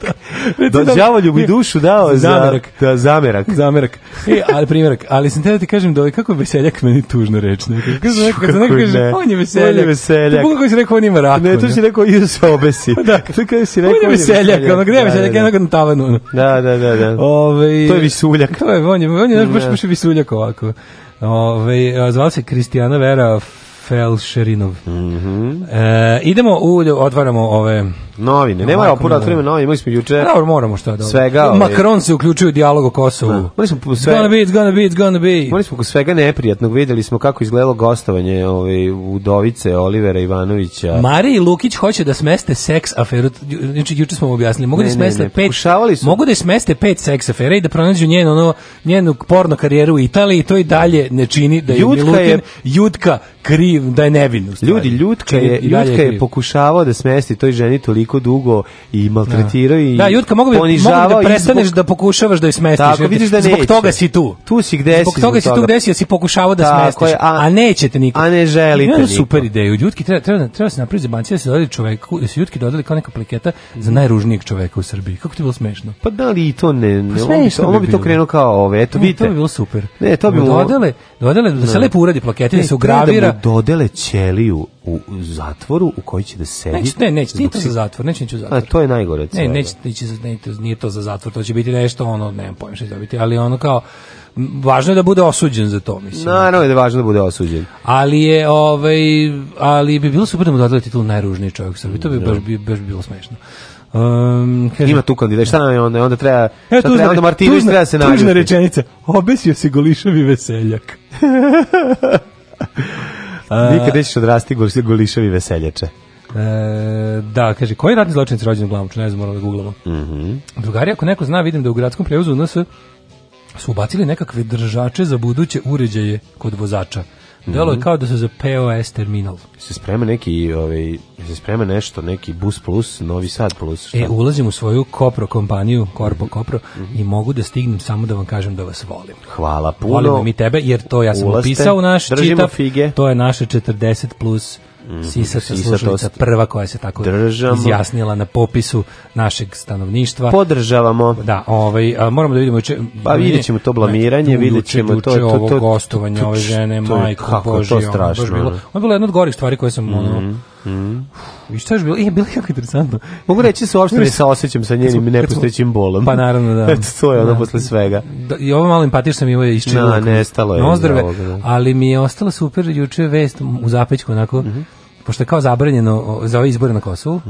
Do đavolju bi dušu dao za
Zamerak.
Da, zamerak.
Zamerak. E, ali primjerak, ali sam teo da ti kažem da ovaj kako je veseljak meni tužno reći. nekako. Kako se neko- Kad se neko
Kako
kaže,
ne.
on je
On je
veseljak.
veseljak.
To je kako si rekao, on ima raku.
Ne, to
ne?
si rekao i se (laughs) obesi.
Da.
To kada si
On
rekao
je veseljak, ono gde je
Da, da,
veseljak,
da.
jednog na tavanu. ono.
Da, da, da, da.
Ovaj
To je visuljak.
To je on je on je naš baš baš visuljak ovako. Ovaj a zvala se Kristijana Vera Felšerinov.
Mhm.
E, idemo u otvaramo ove
Novine. Ne
Ovako
moramo puno
mi-
da otvorimo novine, imali smo
Pa
juče.
Dobro, moramo šta da.
Svega, ovaj-
Macron se uključio u dijalog o Kosovu.
Morali smo po
It's gonna
sve...
be, it's gonna be, it's gonna be.
Imali smo kod svega neprijatnog, videli smo kako izgledalo gostovanje ovaj, Udovice, Olivera Ivanovića.
Mari i Lukić hoće da smeste seks aferu. ju- Znači juče smo mu objasnili, mogu da
Ne, ne,
smeste
ne,
pet.
pokušavali su.
Mogu da smeste pet seks afera i da pronađu njenu ono njenu porno karijeru u Italiji, to i dalje ne čini da je
Jutka
Milutin
je-
Jutka kriv, da je nevin. u stvari.
Ljudi, Ljutka
Čini
je,
i dalje
Ljutka je
kriv.
pokušavao da smesti toj ženi toliko dugo i maltretirao i
Da, Jutka, mogu bi, mogu bi da
ponižavao i
prestaneš
zbog-
da pokušavaš da je smestiš.
Tako,
jer ti-
vidiš da
Zbog
neće.
toga si tu.
Tu si gde
Zbog
si,
toga
zbog
si tu
toga.
gde si, jer si pokušavao da
Tako
smestiš.
je, a-
a, nećete niko.
a ne želite
Ima jedna
niko.
super ideju. Jutki treba, treba, treba se napraviti za bancija da se dodali čoveku, da se Jutki dodali kao neka pliketa
Mhm.
za najružnijeg čoveka u Srbiji. Kako ti je bilo smešno?
Pa da li i to ne, ne
Pa
on bi, to-
smešno
on
bi
bi to
bilo.
krenuo kao ove, eto
Mm,
vidite.
To bi bilo super.
Ne, to bi
mu
mu-
dodale, dodale da se lepo uradi plakete, da se
Ne,
ugravira.
treba Da mu dodele ćeliju u u zatvoru u kojoj će da sedi.
Neće, ne, neće, nije
Zbog
to
si-
za zatvor, neće, neće u zatvor.
A, to je najgore. od
Ne,
svega.
neće, neće, za- ne, to nije to za zatvor, to će biti nešto, ono, nemam pojma što će to biti, ali ono kao, m, važno je da bude osuđen za to, mislim.
Naravno je da je važno da bude osuđen.
Ali je, ovaj, ali bi bilo super da mu dodali titul najružniji čovjek u Srbiji, to bi baš, bi, baš bilo smešno. Um, kaže,
Ima tu kandidat, šta nam je onda, onda treba,
Evo,
šta treba, onda Martinović
tužna-
treba da se
tužna
nađe.
rečenica, obesio se golišavi
(laughs)
veseljak.
Nikad nećeš odrasti gol- goliševi veseljače.
E, da, kaže, koji ratni zločinac je rođen u Glamuču? Ne znam, moramo da googlamo.
Mhm.
Drugari, ako neko zna, vidim da u gradskom prevozu u NS su ubacili nekakve držače za buduće uređaje kod vozača. Delo
Mhm.
je kao da su za POS terminal.
Se sprema neki, ovaj, se sprema nešto, neki bus plus, novi sad plus, šta? Mhm.
E, ulazim u svoju Kopro kompaniju, Korpo Kopro, i mogu da stignem samo da vam kažem da vas volim.
Hvala puno.
Volimo mi tebe, jer to ja sam
Ulazte,
upisao u naš
držimo
čitav,
fige.
to je naše 40 plus Mm, Sisata
Sisatost.
slušalica prva koja se tako
Držamo.
izjasnila na popisu našeg stanovništva.
Podržavamo.
Da, ovaj, a, moramo da vidimo... Če,
Pa vidjet ćemo to blamiranje,
Ne, tu
vidjet
juče-
ćemo to-
juče
to-
ovo
to-
gostovanje
to-
ove žene,
to je-
majko
kako je
Božje,
to
ono, baš
strašno,
bilo-
ono. Mhm,
Ono je bilo jedna od gorih stvari koje sam... ono, I šta je još bilo? E, bilo je jako interesantno.
Mogu reći se uopšte ne saosećam sa
Kad smo-
njenim
kad smo-
nepostojećim bolom.
Pa naravno, da.
Eto, (laughs) to je ono
Da.
posle svega.
Da, I ovo malo empatije što sam imao iz čega.
Da, nestalo je iz
Nozdrave,
ovoga, da.
ali mi je ostala super juče vest u zapećku onako.
Mhm.
Pošto je kao zabranjeno o, za ove izbore na Kosovu,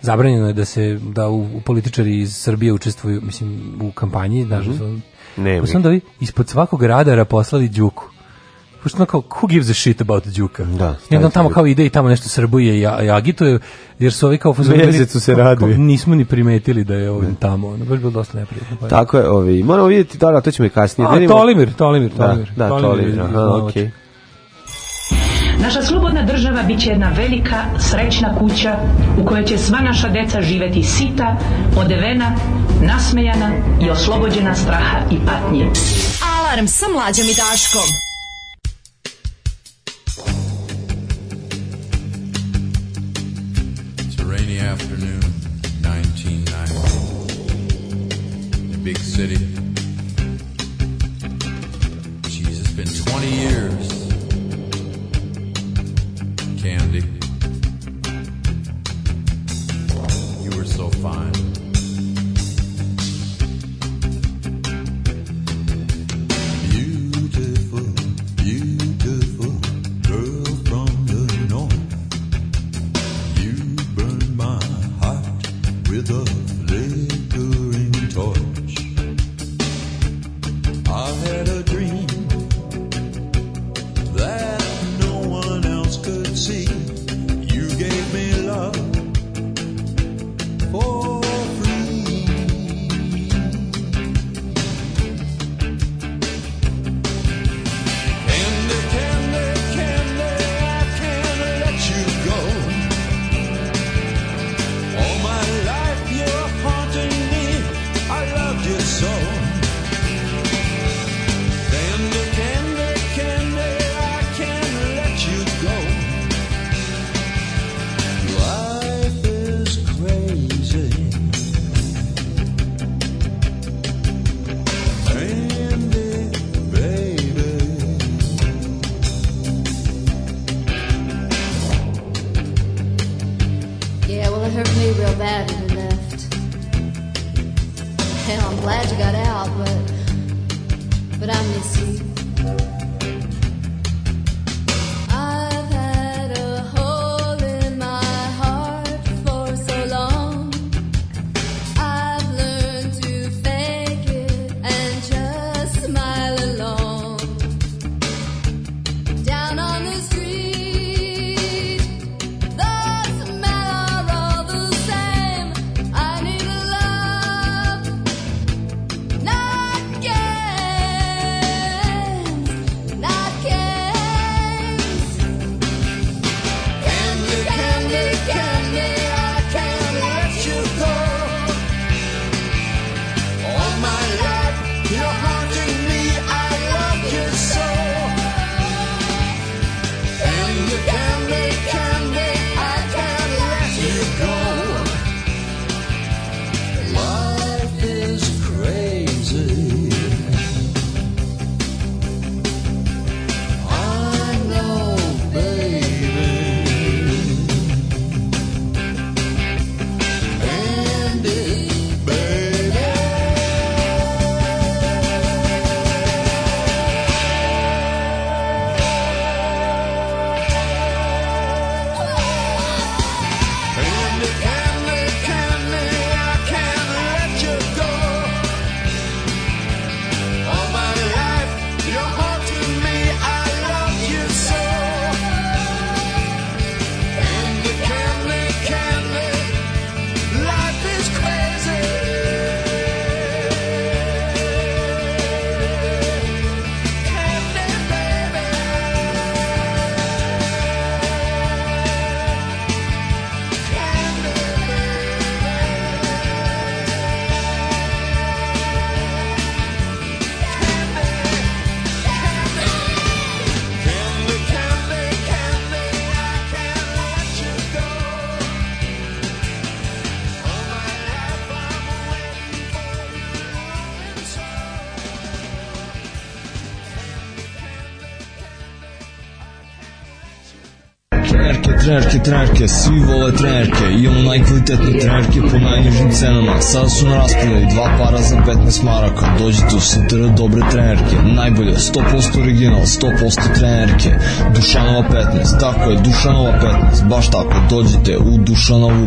zabranjeno je da se da u, u političari iz Srbije učestvuju, mislim, u kampanji, da
Mhm.
su
Nema
Pa su
ih.
onda ovi ispod svakog radara poslali Đuku. Pošto ono kao, who gives a shit about Đuka? Da. I onda on tamo kao ide i tamo nešto srbuje i, a- i agituje, jer su ovi kao... u fazonu bili-
Mesecu se
kao-
raduje.
Nismo ni primetili da je ovim tamo. Ono, baš bilo dosta neprijatno. Pa je-
Tako je, ovi, moramo vidjeti, da, da, to ćemo i kasnije.
A,
da vidimo-
Tolimir, Tolimir, Tolimir.
Da, da, Tolimir,
je
aha,
iznova
okej.
Naša slobodna država bit će jedna velika, srećna kuća u kojoj će sva naša deca živeti sita, odevena, nasmejana i oslobođena straha i patnje.
Alarm sa mlađom i Daškom.
It's a rainy afternoon, 1990. The big city. Jeez, it's been 20 years. Candy. You were so fine. Beautiful, beautiful girl from the north. You burn my heart with a flickering torch. I've had a dream that no one else could see. You gave me love for free. Candy, candy, candy, I can't let you go. All my life you're haunting me. I loved you so. Candy, candy, candy, I can't let you go. Life is crazy. Candy, baby.
Yeah, well, it hurt me real bad when you left. Hell, I'm glad you got out, but but I miss you. I've had a hole in my heart for so long. I've learned to fake it and just smile along. Down on the street. Doesn't matter, all the same. I need love, not games. Oh,
trenerke, trenerke, trenerke, svi vole trenerke, imamo najkvalitetne trenerke po najnižim cenama, sada su na raspodaju dva para za 15 maraka, dođite u sutra dobre trenerke, najbolje, 100% original, 100% trenerke, Dušanova 15, tako je, Dušanova 15, baš tako, dođite u Dušanovu 15.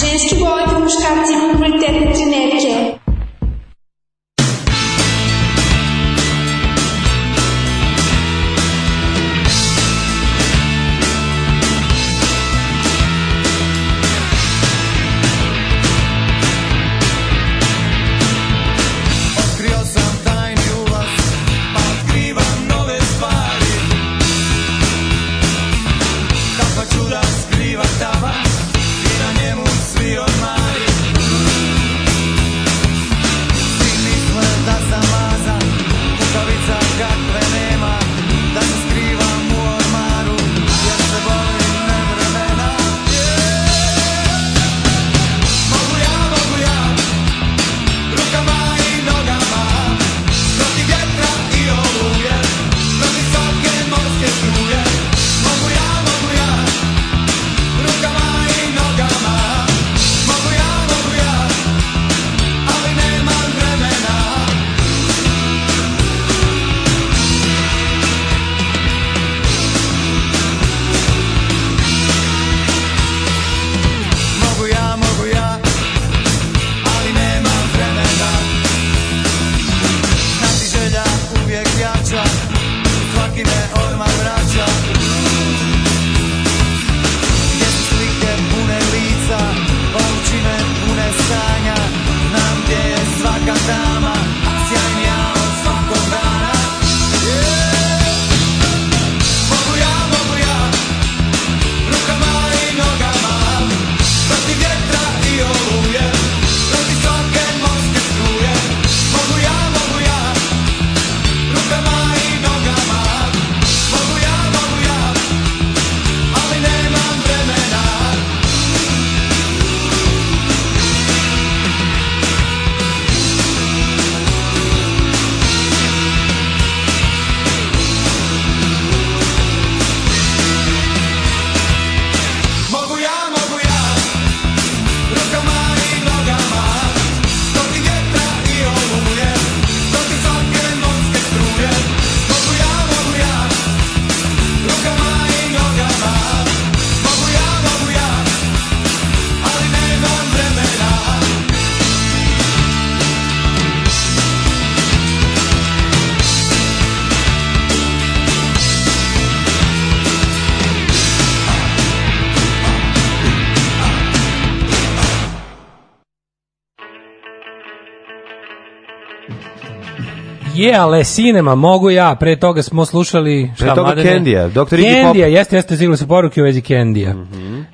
Ženski vole po muškarci imaju kvalitetne
né,
trenerke.
Otkrio sam tajni ulaz, pa otkrivam nove stvari Kako ću da skriva tava i na njemu svi odmari Svi misle da sam mazan, kukavica kakve nema Da se skrivam u ormaru, jer se bojim nevremena Mogu ja, mogu ja, rukama i nogama Protiv vjetra i oluje Protiv svake morske struje Mogu ja, mogu ja Rukama i nogama Mogu ja, mogu ja Ali nemam vremena Mogu ja, mogu ja ali nemam vremena Znati želja uvijek jača Svaki me odmah vraća Gdje su slike pune lica Oči me pune sanja Znam gdje je svaka dama Sjajnija od svakog dana Yeah. Mogu ja, mogu ja Rukama i nogama Protiv vjetra i oluje Protiv svake morske struje Mogu ja, mogu ja Rukama i nogama Mogu ja, mogu ja Ali nemam vremena Mogu ja, mogu ja Rukama i nogama Protiv vjetra i oluje Protiv svake morske struje Mogu ja, mogu ja Rukama i nogama Mogu ja, mogu ja Ali nemam vremena
Je, ale sinema, mogu ja. Pre toga smo slušali...
Pre toga
Mladene?
Kendija, Dr. Iggy Pop. Mhm.
Kendija, jeste, jeste, sigurno su poruke u vezi Kendija.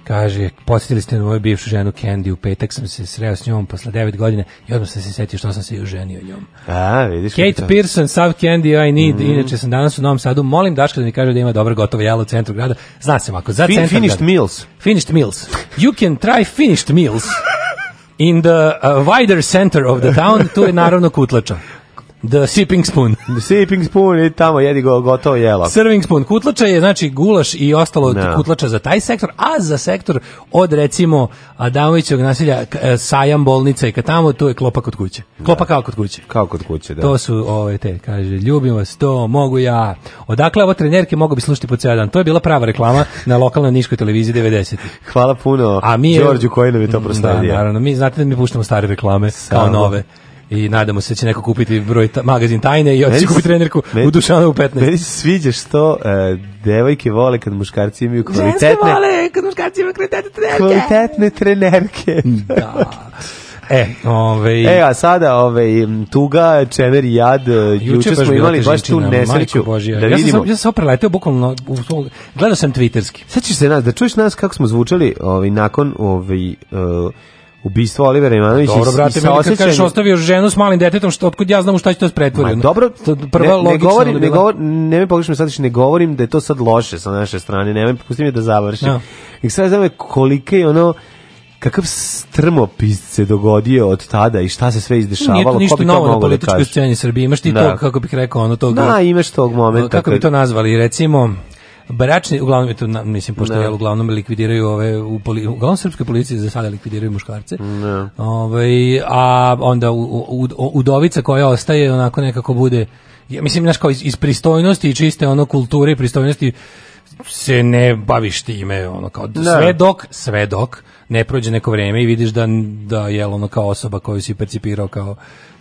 Kaže, posjetili ste na moju bivšu ženu Kendi, u petak sam se sreo s njom posle 9 godine i odmah sam se setio što sam se i oženio njom.
A, vidiš.
Kate
kako to-
Pearson, South Candy, I Need,
Mhm.
inače sam danas u Novom Sadu, molim Daška da mi kaže da ima dobro gotovo jelo u centru grada. Zna se ovako, za
Fin-
centar
finished
grada.
meals.
Finished meals. You can try finished meals in the uh, wider center of the town, tu je naravno kutlača. The sipping spoon.
The sipping spoon i tamo jedi go, gotovo jelo.
Serving spoon kutlača je znači gulaš i ostalo od
Da.
kutlača za taj sektor, a za sektor od recimo Adamovićevog nasilja k- e, sajam bolnica i kad tamo tu je klopa kod kuće. Klopa kao kod kuće.
Kao kod kuće, da.
To su ove te, kaže, ljubim vas, to mogu ja. Odakle ovo trenerke mogu bi slušati po cijel dan. To je bila prava reklama na lokalnoj niškoj televiziji 90.
Hvala puno
A mi
Đorđu koji nam je to prostavio.
Da, naravno, mi znate da mi puštamo stare reklame kao
Samo.
nove. I nadamo se da će neko kupiti broj ta- magazin tajne i otići
Meni se-
kupiti trenerku
meni-
u Dušanovu 15.
Meni se sviđa što e, devojke vole kad muškarci imaju kvalitetne,
kad muškarci imaju kvalitetne
kvalitetne trenerke.
Da. E, ovej,
E, a sada ove, tuga, čemer i jad, e, juče smo
bila
imali baš tu
težina, ono,
nesreću.
majko Božja.
Da
ja sam
vidimo.
sam, ja sam samo preleteo bukvalno, u, u, gledao sam twitterski.
Sećaš se nas, da čuješ nas kako smo zvučali ovaj, nakon ovaj, uh, ubistva Olivera Ivanovića
Dobro,
i-
brate,
i sa
meni kad kažeš
osjećanjem-
ostavio ženu s malim detetom, što otkud ja znam u šta će to
Ma,
spretvoriti.
dobro,
Pa To prva
ne, ne
logična
govorim, ne
bila.
govorim, ne me pogrešno shvatiš, ne govorim da je to sad loše sa naše strane, nemoj, pusti mi da završim.
Da.
I sad znam je kolike je ono, kakav strmopis se dogodio od tada i šta se sve
Nije
izdešavalo,
to
ko
ništa
bi to
novo na
mogao da
političkoj
kaže?
sceni Srbije. Imaš ti
Da.
to, kako bih rekao, ono tog...
Da, imaš tog momenta.
Kako bi
kad-
to nazvali? Recimo, Bračni, uglavnom je to, na- mislim, pošto jel, uglavnom likvidiraju ove, u poli, uglavnom srpske policije za sada likvidiraju muškarce.
Ne.
Ovaj, a onda u, u, u- udovica koja ostaje onako nekako bude ja mislim znaš kao iz, iz pristojnosti i čiste ono kulture i pristojnosti se ne baviš time ono kao
Da.
sve dok sve dok ne prođe neko vreme i vidiš da da je ono kao osoba koju si percipirao kao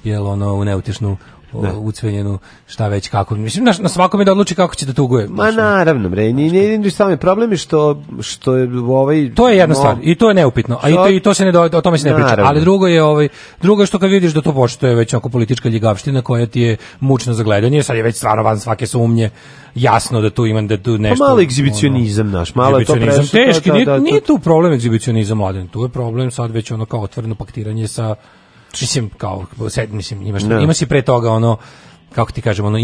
jel ono u neutešnu o,
Da.
ucvenjenu šta već kako mislim na, na svakome da odluči kako će da tuguje
Ma naravno, bre, ni ni ni sami problem je što što je ovaj
To je jedna
no,
stvar i to je neupitno, a i to, i to se ne do, o tome se ne priča.
Naravno.
Ali drugo je ovaj drugo je što kad vidiš da to postoje već oko politička ljigavština koja ti je mučno za gledanje, sad je već stvarno van svake sumnje jasno da tu imam da tu nešto. ono,
malo Pa egzibicionizam, znaš, malo je to
egzibicionizam
prešlo, da,
teški,
da,
nije,
da, to-
nije tu problem egzibicionizam mladen, tu je problem sad već ono kao otvoreno paktiranje sa mislim kao sed, mislim imaš
Ne.
ima si pre toga ono kako ti kažem ono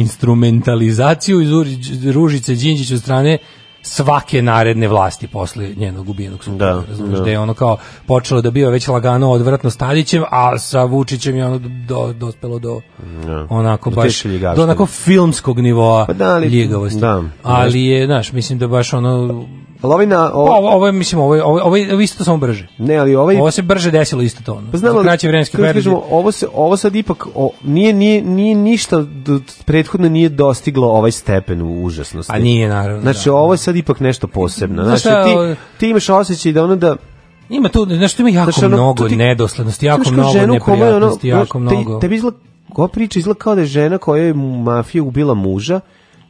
instrumentalizaciju iz Uri- Ružice Đinđić od strane svake naredne vlasti posle njenog ubijenog supruga,
Da,
razumeš,
da.
da je ono kao počelo da bio već lagano odvratno s Tadićem, a sa Vučićem je ono do, dospelo do
Da.
onako
Do
baš
teške ljigavštine.
do onako filmskog nivoa
Pa da, ali-
ljigavosti.
da.
ali je, znaš, mislim da baš ono
Ali ovaj na
pa ovo, ovo je, mislim, ovo, je- ovo, je- ovo, je- ovo je isto samo brže.
Ne, ali ovaj
Ovo se brže desilo isto to. Ono.
Pa znamo
Za kraći vremenski
kako da
period.
kažemo, ovo se ovo sad ipak o, nije nije nije ništa d- prethodno nije dostiglo ovaj stepen u užasnosti.
Pa nije, naravno,
Znači ovo je sad ipak nešto posebno.
Znaš
Znači
šta,
ti
ovo-
ti imaš osjećaj da ono da
Ima tu, znaš, tu ima jako
Znaš, ono,
mnogo
to ti-
nedoslednosti, jako
Imaš kao
mnogo
ženu kome je ono,
neprijatnosti, jako
znaš, te-
mnogo.
Tebi izgleda, ova priča izgleda kao da je žena koja je mafija ubila muža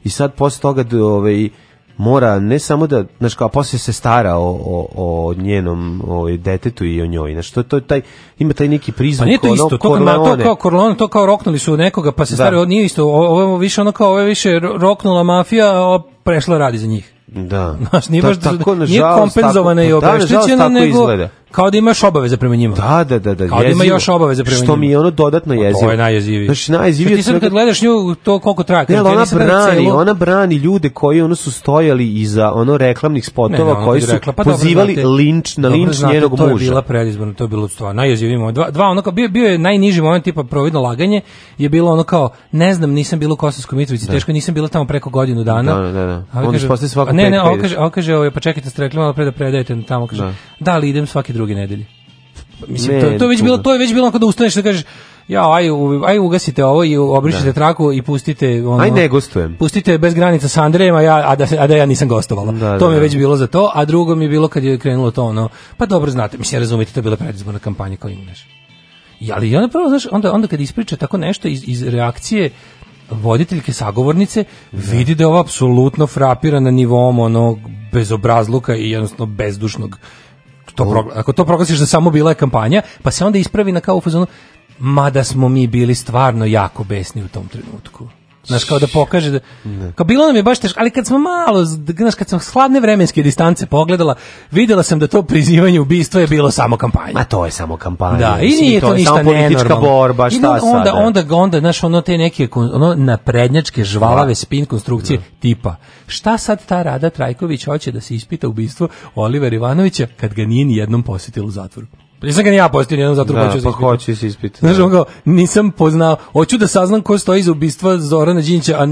i sad posle toga da, ovaj, mora ne samo da, znaš kao, posle se stara o, o, o njenom ovaj, detetu i o njoj, znaš, to, to je taj, ima taj neki
Pa
prizvuk, ono,
nije to isto, to, kao- ma, to
Corleone.
kao Corleone, to kao roknuli su nekoga, pa se
Da.
stari, ovo nije isto, ovo ovo je više ono kao, ovo je više ro- roknula mafija, a ovo prešla radi za njih. (laughs)
Da.
Znaš, nije
Ta-
baš,
tako,
nije
nažalost,
kompenzovana
tako-
i
da, nažalost,
obeštećena,
tako
nego
izgleda.
kao da imaš obaveze prema njima.
Da, da, da, da.
Kao da ima
jezivo.
još obaveze prema
Što
njima. Pa
mi je ono dodatno jezivo.
To je najjezivije.
Znači, najjezivije
Što Ti sad kad gledaš nju, to koliko traje.
Ne,
kad
ali
ja
ona
nisam gledao
brani,
celo-
ona brani ljude koji ono su stojali iza ono reklamnih
Ne, ne,
spotova
ona
koji
bi
su
rekla, pa dobro,
pozivali
znate-
linč na
dobro,
linč
znate,
njenog
To je
muža.
bila predizborna, to je bilo stvarno najjeziviji moment. Dva, dva ono kao, bio, bio je najniži moment, tipa providno laganje, je bilo ono kao, ne znam, nisam bilo u Kosovskoj Mitrovici, teško je, nisam bilo tamo preko godinu dana.
Da, da, da, da.
A ovaj
Onda
kaže-
posle svakog
a Ne, ne,
petka
ovo
ideš.
kaže, ovo kaže, ovo je, pa čekajte, ste rekli malo pre da predajete tamo, kaže,
Da.
da, ali idem svake druge nedelje. Pa, Mislim,
Ne,
to, to, je već
čudno.
bilo, to je već bilo onako da ustaneš i da kažeš, ja, aj, u- aj ugasite ovo i obrišite
Da.
traku i pustite ono,
Aj ne gostujem.
Pustite bez granica sa Andrejem, a, ja, a, da, se- a da ja nisam gostovala.
Da,
to
da,
mi je
da.
već bilo za to, a drugo mi je bilo kad je krenulo to ono, pa dobro znate, mislim, razumete, to je bila predizborna kampanja koja imaš. I, ali i onda prvo, znaš, onda, onda kad ispriča tako nešto iz, iz reakcije voditeljke sagovornice, vidi da je ovo apsolutno frapira na nivom onog bezobrazluka i jednostavno bezdušnog to progla- ako to proglasiš da samo bila je kampanja, pa se onda ispravi na kao u fazonu, mada smo mi bili stvarno jako besni u tom trenutku. Znaš, kao da pokaže da... Kao bilo nam je baš teško, ali kad smo malo, znaš, kad sam s hladne vremenske distance pogledala, videla sam da to prizivanje ubistva je bilo samo kampanja.
Ma to je samo kampanja.
Da, i
Pa mislim,
nije to,
je
ništa
samo
nenormalno.
politička borba,
I
šta
onda, onda,
sada?
onda, onda, znaš, ono te neke, kon- ono naprednjačke žvalave spin konstrukcije tipa, šta sad ta Rada Trajković hoće da se ispita ubistvo Olivera Ivanovića kad ga nije ni jednom posjetila u zatvoru? Pa Nisam ga ni ja posjetio ni jednom u zatvoru,
Da,
hoću da se
pa
ispitam.
hoće se ispitati.
Znaš,
da.
on kao, nisam poznao, hoću da saznam ko stoji iza ubistva Zorana Đinća, a n-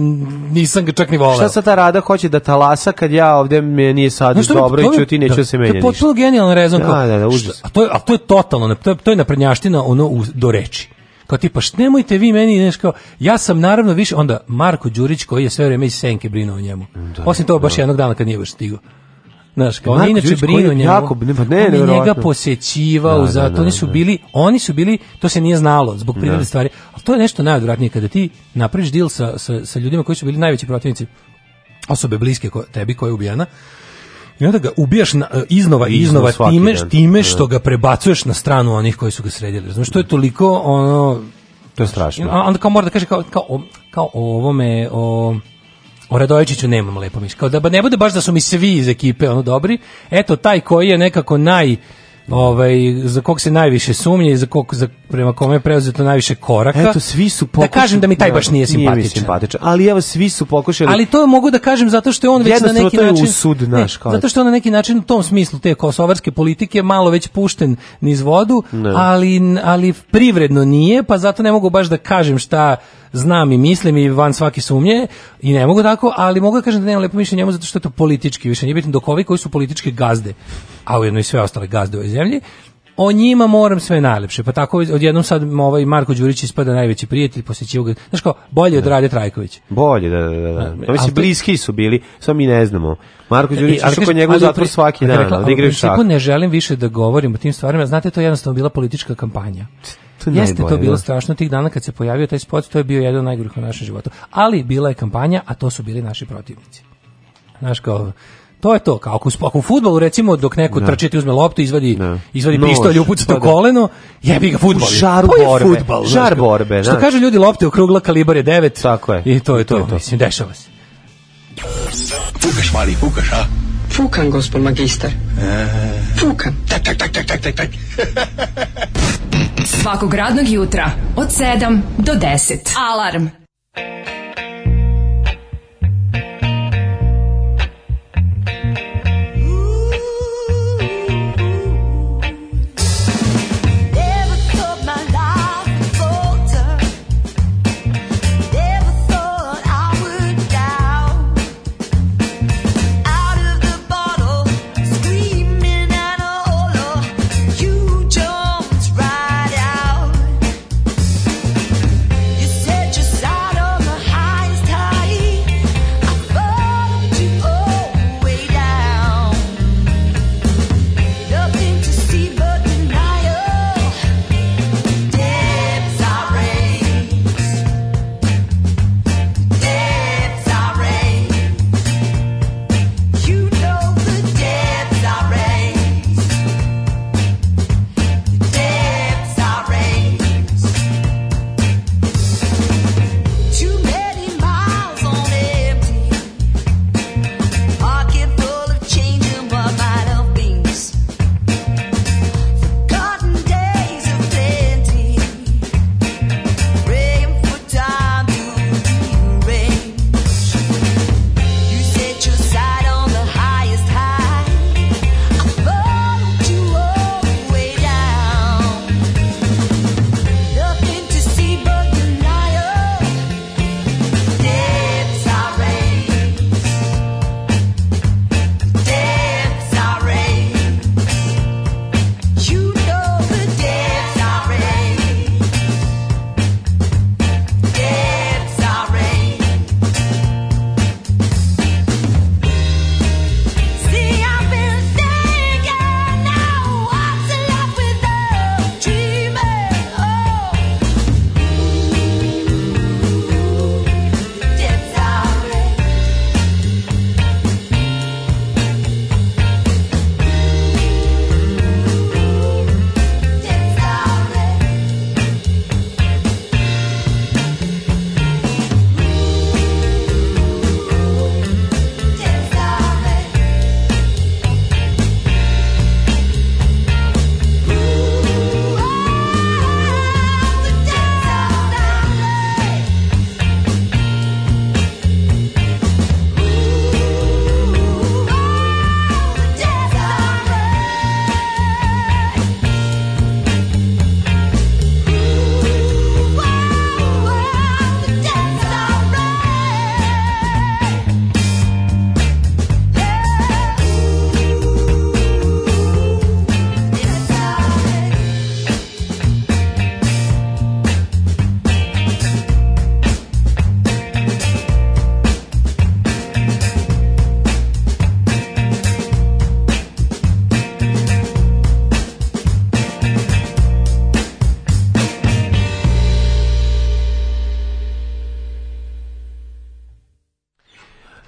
nisam ga čak ni volao.
Šta sad ta rada hoće da talasa kad ja ovdje me nije sad
Znaš, to mi-
dobro
to
i
mi-
ću ti neću
da,
da se menja
To je
ništa.
potpuno genijalan rezon.
Da,
kao,
da, da,
šta-
užas.
A to je, a to je totalno, ne- to je, to je naprednjaština ono u, do reči. Kao tipa, šta nemojte vi meni, znaš, kao, ja sam naravno više, onda Marko Đurić koji je sve vrijeme iz senke brinuo o njemu. Osim toga baš jednog dana kad nije baš stigao. Znaš, kao, on
Marko
je inače
Đurić koji
brinuo
je
o njemu.
jako- ne, pa ne,
on je njega
nevjerovatno.
posjećivao,
Da, da,
zato
da,
oni su
da.
bili, oni su bili, to se nije znalo zbog prirode
Da.
stvari, ali to je nešto najodvratnije kada ti napraviš deal sa, sa, sa ljudima koji su bili najveći protivnici osobe bliske ko, tebi koja je ubijena, i onda ga ubijaš na, e, iznova i
Iznova
iznova
svaki
time,
dan.
time što ga prebacuješ na stranu onih koji su ga sredili. Razumiješ, to je toliko ono...
To je strašno.
A onda kao mora da kaže kao, kao, o, kao o ovome, o... O Radojičiću nemam lepo mišljenje. Kao da ba- ne bude baš da su mi svi iz ekipe ono dobri. Eto taj koji je nekako naj ovaj za kog se najviše sumnje i za kog za prema kome je preuzeto najviše koraka.
Eto, svi su pokušali.
Da kažem da mi taj baš nije simpatičan.
Nije mi simpatičan, ali evo, svi su pokušali.
Ali to mogu da kažem zato što je on već na
Jednostavno,
neki
to je
način
usud naš, kao
ne, zato što je on na neki način u tom smislu te kosovarske politike malo već pušten niz vodu,
Ne.
ali ali privredno nije, pa zato ne mogu baš da kažem šta znam i mislim i van svake sumnje i ne mogu tako, ali mogu da kažem da nemam lepo mišljenje o njemu zato što je to politički, više nije bitno dok ovi koji su političke gazde, a ujedno i sve ostale gazde u ovoj zemlji, o njima moram sve najlepše. Pa tako odjednom sad ovaj Marko Đurić ispada najveći prijatelj, posjećivo ga. Znaš kao, bolje od Rade Trajković.
Bolje, da, da, da. da. Pa
Ali
mislim,
to-
bliski su bili, samo mi ne znamo. Marko
E,
Đurić
ali kažem,
išao kod njega u
ali u
zatvor
pri-
svaki
ali
dan,
rekla,
ali da
ali u
igraju šah.
principu ne želim više da govorim o tim stvarima. Znate, to je jednostavno bila politička kampanja.
To je
Jeste
najbolje,
to bilo
da.
strašno tih dana kad se pojavio taj spot, to je bio jedan od najgorih u našem životu. Ali bila je kampanja, a to su bili naši protivnici. Znaš kao, to je to, kao ako, u sp- ako u fudbalu recimo dok neko
Da.
trči ti uzme loptu, izvadi, izvadi
Nož,
pištolj, upuca
da,
to
da.
koleno, jebi ga fudbal.
U žaru
to je
borbe,
fudbal, znaš
žar
kao.
borbe,
Što
znaš.
kažu ljudi, lopte okrugla, kalibar je 9.
Tako je.
I to je to, mislim, dešava se.
Fukaš, mali, fukaš, a?
Fukam, gospod magister.
Fukam. Tak, tak, tak, tak, tak, tak, tak.
Svakog radnog jutra od 7 do 10. Alarm.
Never thought my life would falter. Never thought I would doubt. Out of the bottle, screaming and a hollow, you jumped right out. You set your sight on the highest high. I followed you all the way down. Nothing to see but denial. Debts I raise. Debts I raise. You know the debts I raise. Debts I raise. Too many miles on empty. Pocket full of change and what might have been. Cotton days of plenty, praying for time to rearrange. You set your sight on the highest high. I followed you all the way down. Nothing to see but denial. Debts I raise. Debts I raise. You know the debts I raise. Debts I raise. See, I've been thinking now what's left without dreaming. Oh, debts I raise.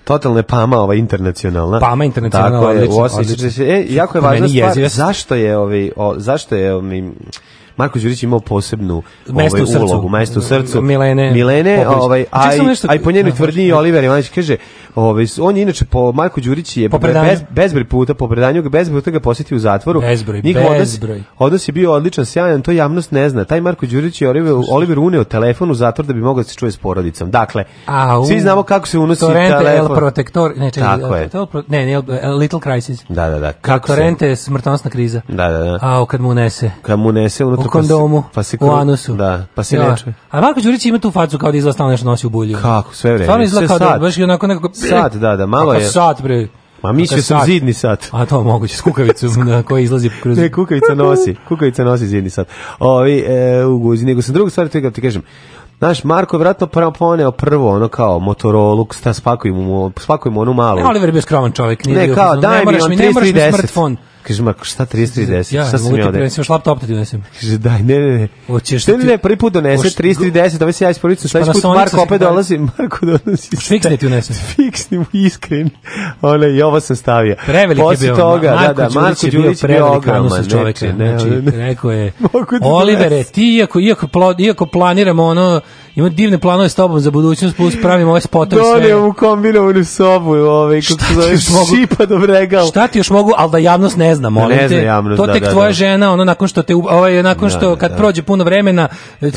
Totalno je Pama ova internacionalna.
Pama internacionalna,
Tako je,
odlično,
u osam i
odlično.
četrdeset- E, jako je važna
Meni
stvar,
jeziva.
zašto je, ovi, o, zašto je ovi, Marko Đurić je imao posebnu
Mesto
ovaj,
u srcu.
ulogu, mesto u srcu.
Milene
Milene,
Popović.
ovaj,
Čekaj,
aj,
samo nešto-
aj po njenoj
Aha,
tvrdnji Oliver Ivanić kaže, ovaj, on je inače po Marko Đurić je
Po predanju.
bez, bezbroj puta, po predanju ga bezbroj puta ga posjetio u zatvoru.
Bezbroj,
Njihov odnos-
bezbroj.
Odnos je bio odličan, sjajan, to javnost ne zna. Taj Marko Đurić je Oliver, Oliver uneo telefon u zatvor da bi mogao da se čuje s porodicom. Dakle,
Au.
svi znamo kako se unosi
Torrente,
telefon.
El Protector, ne, čekaj,
Tako
El
je.
Protector, Pro- ne, ne, El- El Little Crisis.
Da, da, da.
Kako
Kako se-
Torrente je smrtonosna kriza.
Da, da, da.
A, kad mu unese.
Kad mu unese unutra,
U kondomu,
pa se,
u
kru-
anusu.
Da, pa se ne čuje.
A Marko Đurić ima tu facu kao da izgleda stalno nešto nosi u bulju.
Kako, sve vreme.
Stvarno izgleda
Sve
kao da
sad.
baš i onako nekako...
Sad, da, da, malo
Kakav
je-
sat, bre.
Ma mislio
Kakav
sam zidni sat.
A to moguće, s kukavicom na koji izlazi kroz...
(laughs) Ne, kukavica
(laughs)
nosi, kukavica nosi zidni sat. Ovi, e, u guzi, nego sam druga stvar, to je kad ti kažem, Znaš, Marko je vratno prvo poneo prvo, ono kao Motorola, sta spakujemo, mu- spakujemo onu malu.
Ne, E, Oliver je bio skroman čovjek. Nije
Ne,
bio
kao,
fazon,
daj
ne
mi
moraš
on
mi, ne moraš mi
3310.
smartfon.
Kaže, Marko, šta 3310?
Ja,
šta sam ja
luti,
ovde?
prinesem još laptop da ti unesem.
Kaže, daj, ne, ne, ne.
Hoćeš
Ne,
da
ne,
ti-
ne, prvi put donese
Hoćeš- Pa
3310, ovaj se ja isporučujem, sledeći put
Panasonic
Marko
sa
opet
sekretarice.
dolazi, (laughs) Marko donosi.
Fiksne ti unesem.
Fiksni mu iskren. Ono, i ovo sam stavio.
Prevelik je
Poslije
bio.
toga,
Ma-
da, da, Marko Đurić je bio
prevelik
ogroman.
anus čovjek.
neče, ne,
Znači,
ne, ne.
rekao je,
(laughs) Mogu da
Olivere,
donesem."
ti iako, iako, plo- iako planiramo ono, ima divne planove s tobom za budućnost, plus pravimo ove spotove i sve.
Donio mu kombinovanu sobu, ovaj, kako se
ti
zove,
još mogu-
šipa do regal.
Šta ti još mogu, ali da javnost ne zna, molim
Ne zna
te.
javnost,
to
da,
tek
da,
tvoja
da.
žena, ono nakon što te u- ovaj nakon
Da,
što
da,
kad
da.
prođe puno vremena,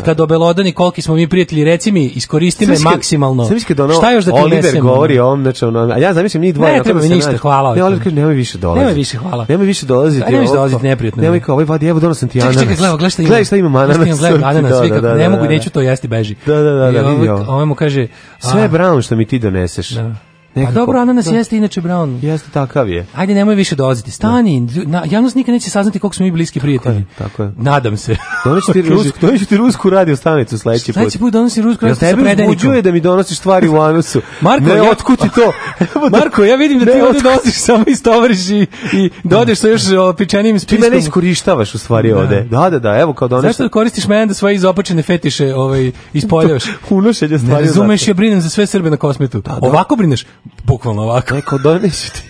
kad obelodani koliki smo mi prijatelji, reci mi, iskoristi me
Zamisli kad-
maksimalno.
zamisli kad ono,
Šta još da ti
Oliver
unesem?
govori o ovom, znači ono, a ja zamislim njih dvoje.
Ne,
onako
treba
da
mi
se
ništa,
nađu.
hvala.
Ne, Oliver kaže, nemoj više dolaziti.
Nemoj više, hvala.
Nemoj više dolaziti.
A nemoj više
ovo,
dolaziti,
kao,
neprijatno mi je.
Nemoj kao, ovaj vadi, evo, donosim ti
Čekaj,
ananas.
čekaj, gledaj, gledaj šta ima.
Gledaj šta imam ananas.
Šta imam, gledaj,
sorti,
ananas,
(laughs) da,
svi
da,
kako-
da,
ne
da,
mogu,
da.
neću to jesti, beži.
Da, da, da,
I
da,
ovaj-
vidi ovo.
ovaj mu kaže, a,
Sve je brown što mi ti doneseš.
a
Nekako-
dobro, ananas
Da.
jeste inače brown.
Jeste takav
(laughs)
je.
Ajde, nemoj više dolaziti. Stani, lju- na, javnost nikad neće saznati koliko smo mi bliski prijatelji.
Tako je. Znači,
Nadam
(laughs)
se.
Donosi ti rusku, donosi ti rusku radio stanicu sledeći put.
Sledeći put donosi rusku
Jel
radio sa
tebe
predajnikom?
uzbuđuje da mi donosiš stvari u anusu?
Marko,
ne,
ja-
otkud ti
(laughs)
to? Evo da-
Marko, ja vidim da
Ne,
ti ovde
otkud-
dolaziš samo istovariš i, i dodeš sa još o, pičenim
Ti
spiskom.
mene iskorištavaš u stvari
Da.
ovde. Da, da, da, evo kao donosi.
Zašto koristiš mene da svoje izopačene fetiše
(laughs)
ovaj, ispoljavaš?
Unošenje
Ne
stvari. u
razumeš, ja brinem za sve Srbe na kosmetu. Ovako brineš? Bukvalno ovako.
zakon. E, kao donesi ti.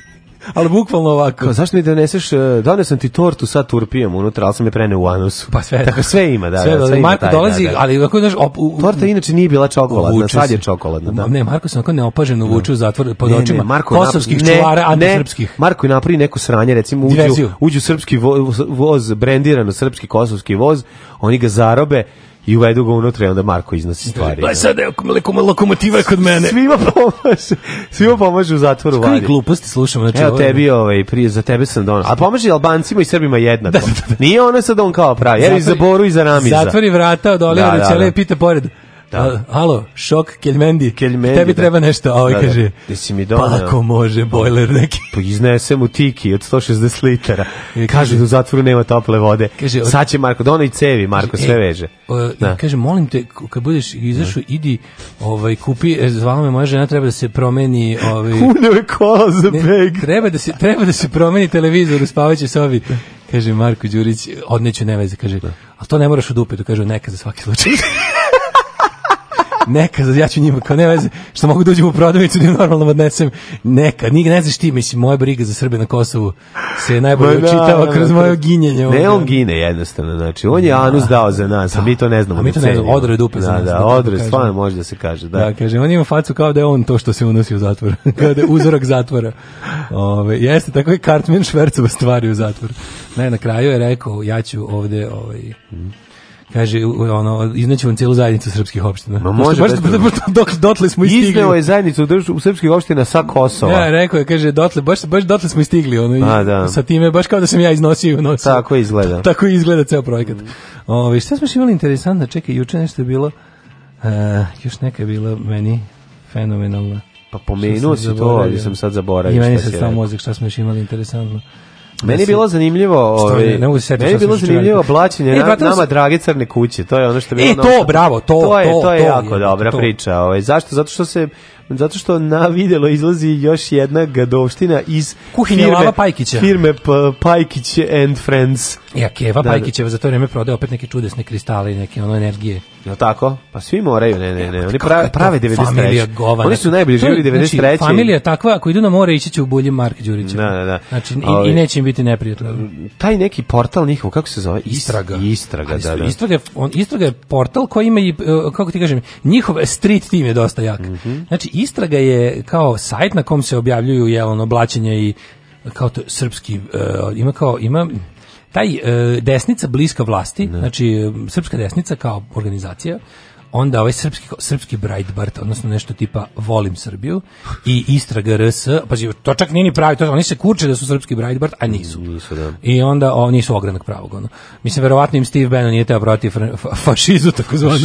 Ali bukvalno ovako.
Kao, zašto mi doneseš, e, doneo sam ti tortu sa turpijom unutra, ali sam je preneo u anusu.
Pa sve.
Tako sve ima, da. da,
sve,
sve ima
Marko
taj,
dolazi,
da, da.
ali ako znaš, op, u, u-
Torta inače nije bila čokoladna,
uvuče
sad je
se.
čokoladna. Da.
Ne, Marko se onako neopaženo uvuče u zatvor pod
Ne, ne,
očima
je nap-
kosovskih
ne,
čuvara
ne,
antisrpskih.
Marko je napravi neko sranje, recimo uđu,
Diverziju.
uđu srpski voz, voz, brendirano srpski kosovski voz, oni ga zarobe i uvedu ga unutra i onda Marko iznosi stvari.
Gledaj sad, evo, leko- lokomotiva je kod mene.
Svima pomaže, svima pomaže u zatvoru
Koji
vadi.
gluposti slušamo. Znači,
Evo
ovo-
tebi ovaj prije za tebe sam donao. A pomaže i Albancima i Srbima jednako. Nije ono sad on kao pravi. Jer i za
Zatvori-
Boru i za Ramiza.
Zatvori vrata od Olivera
Da,
da,
da, da.
pita pored. Da. Halo, šok, Keljmendi.
Keljmendi,
Tebi
da.
treba nešto, a ovaj
Da, da.
kaže,
Ti si mi
pa
doneo.
ako može, bojler neki.
Pa iznese mu tiki od 160 litara. Kaže da u zatvoru nema tople vode.
E, Kaže, od-
Sad će Marko, dono i cevi, Marko, sve
E,
veže.
o,
Da.
Kaže, molim te, k- kad budeš izašao, idi, ovaj, kupi, e, zvala me moja žena, treba da se promeni, ovaj,
Uneo je kola za
ne,
beg.
treba, da se, treba da se promeni televizor u spavaćoj sobi. Kaže Marko Đurić, odneću neveze, kaže, ali to ne moraš u dupetu, kaže, neka za svaki slučaj. (laughs) neka, za- ja ću njima, kao ne veze, što mogu da uđem u prodavnicu da im normalno odnesem, neka, ni, ne znaš ti, mislim, moja briga za Srbe na Kosovu se najbolje
Ma da,
očitava
da,
kroz
da.
moje ginjenje.
Ne, on gine jednostavno, znači, on je anus dao za nas, a mi to ne znamo.
A mi to ne znamo,
cenimo.
odre dupe za
Da,
nas, da
da,
tako
odre,
kažem.
stvarno može da se kaže, da.
Da, kaže, on ima facu kao da je on to što se unosi u zatvor. (laughs) kao da je uzorak zatvora. Ove, jeste, tako je Cartman Švercova stvari u zatvor. Ne, na kraju je rekao, ja ću ovde, ovaj, kaže, u- ono, izneću vam cijelu zajednicu srpskih opština.
Ma može,
Pošto,
bez
baš,
problema.
baš, dok, (laughs) dotle smo i stigli.
Izneo je zajednicu u, drž- u srpskih opština sa Kosova.
Ja, rekao je, kaže, dotle, baš, baš dotle smo i stigli, ono, i
A, Pa, da.
sa time, baš kao da sam ja iznosio i unosio.
Tako izgleda.
(laughs)
Mm.
Tako izgleda ceo projekat. Ove, šta smo još imali interesantno? Čekaj, juče nešto je bilo, e, još neka je bila meni fenomenalna.
Pa
Što sam
pomenuo si to,
zaboravio.
ali sam sad zaboravio.
I meni
šta
sad
si
stao
rekao.
mozak šta smo još imali interesantno.
Meni je bilo zanimljivo,
Stvarno,
ovaj,
ne mogu se sjetiti
meni je
šta sam
bilo
juče
zanimljivo
radio. (laughs)
blaćenje
E,
na-
vratilo
nama
se-
drage crne kuće, to je ono što je bilo.
E, to,
novo.
bravo, to,
je,
to,
to je
to,
jako
je,
dobra
to.
priča. Ovaj, zašto? Zato što se zato što na videlo izlazi još jedna gadovština iz
Kuhinja
firme,
Lava Pajkića.
firme P- Pajkić and Friends.
Ja, Keva Pajkićeva za to vreme prodaje opet neke čudesne kristale i neke ono energije.
No tako? Pa svi moraju, ne, ne, ne. Oni
Kako je
prave,
to
prave
Familija
93.
govana.
Oni su najbolji
To je,
živjeli 93.
Znači, familija takva, ako idu na more, ići će u bulji Mark Đurić.
Da, da, da.
Znači, i,
Ali-
i neće im biti neprijatno.
Taj neki portal njihov, kako se zove? Is-
Istraga.
Istraga,
Ali
da,
isto,
da.
Istraga, je, on, istraga je portal koji ima i, e, kako ti kažem, njihov street team je dosta jak.
Mhm.
Znači, istraga je kao sajt na kom se objavljuju jel, ono, blaćenja i kao to, srpski, e, ima kao, ima taj e, desnica bliska vlasti, znači e, srpska desnica kao organizacija, onda ovaj srpski, srpski Breitbart, odnosno nešto tipa Volim Srbiju i Istraga RS, pa to čak nije ni pravi, to, oni se kurče da su srpski Breitbart, a nisu.
Nisu, da.
I onda oni nisu ogranak pravog. Ono. Mislim, verovatno im Steve Bannon nije teo protiv fra- fa- fašizu, tako zvanu.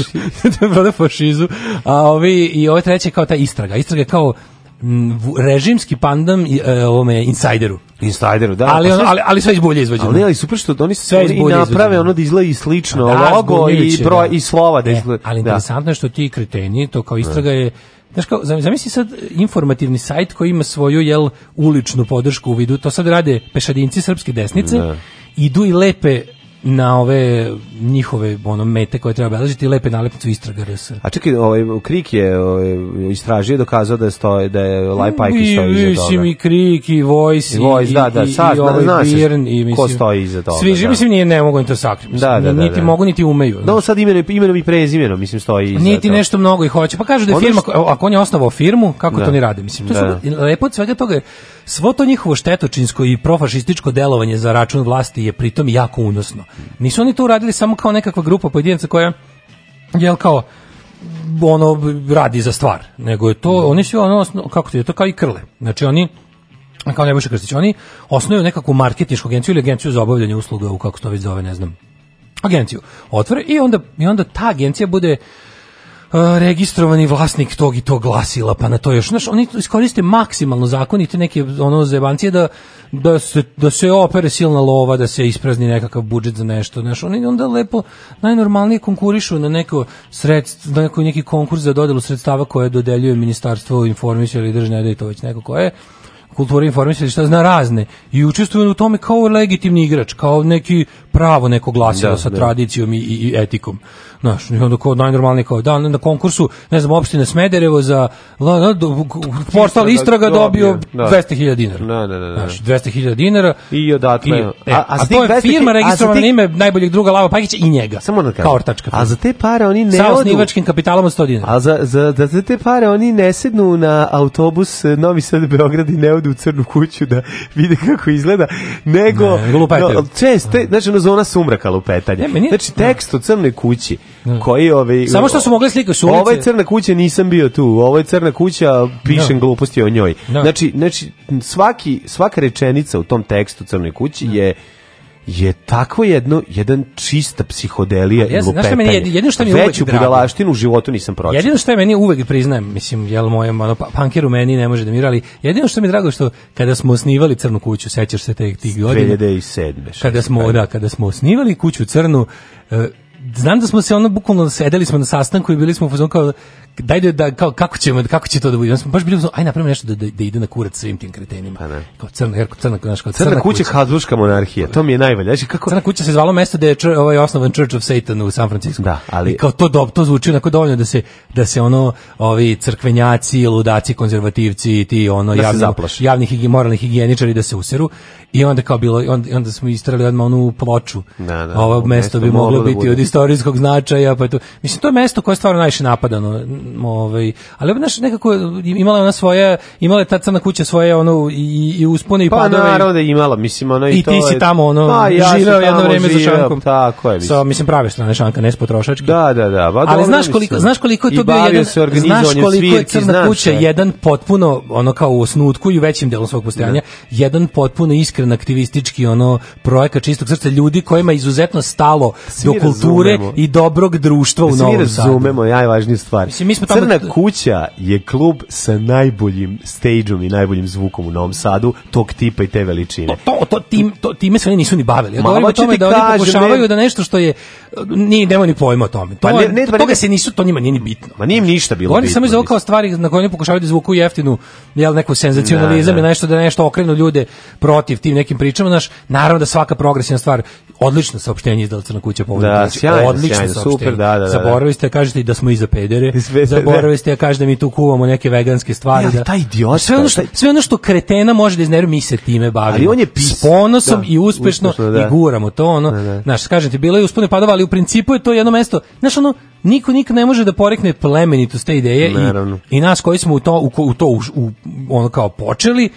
(laughs) Protiv fašizu. A ovi, I ovo treće je kao ta istraga. Istraga je kao mm, vu- režimski pandam i, e, ovome insideru.
Insideru, da.
ali,
Pa
ono,
sve-
ali, ali sve iz bulje izvađeno.
Ali ne, ali super što oni
Sve
sve i
izbulje
naprave
izvađeno.
ono da izgleda i slično,
Da,
logo i
zbunjujuće,
broj
da.
i slova da
E,
izgleda.
ali
da. E.
interesantno je što ti kreteni, to kao istraga je Znaš kao, zam- zamisli sad informativni sajt koji ima svoju, jel, uličnu podršku u vidu, to sad rade pešadinci srpske desnice,
Da.
idu i lepe na ove njihove ono, mete koje treba beležiti i lepe nalepnicu istraga RS.
A čekaj, ovaj Krik je ovaj, istražio i dokazao da je stoji da je Laj Pajkić
I,
stoji iza
mislim,
toga.
i Krik, i Voice,
I
i,
Voice,
i,
da, da,
i,
sad,
i ovaj
zna se
Birn, i,
ko
mislim,
stoji iza toga,
Svi,
da.
mislim, nije, ne mogu im to sakriti.
Da, da, da,
niti
da.
mogu, niti umeju.
Da, on sad imenom, imenom i prezimenom, mislim, stoji iza
Niti
toga.
Pa nešto mnogo i hoće. Pa kažu da je
Ono
firma,
što-
ko- ako on je osnovao firmu, kako
Da.
to ni rade? Mislim, to
Da.
su, lepo od svega toga je, svo to njihovo štetočinsko i profašističko delovanje za račun vlasti je pritom jako unosno. Nisu oni to uradili samo kao nekakva grupa pojedinaca koja, jel kao, ono, radi za stvar. Nego je to, oni su ono, osno- kako to je, to kao i krle. Znači oni, kao Nebojša Krstić, oni osnuju nekakvu marketinšku agenciju ili agenciju za obavljanje usluga u kako se to već zove, ne znam, agenciju. Otvore i onda, i onda ta agencija bude e, registrovani vlasnik tog i tog glasila, pa na to još, znaš, oni iskoriste maksimalno zakon i te neke ono zebancije da, da, se, da se opere silna lova, da se isprazni nekakav budžet za nešto, znaš, oni onda lepo najnormalnije konkurišu na neko sredstvo, na neko, neki konkurs za dodelu sredstava koje dodeljuje ministarstvo informisije ili držne, da je to već neko koje, kultura informisanja šta zna razne i učestvuju u tome kao legitimni igrač, kao neki pravo neko glasilo
Da,
sa
da.
tradicijom i, i, i etikom. Znaš, i onda kao najnormalnije kao da na konkursu, ne znam, opština Smederevo za la, la, do- portal istraga dobio
Da.
200.000 dinara.
Da, da, da, da.
Znaš, 200.000 dinara.
I odatle. A-
e, a,
a s tih
to je
200.000
firma
a za
registrovana
tih-
na ime najboljeg druga Lava Pajkića i njega.
Samo da kažem.
Kao ortačka.
A za te pare oni ne
Sa
odu.
osnivačkim kapitalom od 100 dinara.
A za, za, da za te pare oni ne sednu na autobus eh, Novi Sad Beograd i ne odu u crnu kuću da vide kako izgleda, nego
Ne, nego lupetaju.
česte, znači ono zona sumraka lupetanja.
Ne, meni je-
znači tekst o crnoj kući koji ovaj
Samo što su mogli slike s ulice.
Ovo je crna kuća, nisam bio tu. Ovo je crna kuća, pišem
Da.
gluposti o njoj.
Da.
Znači, znači svaki svaka rečenica u tom tekstu crnoj kući je je takvo jedno, jedan čista psihodelija
Ali ja
i
znam, znaš
lupetanje.
šta meni je- jedino što mi je uvek
Veću
drago?
budalaštinu u životu nisam pročitao.
Jedino što je meni uvek priznajem, mislim, jel mojem ono, pa- punker u meni ne može da mira, ali jedino što mi je drago je što kada smo osnivali Crnu kuću, sećaš se te tih godina,
2007.
kada smo, da, kada smo osnivali kuću Crnu, e, znam da smo se ono bukvalno sedeli smo na sastanku i bili smo u fazonu kao daj da, da kao, kako ćemo kako će to da bude Onda smo baš bili u fazonu, aj napravimo nešto da, da, da ide na kurac svim tim kretenima kao crna jer crna znaš, kao crna,
Crna kuća Habsburgska monarhija, to mi je najbolje. Znači kako
Crna kuća se zvalo mesto gde je čr- ovaj osnovan Church of Satan u San Francisco.
Da, ali-
I kao to dob, to zvuči onako dovoljno da se da se ono ovi crkvenjaci, ludaci, konzervativci i ti ono
Da se
javni
zaplaše.
javni higi, moralni higijeničari da se useru i onda kao bilo onda, onda smo istrali odmah onu ploču.
Da, da,
Ovo
ovo
mesto bi
mesto
moglo
moglo da
biti
bude.
od istorijskog značaja, pa je to. Mislim to je mesto koje je stvarno najviše napadano, m, ovaj, ali znaš nekako imala je ona svoje, imala je ta crna kuća svoje ono i, i uspone i
Pa
padove. i-
naravno da je imala, mislim, ono i,
i
to
ti si
je-
tamo ono
Pa, ja sam
živeo jedno
tamo
vreme za
živeo,
šankom.
Tako je,
Sa
mislim.
mislim prave strane šanka, ne s potrošački.
Da, da, da. ba,
Ali
dobro,
znaš
mislim.
koliko, znaš koliko je to bio
I bavio
jedan,
se
znaš
organizovanjem
koliko je
svirki,
Crna
znaš
kuća
šta je.
jedan potpuno, ono kao u osnutku i u većim delom svog postojanja, jedan potpuno iskren aktivistički ono projekat čistog srca ljudi kojima je izuzetno stalo
Pa Svi
do kulture
razumemo. Pa
i dobrog društva u
Svi
Novom Sadu.
razumemo najvažniju stvar.
Mislim, mi smo tamo...
Crna kuća je klub sa najboljim stageom i najboljim zvukom u Novom Sadu, tog tipa i te veličine.
to, to, tim, to, time se oni nisu ni bavili. Ja
Ma,
govorim o
hoću
tome
ti
da oni
kažem,
pokušavaju
ne-
da nešto što je, nije, nema ni pojma o tome. To,
Pa ne- ne-
to-
pa ne-
toga se nisu, to njima nije ni bitno.
Ma nije im ništa bilo
Oni
bitno,
samo iz kao stvari na koje oni pokušavaju da izvuku jeftinu, jel, neku senzacionalizam
Da,
i
da.
nešto da nešto okrenu ljude protiv tim nekim pričama, znaš, naravno da svaka progresivna stvar, odlično saopštenje izdala Crna kuća povodom
Da,
Crna kuća,
sjajno,
odlično
sjajno, super,
saopštenje.
da, da, da, da.
Zaboravili ste da kažete i da smo iza
(laughs)
pedere,
Sve-
zaboravili ste da kažete da mi tu kuvamo neke veganske stvari.
Ne, ali
da-
taj idiot,
sve ono što,
taj-
sve ono što kretena može da iznervira, mi se time bavimo.
Ali on je pis-
S ponosom
da,
i uspešno,
uspešno, da.
i guramo to, ono, znaš, kažem ti, bilo je uspuno i padova, ali u principu je to jedno mesto, znaš, ono, niko nikad ne može da porekne plemenitost te ideje i,
Naravno.
i nas koji smo u to, u, ko- u to uš- u, ono kao počeli,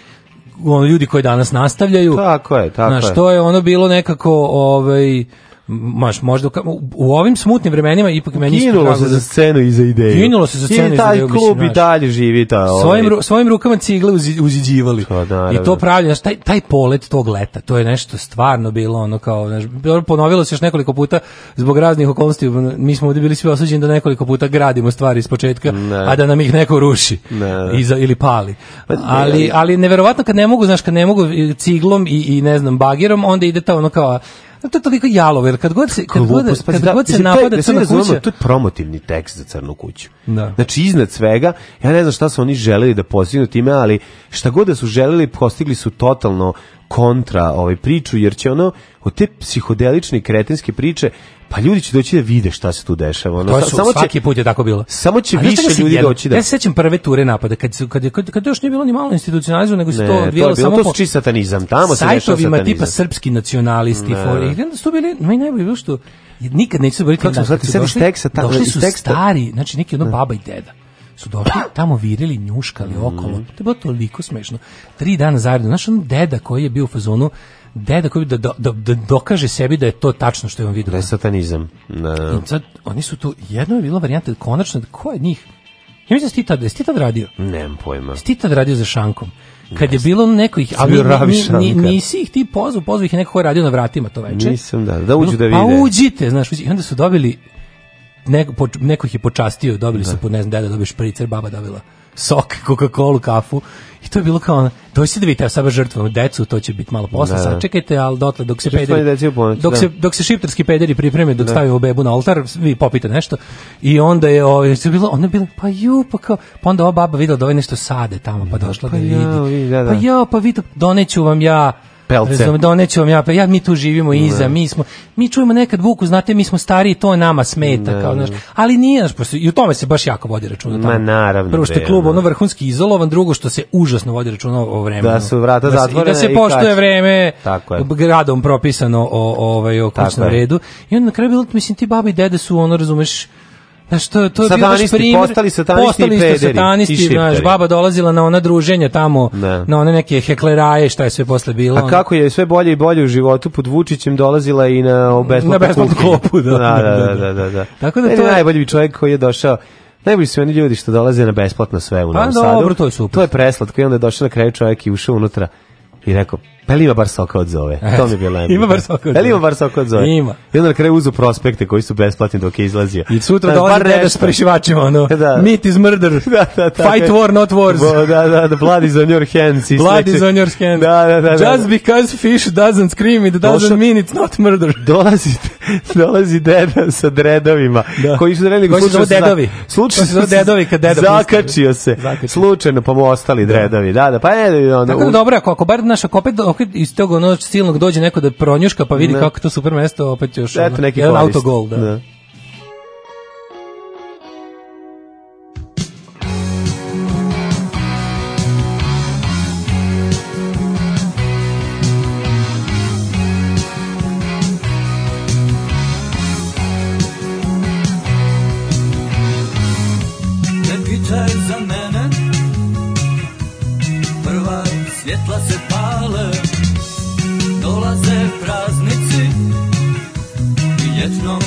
ono, ljudi koji danas nastavljaju,
Tako je, tako
znaš,
je.
to je ono bilo nekako, ovaj, Maš, možda u ka- u, u ovim smutnim vremenima ipak meni isto
Kinulo
drago
se
da-
za scenu i za ideju.
Kinulo se za scenu i
I
za
taj
ideju, mislim,
klub i
znaš.
dalje živi ta... ovaj-
svojim, ru- svojim rukama cigle uzi- uziđivali.
Pa naravno.
I to pravljeno, znaš, taj, taj polet tog leta, to je nešto stvarno bilo ono kao, znaš, dobro, ponovilo se još nekoliko puta zbog raznih okolnosti, mi smo ovdje bili svi osuđeni da nekoliko puta gradimo stvari iz početka, a da nam ih neko ruši
Ne.
Iza, ili pali.
Pa, ne,
Ali,
ali-
ali neverovatno kad ne mogu, znaš, kad ne mogu i ciglom i, i ne znam, bagirom, onda ide ta ono kao, a, to je toliko jalovo, jer kad god se, kad god,
Glupost, pazi,
kad
da,
god se
mislim, to je-
napada
da se
crna
razumemo,
kuća,
To je promotivni tekst za crnu kuću.
Da.
Znači, iznad svega, ja ne znam šta su oni želeli da postignu time, ali šta god da su želeli, postigli su totalno kontra ovaj priču, jer će ono, od te psihodelične i kretenske priče, pa ljudi će doći da vide šta se tu dešava. Ono,
To
sa-
Pa su, svaki put je tako bilo.
Samo će
A znaš
više
čega se
ljudi
jedno-
doći da-
Ja se sećam prve ture napada, kad, su- kad, je- kad, kad još nije bilo ni malo institucionalizovano, nego se
Ne,
to
to je
odvijalo
bilo-
samo
to
po
su čist satanizam, tamo se dešava
sajtovima
satanizam.
tipa srpski nacionalisti.
Ne,
for-
ne.
I onda su to bili, meni najbolje bilo što nikad neću zaboraviti.
Kako
jedan
sam
dan kad
shvatio,
su
sediš
došli-
teksta tamo,
Došli
iz
su
teksta.
stari, znači neki ono baba i deda su došli, tamo virili, njuškali
Mm.
okolo. To je bilo toliko smešno. Tri dana zajedno. Znaš, on deda koji je bio u fazonu, deda koji bi da, da, da dokaže sebi da je to tačno što je on vidio.
Da je satanizam. Da, da.
I sad, oni su tu, jedno je bila varijanta, konačno, da ko je od njih? Ja mislim da si ti tad, jesi ti tad radio?
Nemam pojma.
Jesi ti tad radio za šankom? Kad je bilo neko ih, ali
bio ravi
ni, ni,
Šankar.
nisi ih ti pozvao, pozvao ih je neko ko je radio na vratima to veče.
Nisam, da, da uđu da
Pa
vide.
uđite, znaš, uđi- i onda su dobili, neko, po, neko ih je počastio, dobili su, po, ne znam, deda dobio špricer, baba dobila sok, Coca-Cola, kafu, i to je bilo kao ono, dođite da vidite, evo sad baš žrtvujemo decu, to će biti malo posle,
Da.
sačekajte, ali dotle, dok se
Žrtvovanje
pederi-
dece u ponoć,
dok
da.
se dok se šiptarski pederi pripreme, dok stavimo bebu na oltar, vi popite nešto. I onda je ovaj se bilo, onda je bilo pa ju pa kao, pa onda ova baba videla da ovaj nešto sade tamo, pa došla
Pa
da
jao,
vidi.
vidi, da, da.
Pa ja, pa vidite, doneću vam ja
Pelce.
Razumem, doneću vam ja, pa ja mi tu živimo iza, mi smo, mi čujemo nekad buku, znate, mi smo stariji, to nama smeta, kao, znaš, ali nije, znaš, pošto- i u tome se baš jako vodi računa.
Ma,
tamo.
naravno,
Prvo što je
bre,
klub
ono.
ono vrhunski izolovan, drugo što se užasno vodi računa o vremenu.
Da su vrata
se- I da
zatvorena
se
i
poštuje
kači.
vreme,
Tako je.
gradom propisano o, o, ovaj, o
Tako
kućnom
je.
redu. I onda na kraju bilo, mislim, ti baba i dede su, ono, razumeš, Znaš, to, to je bio baš
Satanisti,
primer.
postali satanisti i
postali isto
pederi,
satanisti,
i
znaš,
šiptari.
baba dolazila na ona druženja tamo,
Da.
na one neke hekleraje, šta je sve posle bilo.
A
ono.
kako je sve bolje i bolje u životu pod Vučićem dolazila i na
Na
besplatnu
besplatnu klopu, da.
da, da, da, da, da.
Tako da
Meni
to je-
najbolji čovjek koji je došao Najbolji su oni ljudi što dolaze na besplatno sve u
Pa
Novom
dobro,
Sadu.
to je super.
To je preslatko i onda je došao na kraju čovjek i ušao unutra i rekao, pa jel ima bar soka od zove? To mi je bilo najbolje.
E, (laughs) Ima bar soka od
Jel ima
Zove?
bar soka od zove?
Ima.
I onda na kraju uzu prospekte koji su besplatni dok je izlazio.
I sutra
Znaš,
dolazi
bar
deda
nešto.
s prešivačima, ono,
Da.
meat is murder,
(laughs) Da, da, tako
fight
je.
war, not wars.
Bo- Da, da, da, blood is on your hands. i
Blood
sledeće-
is on your skin.
Da, da, da. da.
Just because fish doesn't scream, it doesn't
Došao-
mean it's not murder.
dolazi, dolazi deda sa dredovima,
Da.
koji su dredovi
Koji se
slučajno
zove
su-
dedovi. Koji
Slučajno
se zove dedovi kad deda pusti.
Zakačio se.
Zakačio.
Slučajno pa mu ostali dredovi. Da, da, pa je onda
Tako da
u-
dobro, ako, ako bar naš, ako opet, opet iz tog ono silnog dođe neko da pronjuška pa vidi
Ne.
kako je to super mesto, opet još ono,
eto neki
jedan
korist.
autogol. Da.
Ne pitaj za mene Prva svjetla se pale Dolaze praznici I ljetno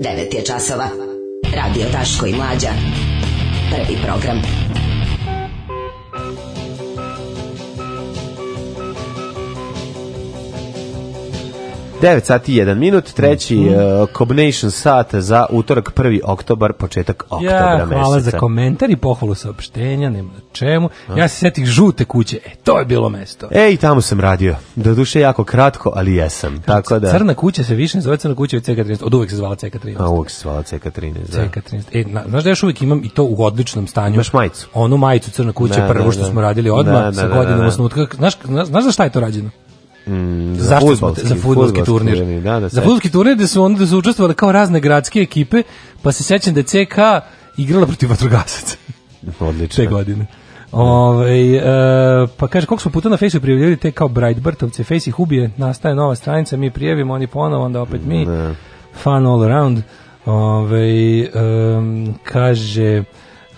9 je časova. Radio Daško i Mlađa. Prvi program.
Devet sati i jedan minut, treći
Mhm.
uh, combination sat za utorak 1. oktobar, početak oktobra
Ja,
meseca.
hvala za komentar i pohvalu saopštenja, nema na čemu. Ja se setih žute kuće, e, to je bilo mesto.
E, i tamo sam radio. Doduše jako kratko, ali jesam. Tako da...
Crna kuća se više ne zove crna kuća od CK13, od uvek se zvala CK13.
A uvek se zvala CK13, da.
CK13. E, na, znaš da još uvijek imam i to u odličnom stanju.
Imaš majicu.
Onu majicu Crna kuća,
Da,
prvo
da,
što
da.
smo radili odmah,
Da, da,
sa
da,
godinom
da, da.
osnutka. Znaš, znaš, znaš za šta je to rađeno?
Mm,
Zašto
fudbalski-
smo, za futbolski turnir.
Da, da,
za
sećam.
futbolski turnir da su onda da su učestvovali kao razne gradske ekipe, pa se sećam da je CK igrala protiv vatrogasaca.
Odlično.
Te godine. Ove, e, pa kaže, koliko smo puta na Facebooku prijavljali te kao Breitbartovce, Face ih ubije, nastaje nova stranica, mi prijavimo, oni ponovo, onda opet mi. Fun all around. Ove, em, kaže,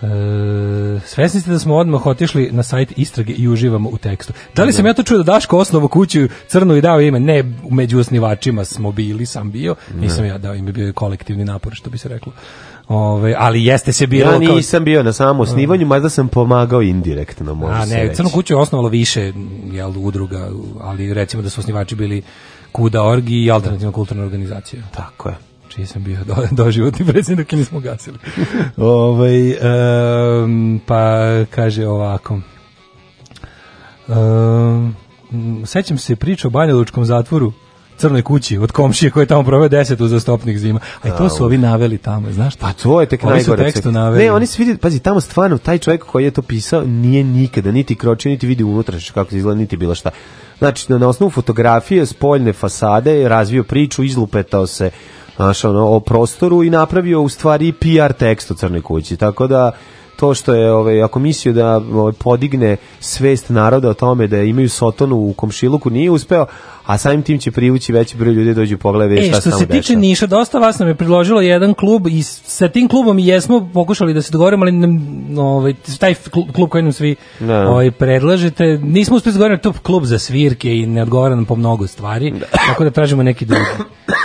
e, svesni ste da smo odmah otišli na sajt istrage i uživamo u tekstu. Da li sam ja to čuo da Daško osnovu kuću crnu i dao ime? Ne, među osnivačima smo bili, sam bio. Nisam ja dao ime, bio je kolektivni napor, što bi se reklo. Ove, ali jeste se bilo
Ja
kao-
nisam bio na samom osnivanju, mada sam pomagao indirektno, može
a
se
ne,
reći.
Crnu kuću je osnovalo više jel, udruga, ali recimo da su osnivači bili Kuda Orgi i Alternativna kulturna organizacija.
Tako je.
Čiji sam bio do, (laughs) doživotni predsjednik i nismo gasili. (laughs) Ovaj, em, pa kaže ovako. Um, sećam se priče o Banjalučkom zatvoru crnoj kući od komšije koji je tamo proveo 10 uzastopnih zima. A i to su ovi naveli tamo, znaš? Pa
to je tek
Ovi su
najgore.
tekstu
cek-
naveli.
Ne, oni se vidi, pazi, tamo stvarno taj čovjek koji je to pisao nije nikada niti kročio, niti vidio unutrašnje kako izgleda, niti bilo šta. Znači, na, na osnovu fotografije, spoljne fasade, je razvio priču, izlupetao se znaš, ono, o prostoru i napravio u stvari PR tekst o Crnoj kući. Tako da, to što je ovaj ako mislio da ovaj, podigne svest naroda o tome da imaju sotonu u komšiluku nije uspeo a samim tim će privući veći broj ljudi da dođu pogledati
E,
šta se
što
tamo
se tiče
dešava.
Niša, dosta vas nam je predložilo jedan klub i s- sa tim klubom i jesmo pokušali da se dogovorimo, ali nam, ovaj, taj kl- klub koji nam svi
Da.
ovaj, predlažete, nismo uspjeli dogovoriti, to je klub za svirke i ne odgovara nam po mnogo stvari, tako da tražimo neki drugi.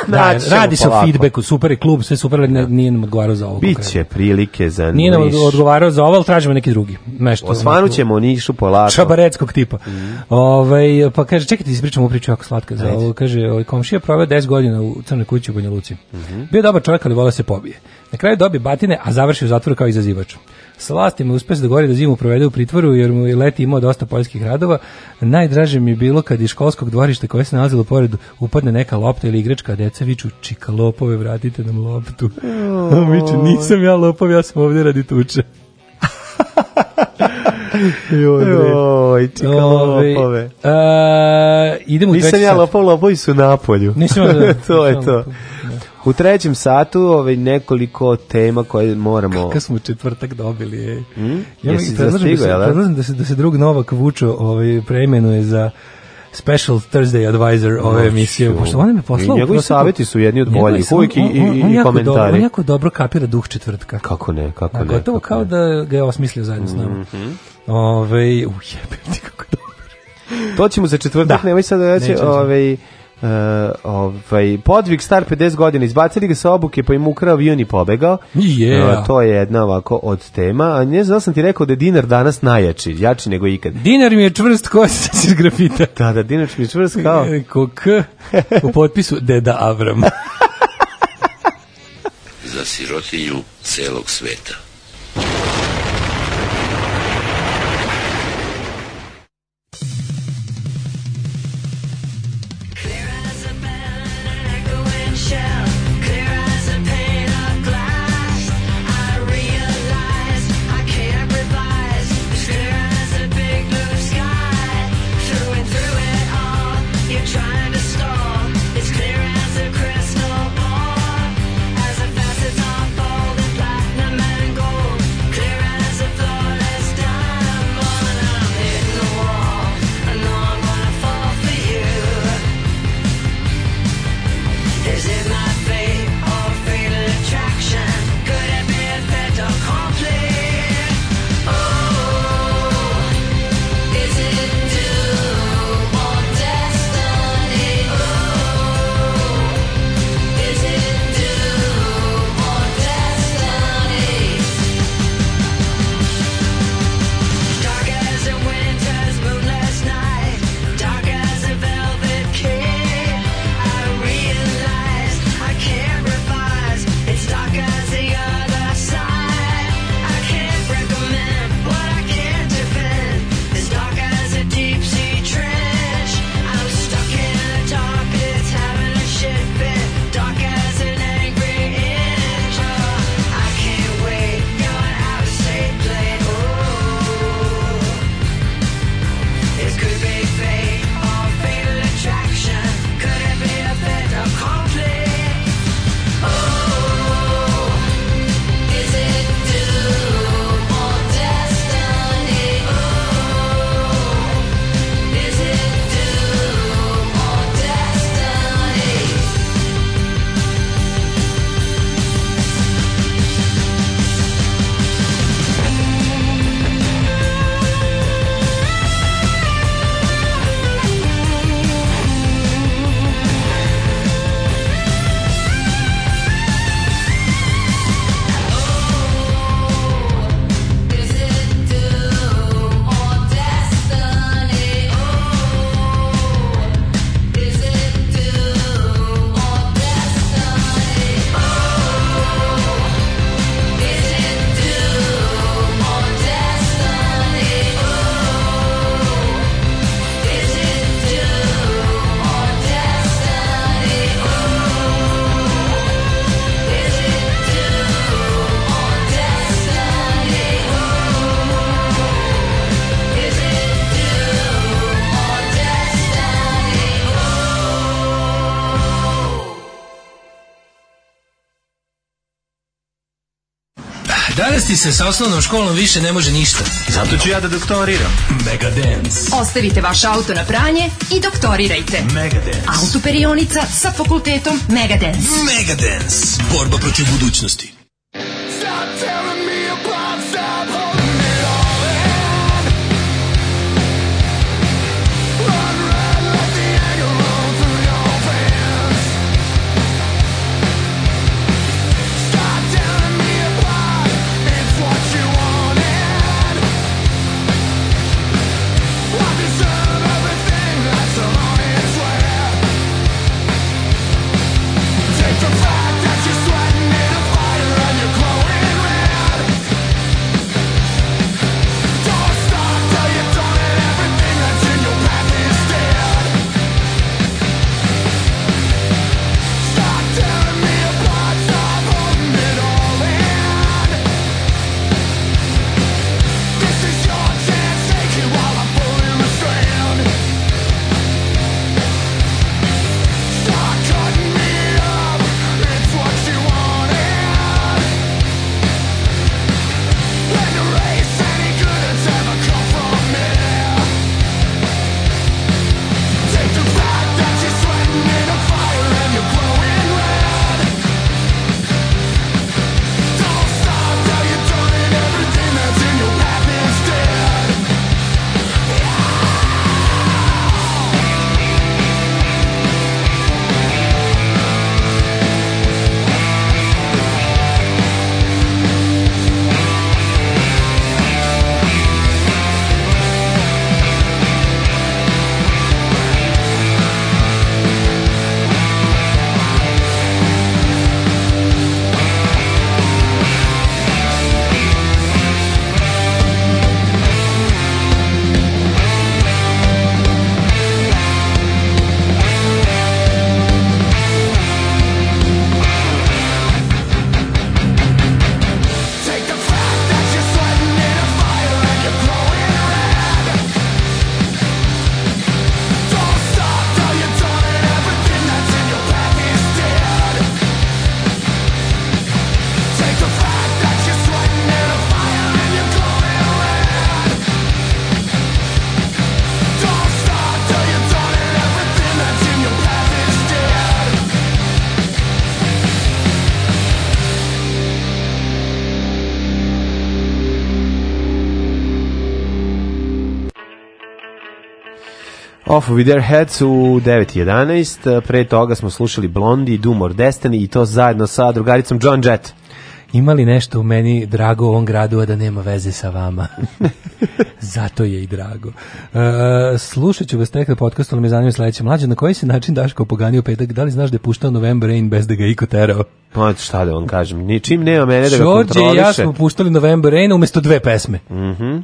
da,
Naći ćemo
radi se o
polako.
feedbacku, super je klub, sve super, ali ne- nije nam odgovarao za ovo. konkretno.
Biće prilike za
Nije nam
Niš.
odgovarao za ovo, ali tražimo neki drugi. Nešto,
Pa Osvanut ćemo Nišu polako.
Čabareckog tipa. Ovaj, pa kaže, čekajte, ispričam ovu priču jako slatka. Za ovo, kaže, ovaj, komšija proveo 10 godina u crnoj kući u Banja Luci. Bio dobar čovjek, ali volao se pobije. Na kraju dobije batine, a završi u zatvoru kao izazivač. Sa vlasti mu uspes da gori da zimu provede u pritvoru, jer mu je leti imao dosta poljskih radova. Najdraže mi je bilo kad iz školskog dvorišta koje se nalazilo pored upadne neka lopta ili igračka, a deca viču, čika lopove, vratite nam loptu. A on (laughs) viče, nisam ja lopov, ja sam ovdje radi tuče.
Joj, čika
Ovaj,
lopove.
e, idemo u
Nisam
treći
ja
sat.
lopov, lopovi su napolju.
Nisam
(laughs)
ja, da,
to je
nisam
to.
lopov,
U trećem satu ovaj, nekoliko tema koje moramo...
Kako smo u četvrtak dobili, ej.
Hm?
Ja mi predlažem,
Jesi
da
zastigao,
se,
jel da?
predlažem da se, da se drug Novak Vučo ovaj, preimenuje za Special Thursday Advisor ove
Noću.
emisije, pošto on nam je poslao...
I njegovi
proseku-
saveti su jedni od boljih,
Njegovi su-
uvijek i-
on- on-
i-
on
i
jako
komentari.
dobro- On jako dobro kapira duh četvrtka.
Kako ne, kako
A
ne. Mhm.
gotovo
kako
kao da ga je osmislio zajedno s nama. Ove, ujebem ti kako dobro.
ne. To ćemo za četvrtak, nemoj sad da reći,
Nećemo.
ovaj, Uh, ovaj, podvig star 50 godina izbacili ga sa obuke pa im ukrao avion i pobegao
Yeah.
Uh, to je jedna ovako od tema a ne znam da li sam ti rekao da je dinar danas najjači jači nego ikad
Dinar mi je čvrst ko iz grafita.
da da dinar mi je čvrst kao
Ko K u potpisu Deda Avram.
za sirotinju celog sveta.
Trying to stall, it's clear as a crystal ball. As a facet's unfolding, platinum and gold. Oh, Oh, Oh, Oh,
Danas ti se sa osnovnom školom više ne može ništa.
Zato ću ja da doktoriram.
Mega Dance.
Ostavite vaš auto na pranje i doktorirajte.
Megadance.
Autoperionica sa fakultetom Megadance.
Megadance. Borba protiv budućnosti.
Off with their heads u 9.11, pre toga smo slušali Blondie, Doom or Destiny i to zajedno sa drugaricom John Jett.
Ima li nešto u meni drago u ovom gradu, a da nema veze sa vama?
(laughs)
Zato je i drago. E, slušat ću vas tek na podcastu, ali me zanima sledeće. Mlađe, na koji se način Daško poganio petak? Da li znaš da je puštao November Rain bez da ga je iko terao?
Pa šta da vam kažem, ničim nema mene da ga
Đorđe i
kontroliše. Mhm.
ja smo puštali November Rain umesto dve pesme.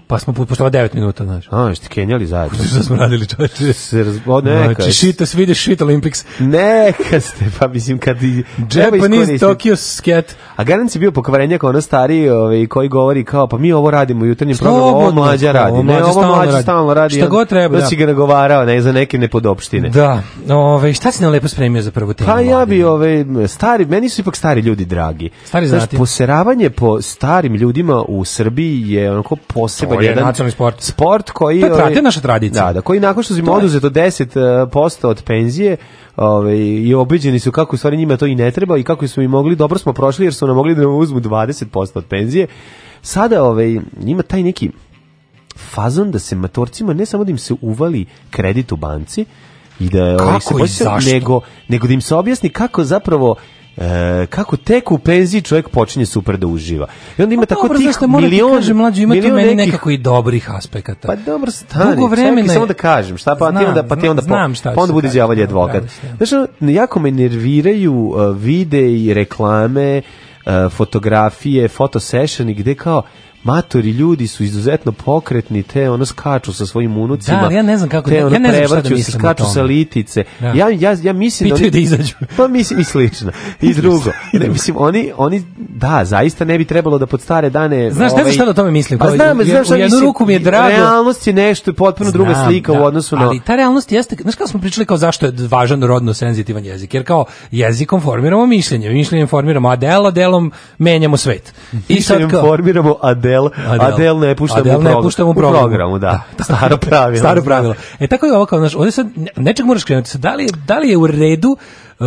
Pa smo pu- puštali 9 minuta, znaš.
A, jeste kenjali zajedno.
Šta smo radili, čoveče?
Se raz... o, neka.
Znači, shit us, vidiš shit Olympics.
Neka ste, pa mislim kad i... treba
Japanese
iskoristiti.
Tokyo Sket.
A Garanc je bio pokvarenjak, ono stariji ovaj, koji govori kao, pa mi ovo radimo u jutarnjem
Slobodno,
programu, ovo mlađa
kao,
radi.
ovo
Ne,
mlađa
ovo
stalno
mlađa
radi.
stalno radi.
Šta god treba,
Da
da.
si ga nagovarao ne, za neke nepodopštine.
Da, ove, šta si nam lepo spremio za prvu temu?
Pa ja bi ove stari, meni su ipak stari ljudi dragi.
Stari
Znaš,
znati.
poseravanje po starim ljudima u Srbiji je onako poseban
To je
jedan
nacionalni sport.
sport koji
To je tra-
ovaj,
to je naša tradicija.
Da, da, koji nakon što im
To je-
oduzeto 10% od penzije, ovaj i obeđeni su kako u stvari njima to i ne treba i kako smo i mogli, dobro smo prošli jer su nam mogli da nam uzmu 20% od penzije. Sada ovaj ima taj neki fazon da se matorcima ne samo da im se uvali kredit u banci i da ovaj,
Kako
se
i
posjeti-
zašto?
nego nego da im se objasni kako zapravo e, kako tek u penziji čovjek počinje super da uživa. I onda ima tako
Pa Dobro,
tih
znaš šta, moram ti
milion,
kažem, mlađo, ima tu
milion
meni
nekih-
nekako i dobrih aspekata.
Pa dobro, stani,
Dugo vremena
čekaj,
je-
samo da kažem, šta pa ti
Znam,
onda, pa ti onda, po-
znam šta
pa onda
ću da
bude
kažem,
đavolji
da,
advokat.
pravi si, da.
Znaš, ono, jako me nerviraju uh, vide i reklame, uh, fotografije, fotosessioni, gde kao matori ljudi su izuzetno pokretni, te ono skaču sa svojim unucima.
Da, ali ja ne znam kako-
te
ja ne
ono
znam šta da
prevrću se,
mislim o
skaču sa
tome.
litice.
Da.
Ja, ja, ja mislim...
Pitaju
oni-
da izađu.
(laughs) Pa mislim i slično. I drugo. ne, mislim, oni, oni, da, zaista ne bi trebalo da pod stare dane...
Znaš, ne znam šta da o tome mislim,
Pa
kao,
znam,
u-
znam šta
u jednu
mislim.
ruku mi je drago.
Realnost je nešto potpuno druga
Znam,
slika
da,
u odnosu na...
Ali ta realnost jeste, znaš kako smo pričali kao zašto je važan rodno senzitivan jezik, jer kao jezikom formiramo mišljenje, mišljenjem formiramo, a delo, delom menjamo svet. I sad
Mišljenjem
kao,
formiramo Adel, Adel, ne puštamo
Adele
u
ne
programu.
puštamo u
U
programu.
programu, da. Staro pravilo.
Staro pravilo. E tako je ovo kao, znaš, ovdje sad ne- nečeg moraš krenuti. Sad, Da li, je, da li je u redu e,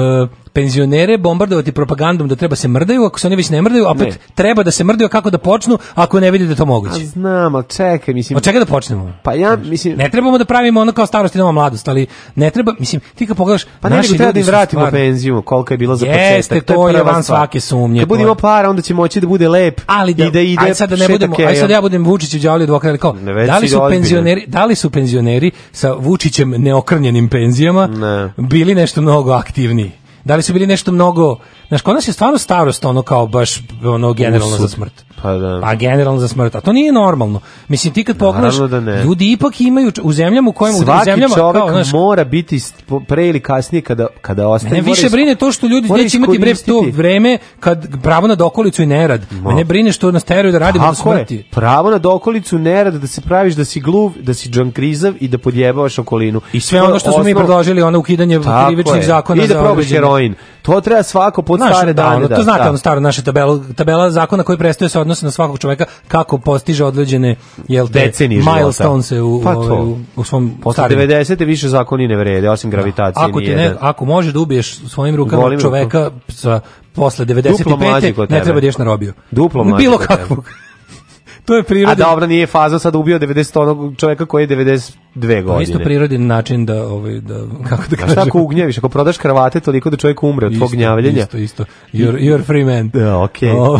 penzionere bombardovati propagandom da treba se mrdaju, ako se oni već ne mrdaju, a opet
Ne.
treba da se mrdaju, a kako da počnu ako ne vidi da je to moguće.
Znam, ali čekaj, mislim...
Od čega da počnemo?
Pa ja, mislim...
Ne trebamo da pravimo ono kao starost i nova mladost, ali ne treba, mislim, ti kad pogledaš,
Pa ne,
naši
nego treba
ljudi
da im
su
vratimo
stvarno-
penziju, koliko je bilo za početak.
Jeste, to je
prva
van
stvar.
svake sumnje,
Kad
to je-
budemo para, onda će moći da bude lep
ali da,
i da ide
ajde sad da ne budemo, aj sad ja budem Vučić u đavoli advokat, ali kao,
već
da li
ide
su
ozbiljno.
penzioneri, da li su penzioneri sa Vučićem neokrnjenim penzijama bili nešto mnogo aktivniji? Da li su bili nešto mnogo, znaš, kod nas je stvarno starost ono kao baš ono generalno za
Usud.
smrt.
Pa da.
Pa generalno za smrt, a to nije normalno. Mislim ti kad pogledaš,
Naravno da ne.
ljudi ipak imaju č- u zemljama u kojima u
Svaki
zemljama
čovek
kao, znaš,
mora biti st- po- pre ili kasnije kada, kada ostane.
Mene
mora
više
isk-
brine to što ljudi
mora
neće imati bre to
iskoristiti.
vreme kad pravo na dokolicu i nerad. Mene brine što nas teraju da radimo do
Tako je.
smrti.
Pravo na dokolicu nerad da se praviš da si gluv, da si džankrizav i da podjebavaš okolinu.
I sve ono što smo mi
Osnov-
predložili, ono ukidanje
Tako je.
krivičnih zakona
I da
za
probaš
određene-
heroin. To treba svako pod
Znaš,
stare
da,
dane.
ono,
da,
to znate,
da.
ono staro naše tabela, tabela zakona koji prestaje se odnosi na svakog čoveka kako postiže određene jel te,
Decenije života.
milestone u,
Pa
ovaj,
to.
u, u svom
Posle
starim.
90. više zakoni ne vrede, osim gravitacije.
Ako, ti ne,
nijedan.
ako može da ubiješ svojim rukama
Golim rukom.
čoveka sa, posle
Duplo mlađi
95.
kod
ne
tebe.
treba da ješ na robiju.
Duplo mlađi
Bilo
kod tebe.
kakvog. (laughs) to je
A
priroda.
dobro, nije faza sad ubio 90 onog čoveka koji je 92
To je
godine.
Pa isto prirodin način da, ovaj, da (laughs) kako da
A šta
kažem.
ako ugnjeviš? Ako prodaš kravate, toliko da čovjek umre od tvog gnjavljenja.
Isto, isto. You're, you're free
(laughs)
man.
Da, okej.
O,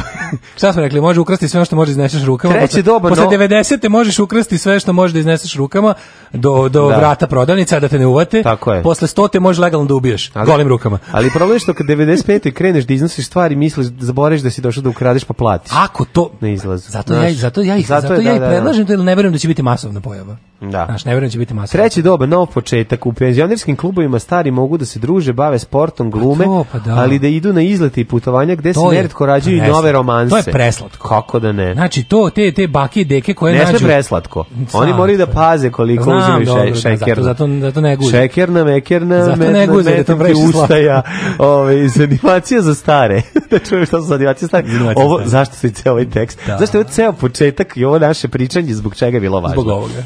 šta smo rekli, može ukrasti sve ono što može da izneseš rukama.
Treće
Posle-
doba,
Posle
no-
90. možeš ukrasti sve što može da izneseš rukama do, do
Da.
vrata prodavnica, da te ne uvate.
Tako je.
Posle 100. možeš legalno da ubiješ, golim rukama.
Ali problem je što kad 95. kreneš da iznosiš stvari, misliš, zaboraviš da si došao da ukradeš pa platiš.
Ako to...
Na izlazu.
Zato
Znaš,
ja, zato ja, ih, zato
je,
ja
da,
i
da, da.
predlažem to, jer ne verujem da će biti masovna pojava.
Da.
Znaš, ne verujem da će biti masovna.
Treći doba, nov početak. U penzionerskim klubovima stari mogu da se druže, bave sportom, glume,
to, pa da.
ali da idu na izlete i putovanja gde se
To je
neretko rađaju i
preslatko.
nove romanse.
To je preslatko.
Kako da ne?
Znači, to, te, te bake i deke koje
Ne
nađu...
sme preslatko.
Znam,
Oni moraju da paze koliko
Znam,
uzimaju
dobro, da,
še, šekerna.
zato- zato- zato ne guze.
Šekerna, mekerna,
Zato ne
metna,
guze, da to
metna ti
previše slatko.
ustaja. Ove, zanimacija za stare. (laughs) da čujem šta su zanimacije stare.
Zanimacije
Ovo,
stare.
zašto se ceo ovaj tekst?
Da.
Zašto je ovo ceo početak i ovo naše pričanje zbog čega je bilo važno?
Zbog ovoga.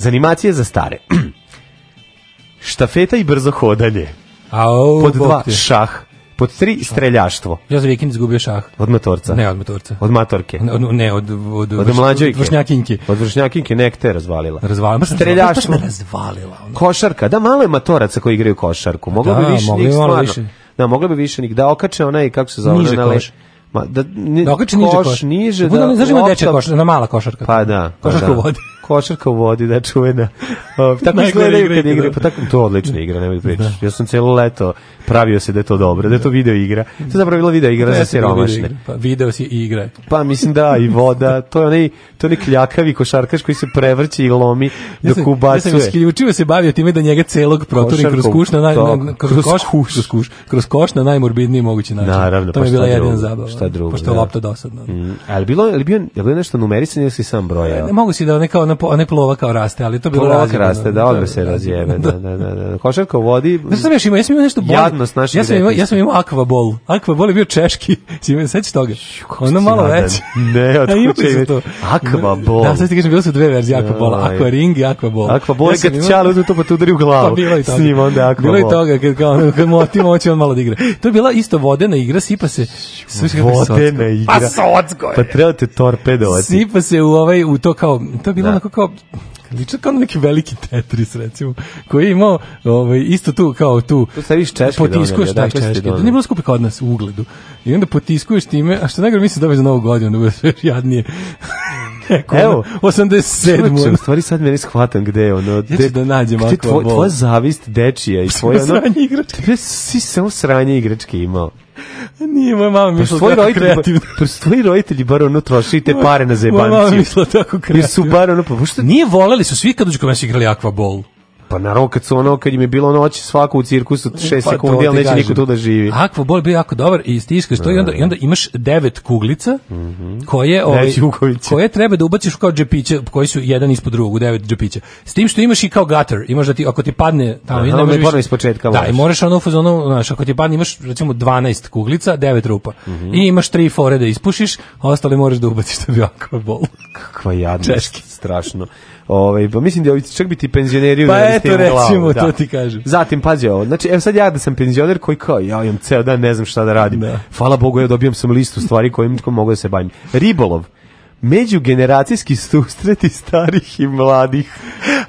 Zanimacije za stare. (clears throat) Štafeta i brzo hodanje.
Au,
Pod
Bog
dva,
te.
šah. Pod tri, streljaštvo.
Ja za vikend izgubio šah.
Od motorca.
Pa Ne, od motorca.
Od matorke.
Ne, od, ne, od, od,
Od mlađojke.
vršnjakinjke.
Od vršnjakinjke nekte je razvalila.
Razvalila. Baš me
Streljaštvo.
baš me razvalila. ono.
Košarka, da malo je matoraca koji igraju košarku. Moglo
Da,
bi više
mogli
njih
bi malo
stvarno.
više.
Da, moglo bi više njih. Da okače onaj, kako se zove,
Niže
onaj
koš.
Ma, da, ne,
Da okači niže koš.
niže,
Bude
da,
ona- znaš ima
lopta-
dečja košarka, ona mala košarka.
Pa da. pa
Košarka
da.
u vodi.
(laughs) Košarka u vodi, da, čuvena. O, tako
Najgore
izgledaju
igra
kad
ikada.
igraju. Pa tako, to je odlična igra, nemoj da pričaš. Ja sam celo leto pravio se da je to dobro, da je to video igra. To je zapravo bila video igra za
Jeste bilo video
siromašne.
igra. Pa video si i igra.
Pa mislim da, i voda, to je onaj, to je onaj kljakavi košarkaš koji se prevrće i lomi
Ja sam,
dok
ja sam
ubacuje.
isključivo se bavio time da njega celog proturim kroz
Košarkom,
kuš na, naj, na,
to,
na- kroz,
kroz
koš, kroz, kuš, kroz koš na najmorbidniji mogući način.
Naravno,
to
pa
mi je bila
šta
jedina
drugo,
zabava.
šta drugo,
Pošto je
da.
lopta dosadna.
Mm, ali bilo je bio je bilo nešto numerisanje ili si sam brojao?
Ne mogu si da neka ona, po- ona plova kao raste, ali to je bilo
Polak
razjebano.
raste, da odmah se razjebe. Da, da, da, da. Košarka u vodi,
Znaš šta sam još imao? Ja sam imao nešto bolje.
Jadnost našeg
ja sam imao, ja
detinjstva.
sam imao akvabol. Akvabol je bio češki. (laughs) Si imao, sećaš toga? Ono malo
jadan.
veće. (laughs)
Ne, od
A imali
kuće
su
ime-
to.
Akvabol.
Da, sad ti kažem, bilo su dve verzije akvabola.
Aj.
Akvaring i akvabol.
Akvabol je kad ćale uzme to pa te udari u glavu.
Pa bilo je i toga.
S njim onda akvabol.
Bilo je i toga, kad, kao, ono, kad motim, on će on malo da igra. To je bila isto vodena igra, sipa se... Slušaj kako je socko.
Vodena igra.
Pa socko je.
Pa treba te torpedovati.
Sipa se u ovaj u to kao to je bilo
Da.
onako kao liči kao na neki veliki Tetris recimo koji je imao ovaj isto tu kao tu
Tu staviš češke
potiskuješ
doneli,
taj
odakle ste
dakle, češki to
doneli?
nije bilo skupi kod nas u (laughs) ugledu i onda potiskuješ time a što najgore misliš da je za novu godinu da bude sve još jadnije rekao. Evo, 87.
Čovječe, u stvari sad meni shvatam gde je ono...
Ja ću da nađem
gde
ako
tvoj,
mogu.
tvoja zavist dečija i tvoje ono...
sranje igračke.
Tebe si samo sranje igračke imao.
Nije, moja mama
Pa
mislila
tvoji
tako
roditelji,
kreativno.
pa tvoji roditelji bar ono trošili te pare na
Moja mama
zebanciju.
mislila tako kreativno.
Jer su bar ono, pa pošto
Nije voleli su svi kad uđu kod nas igrali Aquaball.
Pa naravno kad su ono, kad im je bilo noć svako u cirkusu 6
Pa, to
sekundi,
ti
ali neće
kažem.
niko tu da živi.
Aquaball je bio jako dobar i stiskaš to i onda, i onda imaš devet kuglica koje, ovaj,
Mhm. Devet jugovića.
koje treba da ubaciš kao džepiće koji su jedan ispod drugog, u devet džepića. S tim što imaš i kao gutter, imaš da ti, ako ti padne tamo,
Aha,
ne
onda
možeš
je ponovo
više-
ispočetka
Da,
moraš.
i moraš ono u fazonu, znaš, ako ti padne imaš recimo 12 kuglica, devet rupa.
Mhm.
I imaš tri fore da ispušiš, a ostale moraš da ubaciš da bi
(laughs)
Aquaball.
Kakva jadnost, strašno. Ovaj pa mislim da ovi čak bi ti penzioneri
Pa
udarili
eto,
tim u glavu,
recimo, to ti
(laughs)
kažem.
Zatim pađe ovo. Znači, evo sad ja da sam penzioner koji kao ja imam ceo dan ne znam šta da radim. Hvala Bogu ja dobijam sam listu stvari kojim ko mogu da se bavim. Ribolov. Međugeneracijski susreti starih i mladih.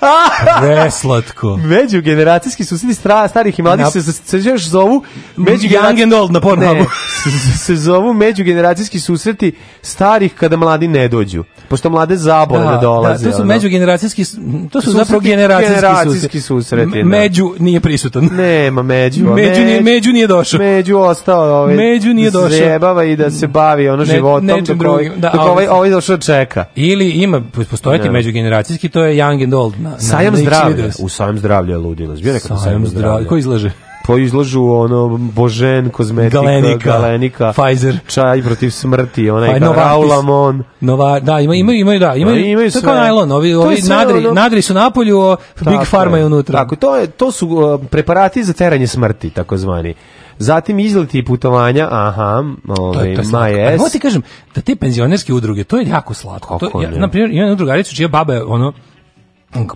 Ah! Preslatko.
Međugeneracijski susreti stra- starih i mladih
Na-
se, se, se još zovu međugeneracijski-
Young and old (laughs) na Pornhubu.
Ne, se- (laughs) se zovu međugeneracijski susreti starih kada mladi ne dođu. Pošto mlade zabole ne dolaze.
Da, to su
ono.
međugeneracijski, s- m, to su
Susreti,
zapravo generacijski,
generacijski susreti,
M-
da.
Među nije prisutan.
Nema među. a
(laughs) Među nije- među nije došao.
Među ostao ovaj.
Među nije
da se
došao.
Zajebava i da se bavi ono
Ne-
životom
nečim
dok ovaj,
drugim. Da,
dok
a
ovaj,
ovaj-
ovaj došao čeka.
Ili ima postojati
Ne.
međugeneracijski, to je Young and Old. Na, na,
Sajam
na X
zdravlja.
videos.
U sajam zdravlja je ludilo. Bio nekad na
Sajam zdravlja. Ko izlaže?
Po izlažu ono Božen, kozmetika,
Galenika,
Galenika
Pfizer.
čaj protiv smrti, onaj
Pa,
pa,
Novartis.
Raulamon.
Nova, da, ima, imaju, imaju, da, imaju,
Ali imaju
to je
sve.
kao najlon, ovi,
To je
ovi
sve
nadri,
ono-
nadri su napolju, o,
Tako
Big Pharma je unutra.
Tako, to, je, to su uh, preparati za teranje smrti, takozvani. Zatim izleti i putovanja, aha,
To je,
ovaj,
to je
my
slatko. Ali mogu
ass.
ti kažem, da te penzionerske udruge, to je jako slatko.
Kako
to, ja,
ne?
na primjer, imam jednu drugaricu čija baba je ono,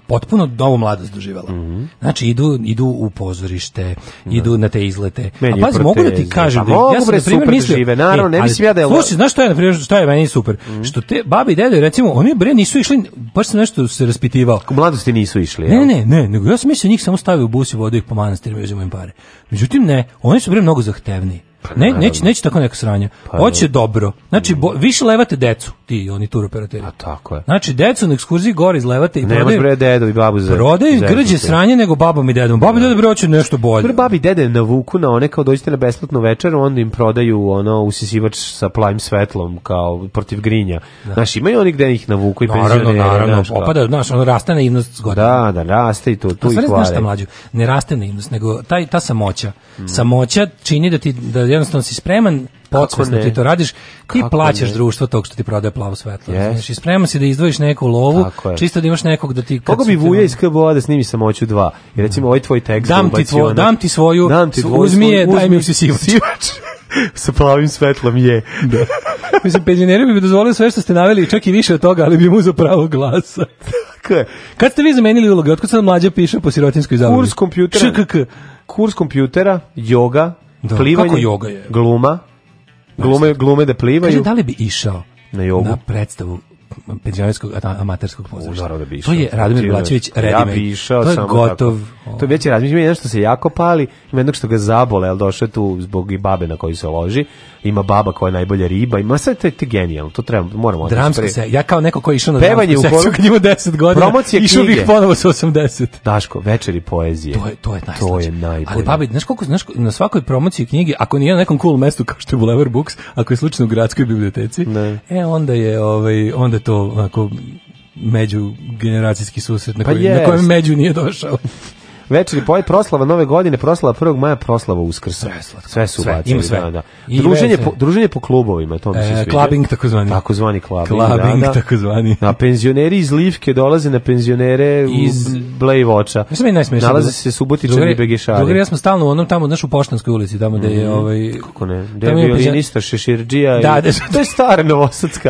potpuno novu mladost doživjela.
Mhm.
Znači, idu, idu u pozorište, idu na te izlete.
Meni je
a pazi, mogu da ti
proteze.
kažem,
Pa
da, ja
mogu,
sam,
bre,
na primjer,
super
mislio- E,
žive, naravno, ne
ali
mislim ja da je lo- Mhm.
Slušaj, znaš što je, na primjer, što je meni super? Što te babi i dede, recimo, oni bre nisu išli, baš sam nešto se raspitivao.
U mladosti nisu išli.
Ne,
jel?
ne, ne, nego ja sam mislio njih samo stave u bus i vode ih po manastirima i uzimaju im pare. Međutim, ne, oni su bre mnogo zahtevniji.
Pa
Ne, neće, neće tako neka sranja. Hoće dobro. Znači, bo, više levate decu, ti, oni turoperateri.
A tako je.
Znači, decu na ekskurziji gore izlevate i
Nemaš
prodaju,
bre dedu i babu za...
prodaju
za-
grđe
za-
sranje nego babom i dedom. Babi i dede bre hoće nešto bolje.
Bre, babi i dede navuku na one kao dođete na besplatnu večeru, onda im prodaju ono usisivač sa plavim svetlom kao protiv grinja. Znaš, imaju oni gde ih navuku i
Naravno,
penzionere.
naravno,
znaš, kao-
opada, znaš, ono raste naivnost s godinama.
Da, da, raste i to, tu
A
ih
stvari znaš šta
hvale.
mlađu, ne raste naivnost, nego taj, ta samoća. Samoća čini da ti da jednostavno si spreman, podsvesno
ne?
ti to radiš, ti
Kako
plaćaš
ne?
društvo tog što ti prodaje plavo svetlo.
Jest.
Znači, spreman si da izdvojiš neku lovu,
Tako je.
čisto da imaš nekog da ti... kad
Koga bi
su ti- ono-
Vuja iz KBO da snimi samoću 2? I recimo ovaj tvoj tekst
Dam ti
ubaci
tvo-
ono-
dam ti svoju, uzmi je, daj mi usisivač.
(laughs) sa plavim svetlom je. Da. (laughs)
(laughs) Mislim, penzioneri bi mi dozvolili sve što ste naveli, čak i više od toga, ali bi mu za pravo
(laughs)
glasa.
Tako je.
Kad ste vi zamenili uloge, otkud sad mlađa piše po sirotinskoj zabavi?
Kurs kompjutera.
ŠKK.
Kurs kompjutera, joga,
Da,
plivanje.
kako joga je?
Gluma. Glume, glume da
Kaže,
plivaju.
da li bi išao
Na jogu?
na predstavu penzionerskog a- amaterskog
U,
pozorišta?
naravno da bi
To
išao.
je Radomir Blačević
Ja
Redimej.
bi išao
to je
samo
gotov.
Tako. To je već razmišljam, ima nešto se jako pali, ima jednog što ga zabole, ali došao je tu zbog i babe na koju se loži, ima baba koja je najbolja riba, ima sve to je to je genijalno, to treba, moramo otići
Dramsko
pre-
se, ja kao neko koji je išao na
Pevanje
dramsku
u
sekciju (laughs)
horu.
kad imao 10 godina,
Promocija
išao bih
knjige.
ponovo sa 80.
Daško, večeri poezije.
To je, to je najslađe.
To je najbolje.
Ali babi, znaš koliko, znaš, na svakoj promociji knjige, ako nije na nekom cool mestu kao što je Boulevard Books, ako je slučajno u gradskoj biblioteci,
Ne.
e onda je ovaj, onda je to onako međugeneracijski susret na,
Pa
koji, na kojem
jest.
među nije došao.
Večeri poje proslava nove godine, proslava 1. maja, proslava Uskrsa.
Sve slatko.
Sve su
Sve,
ubacili,
ima sve.
Da, da.
I
Druženje,
veze.
po, druženje po klubovima, to mi se
E,
sviđa.
clubbing takozvani.
Takozvani clubbing,
Clubbing
da, da.
takozvani.
A penzioneri iz Livke dolaze na penzionere iz
Iz-
Blejvoča.
Mislim Pa je najsmešnije.
Nalaze se Subotičani
Drugari-
Begešari.
Drugari, ja smo stalno u onom tamo, znaš, u Poštanskoj ulici, tamo gde je ovaj...
Mhm. Kako ne? Gde je
tamo ima
bio
penzioner-
linista, šeširđija. i-
Da, da.
to je stara Novosadska.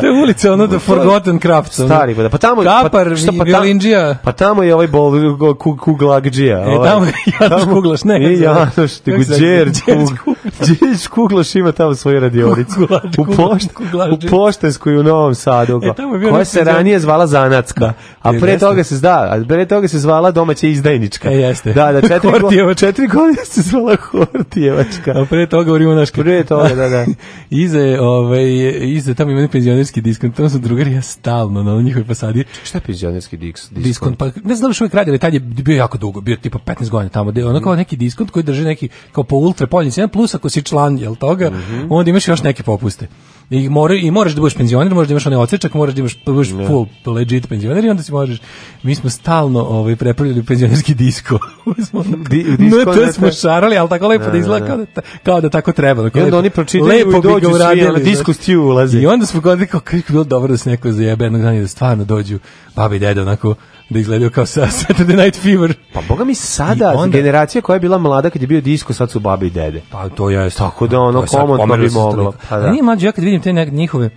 (laughs) To je ulica, ono, The Forgotten Crafts. ono.
Stari, pa da, pa tamo...
Kapar,
pa, šta,
i
pa tamo-
violindžija. E,
Pa tamo je ovaj bol, go- ku- kuglagđija.
Ne,
(laughs)
tamo je Janoš
Tamo- E,
Kuglaš,
(laughs)
ne,
Nije
zove-
Janoš,
kako
nego
se zove?
Đerđ
Đerđ
Kug- Đerđ Kuglaš ima tamo svoju radionicu.
Kugla-
U,
Kugla-
pošt,
Kuglaš
u
Đerđ.
Poštanskoj u Novom Sadu.
E, tamo je bio
koja
neki
se
zove-
ranije zvala Zanacka. a
je,
pre
jeste.
toga se zda, a pre toga se zvala domaća izdajnička.
E, jeste.
Da, da, četiri, go-
Hortijeva-
četiri godine se zvala Hortijevačka.
A pre toga u Rimunaške.
Pre toga, da, da.
iza je, ovaj, iza, tamo ima neki penzionerski diskont, tamo su drugari ja stalno na njihovoj fasadi.
Šta je penzionerski diks, diskont?
Diskont, pa ne znam što uvijek radili, tad je bio jako dugo, bio tipa 15 godina tamo, gde je ono kao neki diskont koji drži neki, kao po ultra poljni cena, plus ako si član, jel toga,
Mhm.
onda imaš još neke popuste. I, more, I moraš da budeš penzioner, moraš da imaš onaj odsečak, moraš da imaš da budeš full legit penzioner i onda si možeš. Mi smo stalno ovaj, prepravljali penzionerski disko. (laughs) Mi smo ono-
Di- u
no,
disko
to
ne
smo
te-
šarali, ali tako lepo
Da,
da
da,
izgleda
da.
kao da, ta- kao da tako treba.
I
Lepo,
onda oni pročitaju i
bi ga
dođu svi,
uradili,
ono, disco
znaš.
stew ulazi.
I onda smo godili kao kako je bilo dobro da se neko zajebe jednog dana i da stvarno dođu babi i deda onako da izgledaju kao sa Saturday Night Fever.
Pa boga mi sada,
I onda-
generacija koja je bila mlada kad je bio disko, sad su babi i dede.
Pa to je
Tako da ono, komotno bi moglo. Pa da.
Nije mlađe, ja kad vidim te nek- njihove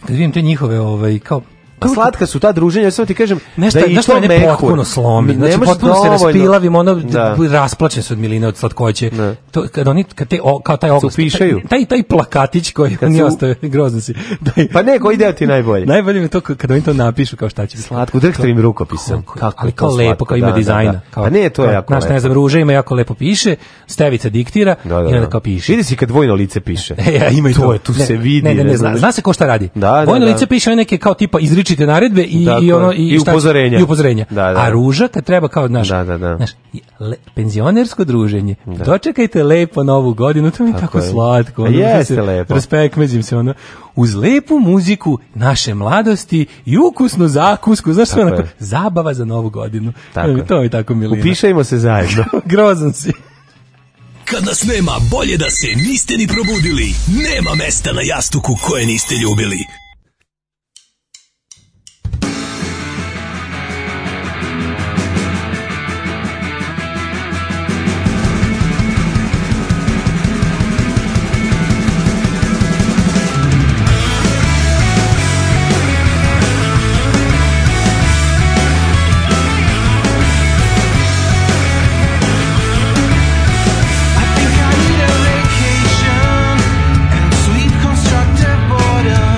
kad vidim te njihove ovaj kao
Pa slatka su ta druženja, samo ti kažem
Nešto,
da je i
nešto
to
mene
mehur.
potpuno slomi. Znači,
Nemaš
potpuno se
dovoljno-
raspilavim, ono,
Da.
rasplaćen se od miline, od slatkoće. To, kad oni, kad te, o, kao taj oglas,
upišaju.
taj, taj plakatić koji
Kad
oni
se u-
ostave, grozno si. Taj,
Pa ne, koji deo ti je najbolje?
najbolje mi je to k- kad oni to napišu kao šta će biti.
Slatko, drhte im rukopisom. Kako
ali
je to
kao lepo,
slatko,
kao
da,
ima
da,
dizajna.
da.
Kao,
Pa ne, to je
kao,
jako
znaš, ne
lepo.
znam, ruža ima jako lepo piše, stevica diktira
Da, da,
i onda
da.
kao piše.
Vidi si kad vojno lice piše.
(laughs) E, ja, ima i to.
To je, tu se vidi,
Ne, ne, ne,
ne
zna,
znam.
zna se ko šta radi.
Da, da,
Vojno
da.
lice piše one neke kao tipa izričite naredbe i,
Tako
i
je.
ono...
I
šta-
upozorenja.
I upozorenja.
Da, da.
A ruža kad treba kao, znaš,
Da, da, da.
znaš i le- penzionersko druženje. Dočekajte lepo novu godinu, to mi je tako,
je.
slatko.
A
ono, da
jeste
se
lepo.
Raspekmeđim se, ono. Uz lepu muziku naše mladosti i ukusnu zakusku, znaš sve
Tako
onako,
je.
zabava za novu godinu.
Tako
To mi-
je.
To mi je tako milina.
Upišajmo se zajedno. (laughs)
(laughs)
Grozan si.
Kad nas nema, bolje da se niste ni probudili. Nema mesta na jastuku koje niste ljubili.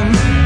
I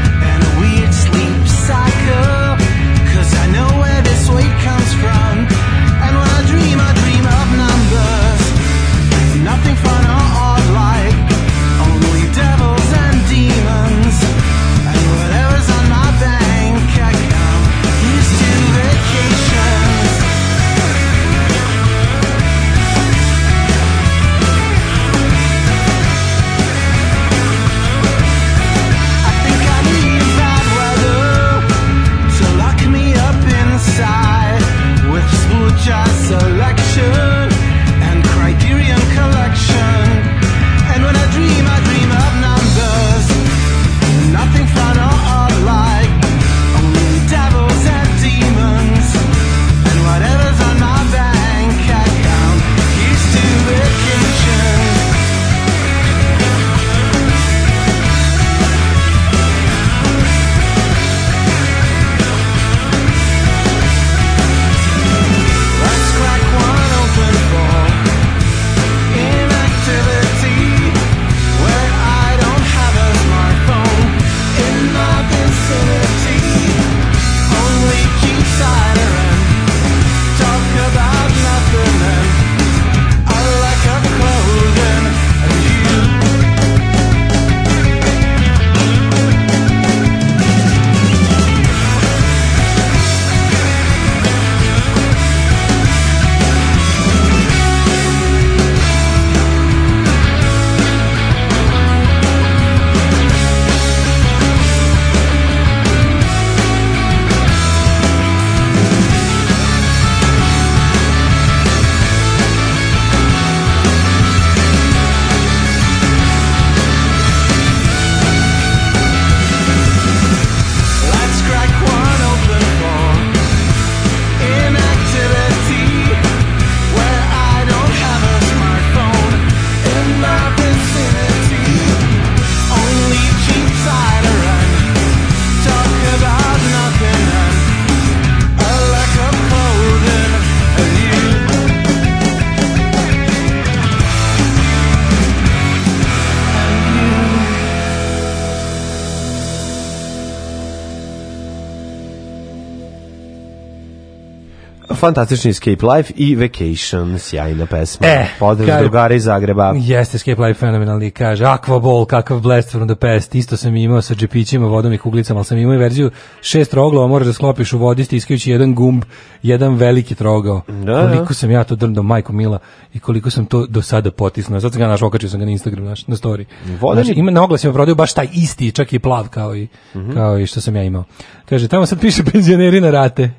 need a vacation and sweet constructive boredom.
fantastični Escape Life i Vacation, sjajna pesma.
E,
Pozdrav
kaže-
drugara iz Zagreba.
Jeste, Escape Life fenomenalni, kaže Aquaball, kakav blast from the past, isto sam imao sa džepićima, vodom i kuglicama, ali sam imao i verziju šest troglova, moraš da sklopiš u vodi, stiskajući jedan gumb, jedan veliki trogao.
Da,
koliko
da.
sam ja to drndao, majko mila, i koliko sam to do sada potisnuo. Sad sam ga naš, okačio sam ga na Instagram, naš, na story.
Vodeni-
Znaš, ima na oglasima prodaju baš taj isti, čak i plav kao i,
Mhm.
kao i što sam ja imao. Kaže, tamo sad piše (laughs) penzioneri na rate.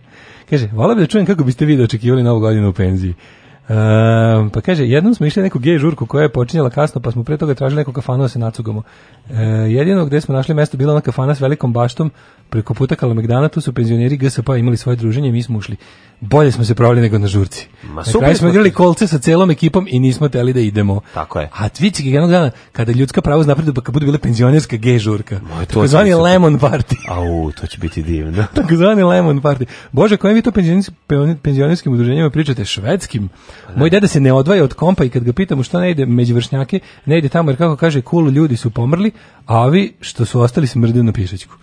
Kaže, volao bi da čujem kako biste vi dočekivali novu godinu u penziji. Ehm, pa kaže, jednom smo išli na neku gej žurku koja je počinjela kasno, pa smo pre toga tražili neku kafanu da se nacugamo. E, jedino gde smo našli mesto bila ona kafana s velikom baštom preko puta Kalamegdana, tu su penzioneri GSP imali svoje druženje i mi smo ušli. Bolje smo se provali nego na žurci. na
super
kraju
smo
smo igrali kolce sa celom ekipom i nismo teli da idemo.
Tako je.
A vidite jednog dana kada ljudska prava napredu pa kad bude bila penzionerska gej žurka.
to
To
će biti super.
lemon party.
Au, to će biti divno. (laughs)
Takozvani Lemon Party. Bože, kojim vi to penzionis- peoni- penzionerskim udruženjima pričate? Švedskim? Moj deda se ne odvaja od kompa i kad ga pitamo što ne ide među vršnjake, ne ide tamo jer kako kaže, cool ljudi su pomrli, a ovi što su ostali smrde na pišećku. (laughs)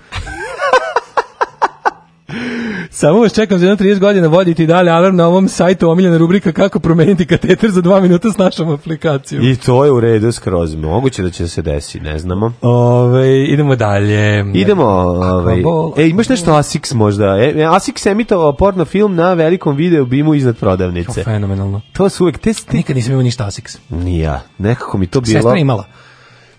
Samo vas čekam za jedno 30 godina voditi i dalje alarm na ovom sajtu omiljena rubrika kako promeniti kateter za dva minuta s našom aplikacijom.
I to je u redu skroz. Moguće da će se desi, ne znamo.
Ove, idemo dalje.
Idemo, ovaj.
Aquaball,
E, imaš nešto Asics možda? E, Asics emitovao porno film na velikom video bimu iznad prodavnice.
Fenomenalno.
To su uvek te sti...
Nikad nisam imao ništa Asics.
Ni ja. Nekako mi to bilo...
Sestra je imala.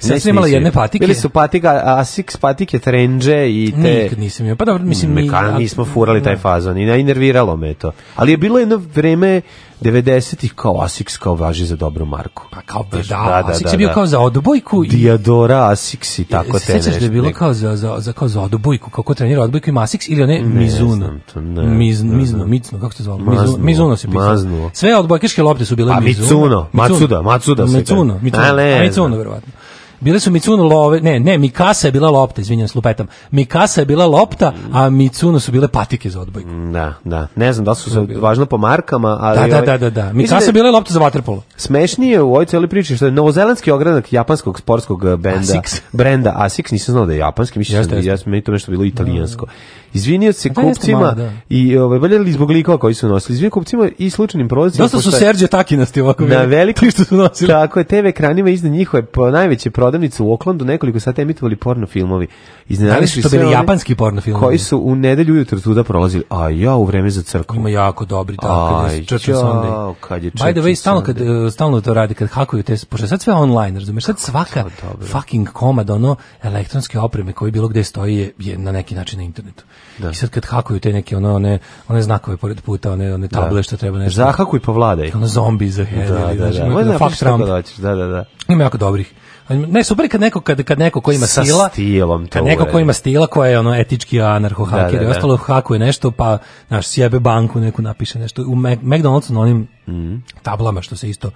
Sestra
Ne,
je imala
nisi.
jedne patike.
Bili su patika, Asics patike, trendže i te...
Nikad nisam imao. Pa dobro, mislim... mi-
Mekana, mi smo furali taj fazon i najnerviralo me je to. Ali je bilo jedno vreme 90-ih kao Asics kao važi za dobru marku.
Pa kao Da, da, da, je bio kao za odbojku. i-
Diadora, Asics i tako te
Se sećaš da je bilo kao za, za, za, kao za odbojku, kako trenira odbojku i Masix ili one Mizuno.
znam to, ne,
Miz,
ne
Mizno,
znam.
Micno, kako se zvalo?
Maznuo,
Mizuno, Mizuno se pisao.
maznuo.
Sve odbojkaške lopte su bile
A, Mizuno, Matsuda, Matsuda se
Mizuno,
kaže.
Mizuno,
A, ne,
A, Mizuno,
znam.
verovatno. Bile su Micuno love, ne, ne, Mikasa je bila lopta, izvinjam, slupetam. Mikasa je bila lopta, a Micuno su bile patike za odbojku.
Da, da. Ne znam da li su se važno po markama, Mm, ali...
Da, da,
ovaj-
da, da, da.
Mislim
Mikasa je bila lopta za vaterpolo.
Smešnije u ovoj cijeloj priči što je novozelandski ogranak japanskog sportskog eh, benda,
Asics.
brenda Asics, nisam znao da je japanski, mislim
Jeste,
da je
jeste.
ja sam- meni to nešto bilo italijansko. Izvinio se
Da, jeste
kupcima
malo, da.
i ovaj, valjali zbog likova koji su nosili. Izvinio kupcima i slučajnim prolazima.
Dosta su
pošto je-
Serđe Takinasti ovako. (laughs)
Na
bili.
velikom
što su nosili.
Tako je, TV ekranima iznad njihove po najveće prodavnice u Oklandu nekoliko sati emitovali porno filmovi.
Da
Iznenadili
li
su
su
i
to
sve
bili
one
japanski porno filmovi?
Koji su u nedelju ujutru tuda prolazili, a ja u vreme za crkvu.
Ima jako dobri tako
Aj,
kad je Church on
jao,
Sunday.
kad je
By the
Church
way,
on
stalno kad e, stalno to radi kad hakuju te pošto je sad sve online, razumeš? Sad svaka fucking komad ono elektronske opreme koji bilo gde stoji je, je na neki način na internetu. I sad kad hakuju te neke ono one one znakove pored puta, one one table što treba nešto.
Zahakuj pa vladaj.
Ono zombi za
Da,
head.
da, da.
Znači,
Možda napišeš
fuck
šta god
Trump.
hoćeš, Da, da, da.
Ima jako dobrih. Ali Ne, super je kad neko, kad, kad neko ko ima
Sa
stila,
stilom to
kad neko ko
uradi.
ima stila koja je ono etički anarcho-haker
Da, da,
i
da.
ostalo hakuje nešto, pa naš sjebe banku, neku napiše nešto. U Mac- McDonald'su na onim
Mhm.
tablama što se isto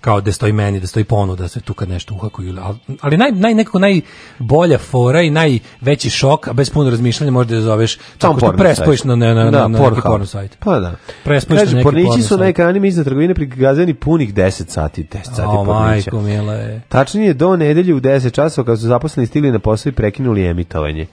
kao da stoji meni, da stoji ponuda, sve tu kad nešto uhakuju. ili- al- Ali naj, naj, nekako najbolja fora i najveći šok, a bez puno razmišljanja možda je zoveš tako što
porno
prespojiš
sajt.
na, na, na,
Da,
na, na neki
Pornhub.
porno sajt.
Pa da.
Prespojiš na
Kaže,
neki
pornići
porno
su na
sajt.
ekranima iznad trgovine prikazani punih 10 sati, 10 sati
O,
pornića.
majko, mila je.
Tačnije do nedelje u 10 časova kad su zaposleni stigli na posao i prekinuli emitovanje.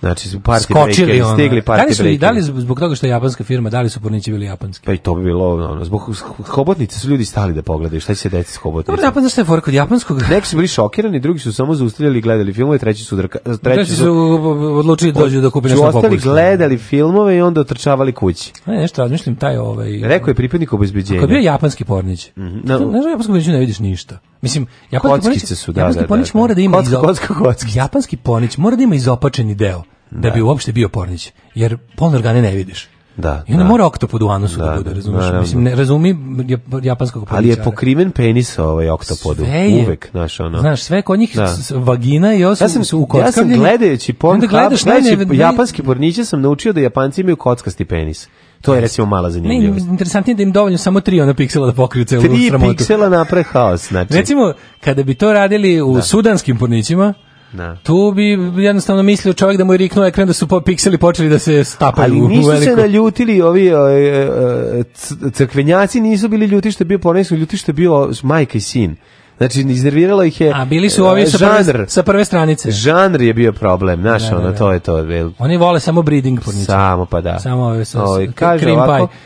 Znači su party breakeri,
ono.
stigli
da li
party
su, i da li
breakeri.
zbog toga što je japanska firma, da li su pornići bili japanski?
Pa i to bi bilo, ono, zbog hobotnice su ljudi stali da pogledaju šta će se deci s
Dobro, pa-
hobotnicom.
Japan, znaš šta je fora kod japanskog?
Neki su bili šokirani, drugi su samo zaustavljali i gledali filmove, treći su, drka, treći
Treći su
su
uh, odlučili da dođu da kupi
su
nešto
ostali
popularno.
gledali filmove i onda otrčavali kući.
Ne, nešto razmišljam, taj ovaj...
Rekao je pripadnik obezbeđenja.
Ako je bio japanski pornić,
no.
no. znaš, u japanskom porniću ne vidiš ništa. Mislim, japanski
Kockice
pornić,
su, da,
japanski
da, da,
pornić
da.
mora da ima...
Kocka,
izo-
kocka, kockice.
Japanski pornić mora da ima izopačeni deo, da, bi uopšte bio pornić, jer polne organe ne vidiš.
Da,
I onda
da.
mora oktopod u anusu da,
Da,
bude,
da,
razumiješ?
naravno.
Mislim, ne razumi jap- japanskog pornića.
Ali je pokriven penis ovaj oktopodu.
Sve je-
Uvek, znaš, ono.
Znaš, sve kod njih
Da.
s- s- vagina i osu
ja sam,
su
ja sam
ukockavljeni.
gledajući porn
Onda gledaš
gledajući
najne- naj-
japanski porniće sam naučio da japanci imaju kockasti penis. To je recimo mala
Ne,
zanimljivost.
interesantnije je da im dovoljno samo tri ona piksela da pokriju celu
Tri
sramotu.
piksela napre haos, znači.
Recimo, kada bi to radili u sudanskim pornićima,
Da.
tu bi jednostavno mislio čovjek da mu je riknuo ekran da su po pikseli počeli da se stapaju
Ali
u- u
nisu se
veliko.
naljutili ovi e, e, c- crkvenjaci, nisu bili ljuti što je bio pornis, ljuti što je bio majka i sin. Znači, iznerviralo ih je
A bili su ovi
e,
sa
žanr.
prve, sa prve stranice.
Žanr je bio problem, znaš,
Da, da,
ono,
da.
to je to. jel?
Oni vole samo breeding porniće.
Samo pa da.
Samo ove sa- sa-
Ovaj, kaže
cream
ovako,
pie.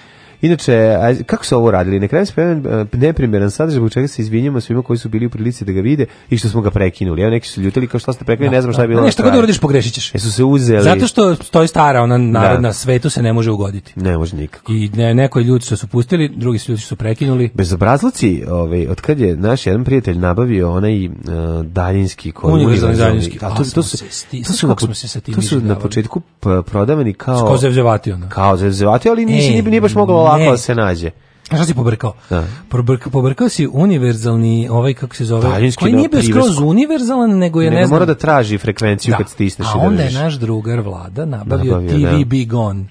Inače, a, kako su ovo radili? Na kraju se pojavio, e, neprimjeran sadržaj, zbog čega se izvinjamo svima koji su bili u prilici da ga vide i što smo ga prekinuli. Evo, neki su ljutili kao što ste prekinuli, ne znam šta je bilo.
Ne,
na
šta god
kraju.
uradiš, pogrešit ćeš.
Jesu se uzeli.
Zato što stoji stara ona narodna svetu se ne može ugoditi.
Ne može nikako.
I ne, neko je ljudi što su pustili, drugi su ljudi što su prekinuli.
Bezobrazluci, ovaj, od kad je naš jedan prijatelj nabavio onaj uh, daljinski koji
Univerzalni daljinski.
Da, to,
A,
to,
smo
su,
se sti-
to su,
kako
na,
smo se sa tim
to su na
iživljavali.
početku p- prodavani kao...
Kao zevzevati ona.
Kao zevzevati, ali nisi,
E,
nije, nije baš moglo lako
ne.
da se nađe.
A šta si pobrkao?
Da.
Pobrkao, pobrkao si univerzalni, ovaj kako se zove,
Daljinski
koji
na
nije bio skroz
privesku.
univerzalan, nego je
Nego
ne znam.
mora da traži frekvenciju kad stisneš i
A
da
onda je
držiš.
naš drugar vlada nabavio,
Nabavio,
TV
da.
Big On.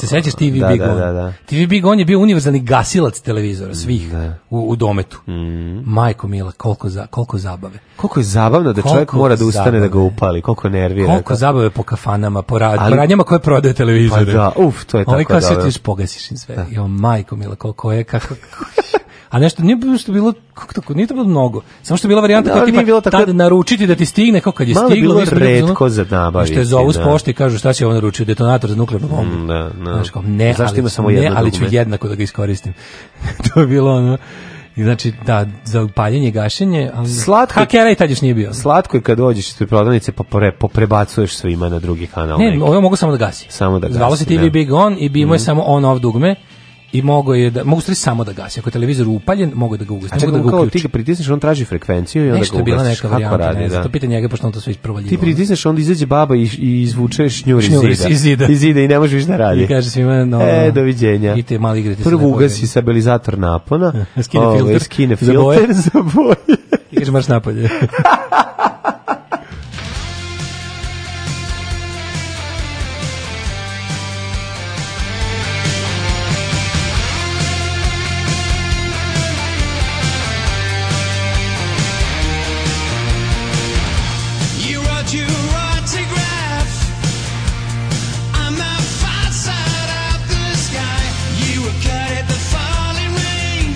Se sećaš TV
da,
Big
da,
On?
da, da.
TV Big On je bio univerzalni gasilac televizora svih u, u dometu.
Mhm.
Majko Mila, koliko, za, koliko zabave.
Koliko je zabavno da čovjek
Koliko
mora da ustane
zabave.
da ga upali, koliko nervira.
Koliko
Kako-
zabave po kafanama, po, rad,
Ali-
po radnjama koje prodaju televizore.
Pa da, uf, to je
Oni
tako
kao sve
dobro.
ti još pogasiš im sve. I on, majko mila, koliko je, kako... A nešto nije bilo što je bilo kako tako nije to bilo mnogo. Samo što je bila varijanta
Da,
kao
ali
tipa
nije bilo tako-
tad naručiti da ti stigne kao kad je
Malo je
stiglo
bilo
mi smo bili u fazonu-
retko za nabaviti,
Što je zovu s
da.
pošte i kažu šta će on naručio detonator za nuklearnu bombu.
Mm, Da, da.
Znaš, kao, ne,
Zašto
ali,
ima samo
ne,
jedno
ali ću
dugme?
jednako da ga iskoristim. (laughs) to je bilo ono... I znači, da, za paljenje, gašenje, ali...
Slatko je-
Hakera i tad još nije bio.
Slatko je kad dođeš ispred prodavnice pa pre, poprebacuješ svima na drugi kanal.
Ne,
neki.
ovo mogu samo da gasi.
Samo da
Zvalo
gasi,
se TV
da.
Big On i bilo je
Mhm.
samo on off dugme i mogo je da mogu stvari samo da gasi. Ako je televizor upaljen, mogu da ga ugasi,
A
mogu
čekaj,
da ga
kao ti
uključi.
ga pritisneš, on traži frekvenciju i onda
Nešto
ga
je bila
ugasiš.
neka
Kako
varijanta,
radi,
ne znam,
da.
to pita njega pošto on to sve isprovaljivo.
Ti pritisneš, onda izađe baba i, i izvuče šnjur iz
Šnjur
zida.
iz- iz zida.
Iz zida i ne možeš da radi.
I kaže svima, no,
E, doviđenja.
I te mali igrati se
Prvo
ne bojim.
ugasi stabilizator napona.
(laughs) Skine
ovaj,
filter.
Skine
Za boje.
filter (laughs) za boje.
I kaže, marš napolje. (laughs)
You wrote your autograph on the far side of the sky. You were cut at the falling rain,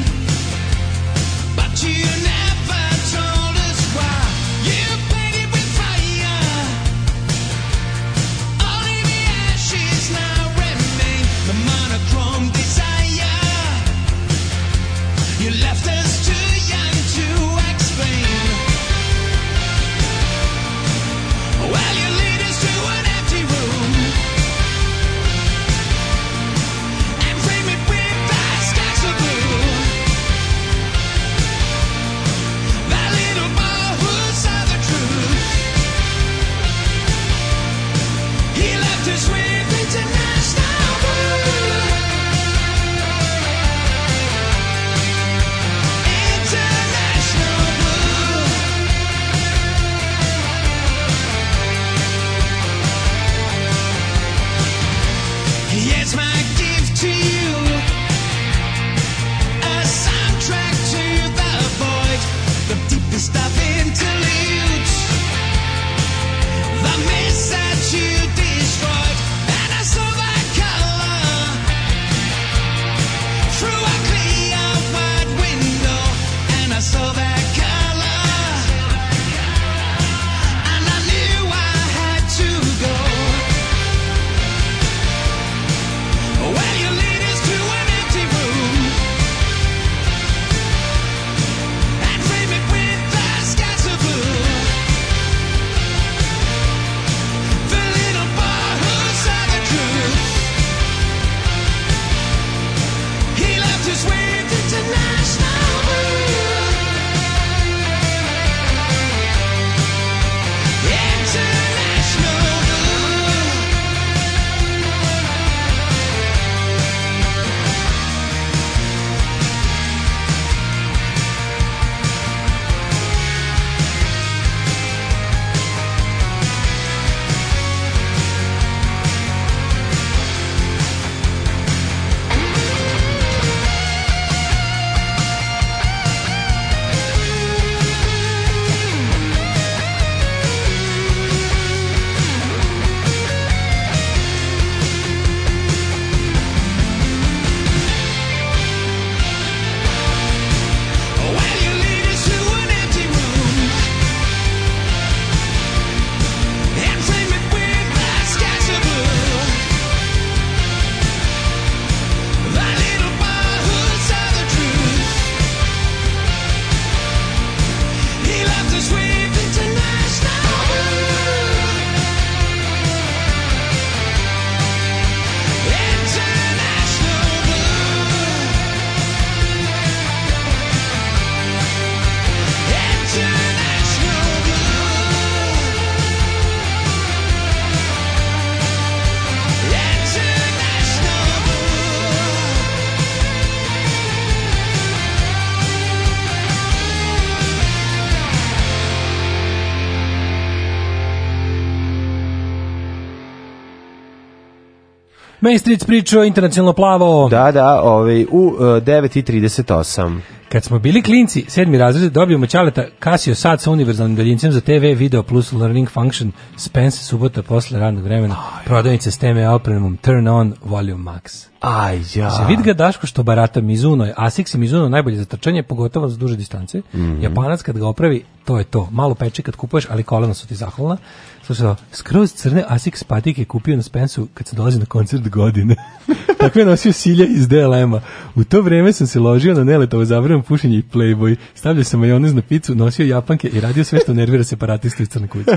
but you never told us why. You painted with fire, only the ashes now remain. The monochrome desire. You left us too young to explain.
Main Street pričao, internacionalno plavao.
Da, da, ovaj, u e, 9.38.
Kad smo bili klinci, sedmi razred, dobijemo ćaleta Casio sat sa univerzalnim daljincem za TV, video plus learning function, Spence, subota posle radnog vremena, prodavnice s teme opremom, turn on, volume max.
Aj, ja.
Se vidi ga Daško što barata Mizuno, je. Asics i Mizuno najbolje za trčanje, pogotovo za duže distance. Japanac kad ga opravi, to je to. Malo peče kad kupuješ, ali kolena su ti zahvalna. Slušaj, ovo, skroz crne Asics patike kupio na Spensu kad se dolazi na koncert godine. (laughs) Takve je nosio Silja iz DLM-a. U to vreme sam se ložio na neletovo zavrano pušenje i playboy. Stavljao sam majonez na picu, nosio japanke i radio sve što nervira separatistu iz Crne kuće.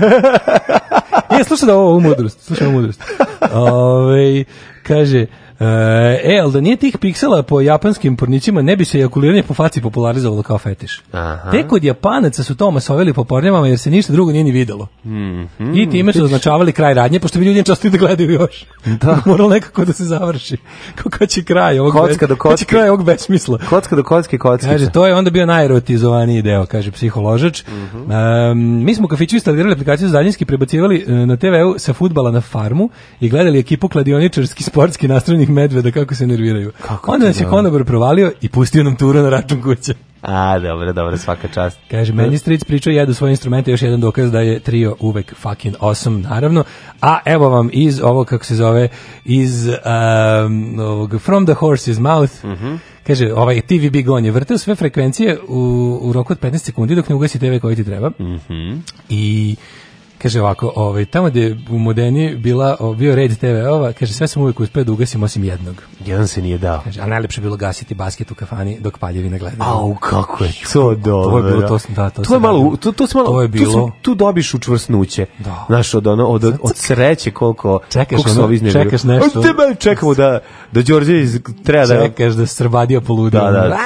E, slušaj da ovo, ovu mudrost, slušaj ovu mudrost. Ovaj, kaže, E, e, ali da nije tih piksela po japanskim pornićima, ne bi se ejakuliranje po faci popularizovalo kao fetiš.
Aha.
Tek od Japanaca su to masovili po pornjama, jer se ništa drugo nije ni videlo.
Mhm.
I time su označavali kraj radnje, pošto bi ljudi neće ostali da gledaju još. Da. (laughs) Moralo nekako da se završi. Kako kad će kraj ovog,
Kocka
bez- kad će
do kocke.
kraj ovog besmisla.
Kocka do kocke, kockica.
Kaže, to je onda bio najerotizovaniji deo, kaže psiholožač. Em, mi smo u kafiću instalirali aplikaciju za daljinski, prebacivali e, na TV-u sa futbala na farmu i gledali ekipu kladioničarski, sportski nastrojenih medveda kako se nerviraju. onda nas je
dobro.
konobar provalio i pustio nam turu na račun kuće.
A, dobro, dobro, svaka čast.
Kaže, meni stric pričao jedu svoje instrumente, još jedan dokaz da je trio uvek fucking awesome, naravno. A evo vam iz ovo, kako se zove, iz um, ovog From the Horse's Mouth,
Mhm.
Kaže, ovaj TV Big On je vrteo sve frekvencije u, u roku od 15 sekundi dok ne ugasi TV koji ti treba.
Mhm.
I kaže ovako, ovaj, tamo gde je u Modeni bila, o, bio red TV-ova, kaže, sve sam uvijek uspeo da ugasim osim jednog.
Jedan se nije dao.
Kaže, a najlepše je bilo gasiti basket u kafani dok paljevine gledaju.
Au, kako je to dobro.
To je bilo, to sam- da, to
to je
sam
malo,
radio.
to, to, si malo,
To je
Tu,
bilo-
si- tu dobiš učvrsnuće.
Da.
Znaš, od, ono, od, od, od sreće koliko,
Čekaš
koliko se
ono,
ovi iznerviraju.
čekaš nešto.
Od tebe čekamo da, da Đorđe iz, treba da...
Čekaš da Srbadija poludi.
Da, da.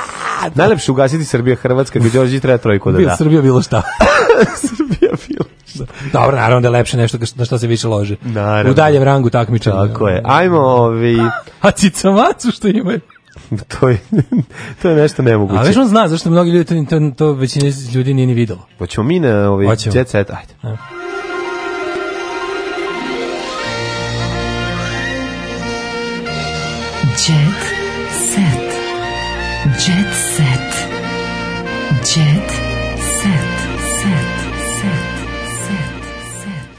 Najlepše ugasiti Srbija, Hrvatska, gdje Đorđe treba trojku da
Bilo
da. (laughs)
Srbija bilo šta. (laughs) Srbija bilo šta. Dobro, naravno da je lepše nešto na što se više lože.
Naravno.
U daljem rangu takmičenja.
Tako je. Ajmo, ovi,
A cicamacu što imaju.
(laughs) to je, to je nešto nemoguće.
A već on zna zašto mnogi ljudi to, to, to većina ljudi nije ni videlo.
Hoćemo mi na ovi,
Hoćemo.
jet set, ajde.
Jet set. Jet set. Jet set. Set. Set. Set.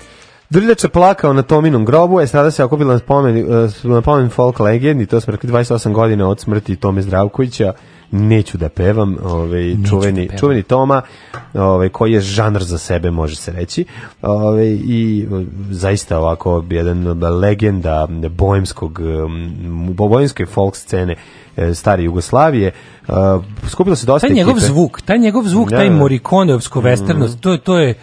Drljača plakao na Tominom grobu, estrada se okupila na spomen, eh, na pomen folk legendi, to smo rekli 28 godina od smrti Tome Zdravkovića, neću da pevam, ovaj, čuveni,
pevam.
čuveni Toma, ovaj, koji je žanr za sebe, može se reći, ovaj, i eh, zaista ovako jedan legenda bojemskog, em, bojemske folk scene eh, stare Jugoslavije, Eh, skupilo se dosta
Taj njegov
ekipe.
zvuk, taj njegov zvuk,
Da,
taj
da. Mhm.
morikonovsko westernost, to je to je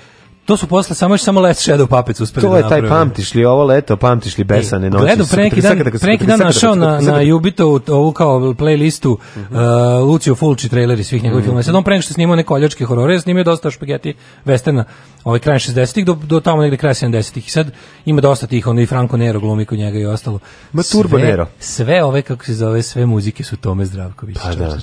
to su posle samo još samo Last Shadow Puppets uspeli
To
da
je taj
naprave.
pamtiš li ovo leto, pamtiš li besane noći.
Gledam pre neki dan, pre neki dan našao na, na Jubito ovu kao playlistu uh, Lucio Fulci traileri svih njegovih filmova. Sad on pre nego što je snimao neke koljačke horore, je snimio dosta špageti westerna, ovaj kraj 60-ih do, do tamo negde kraj 70-ih. I sad ima dosta tih, ono i Franco Nero glumi kod njega i ostalo.
Ma, Turbo
Sve-
Nero.
Sve ove, kako se zove, sve muzike su Tome Zdravković.
Pa da.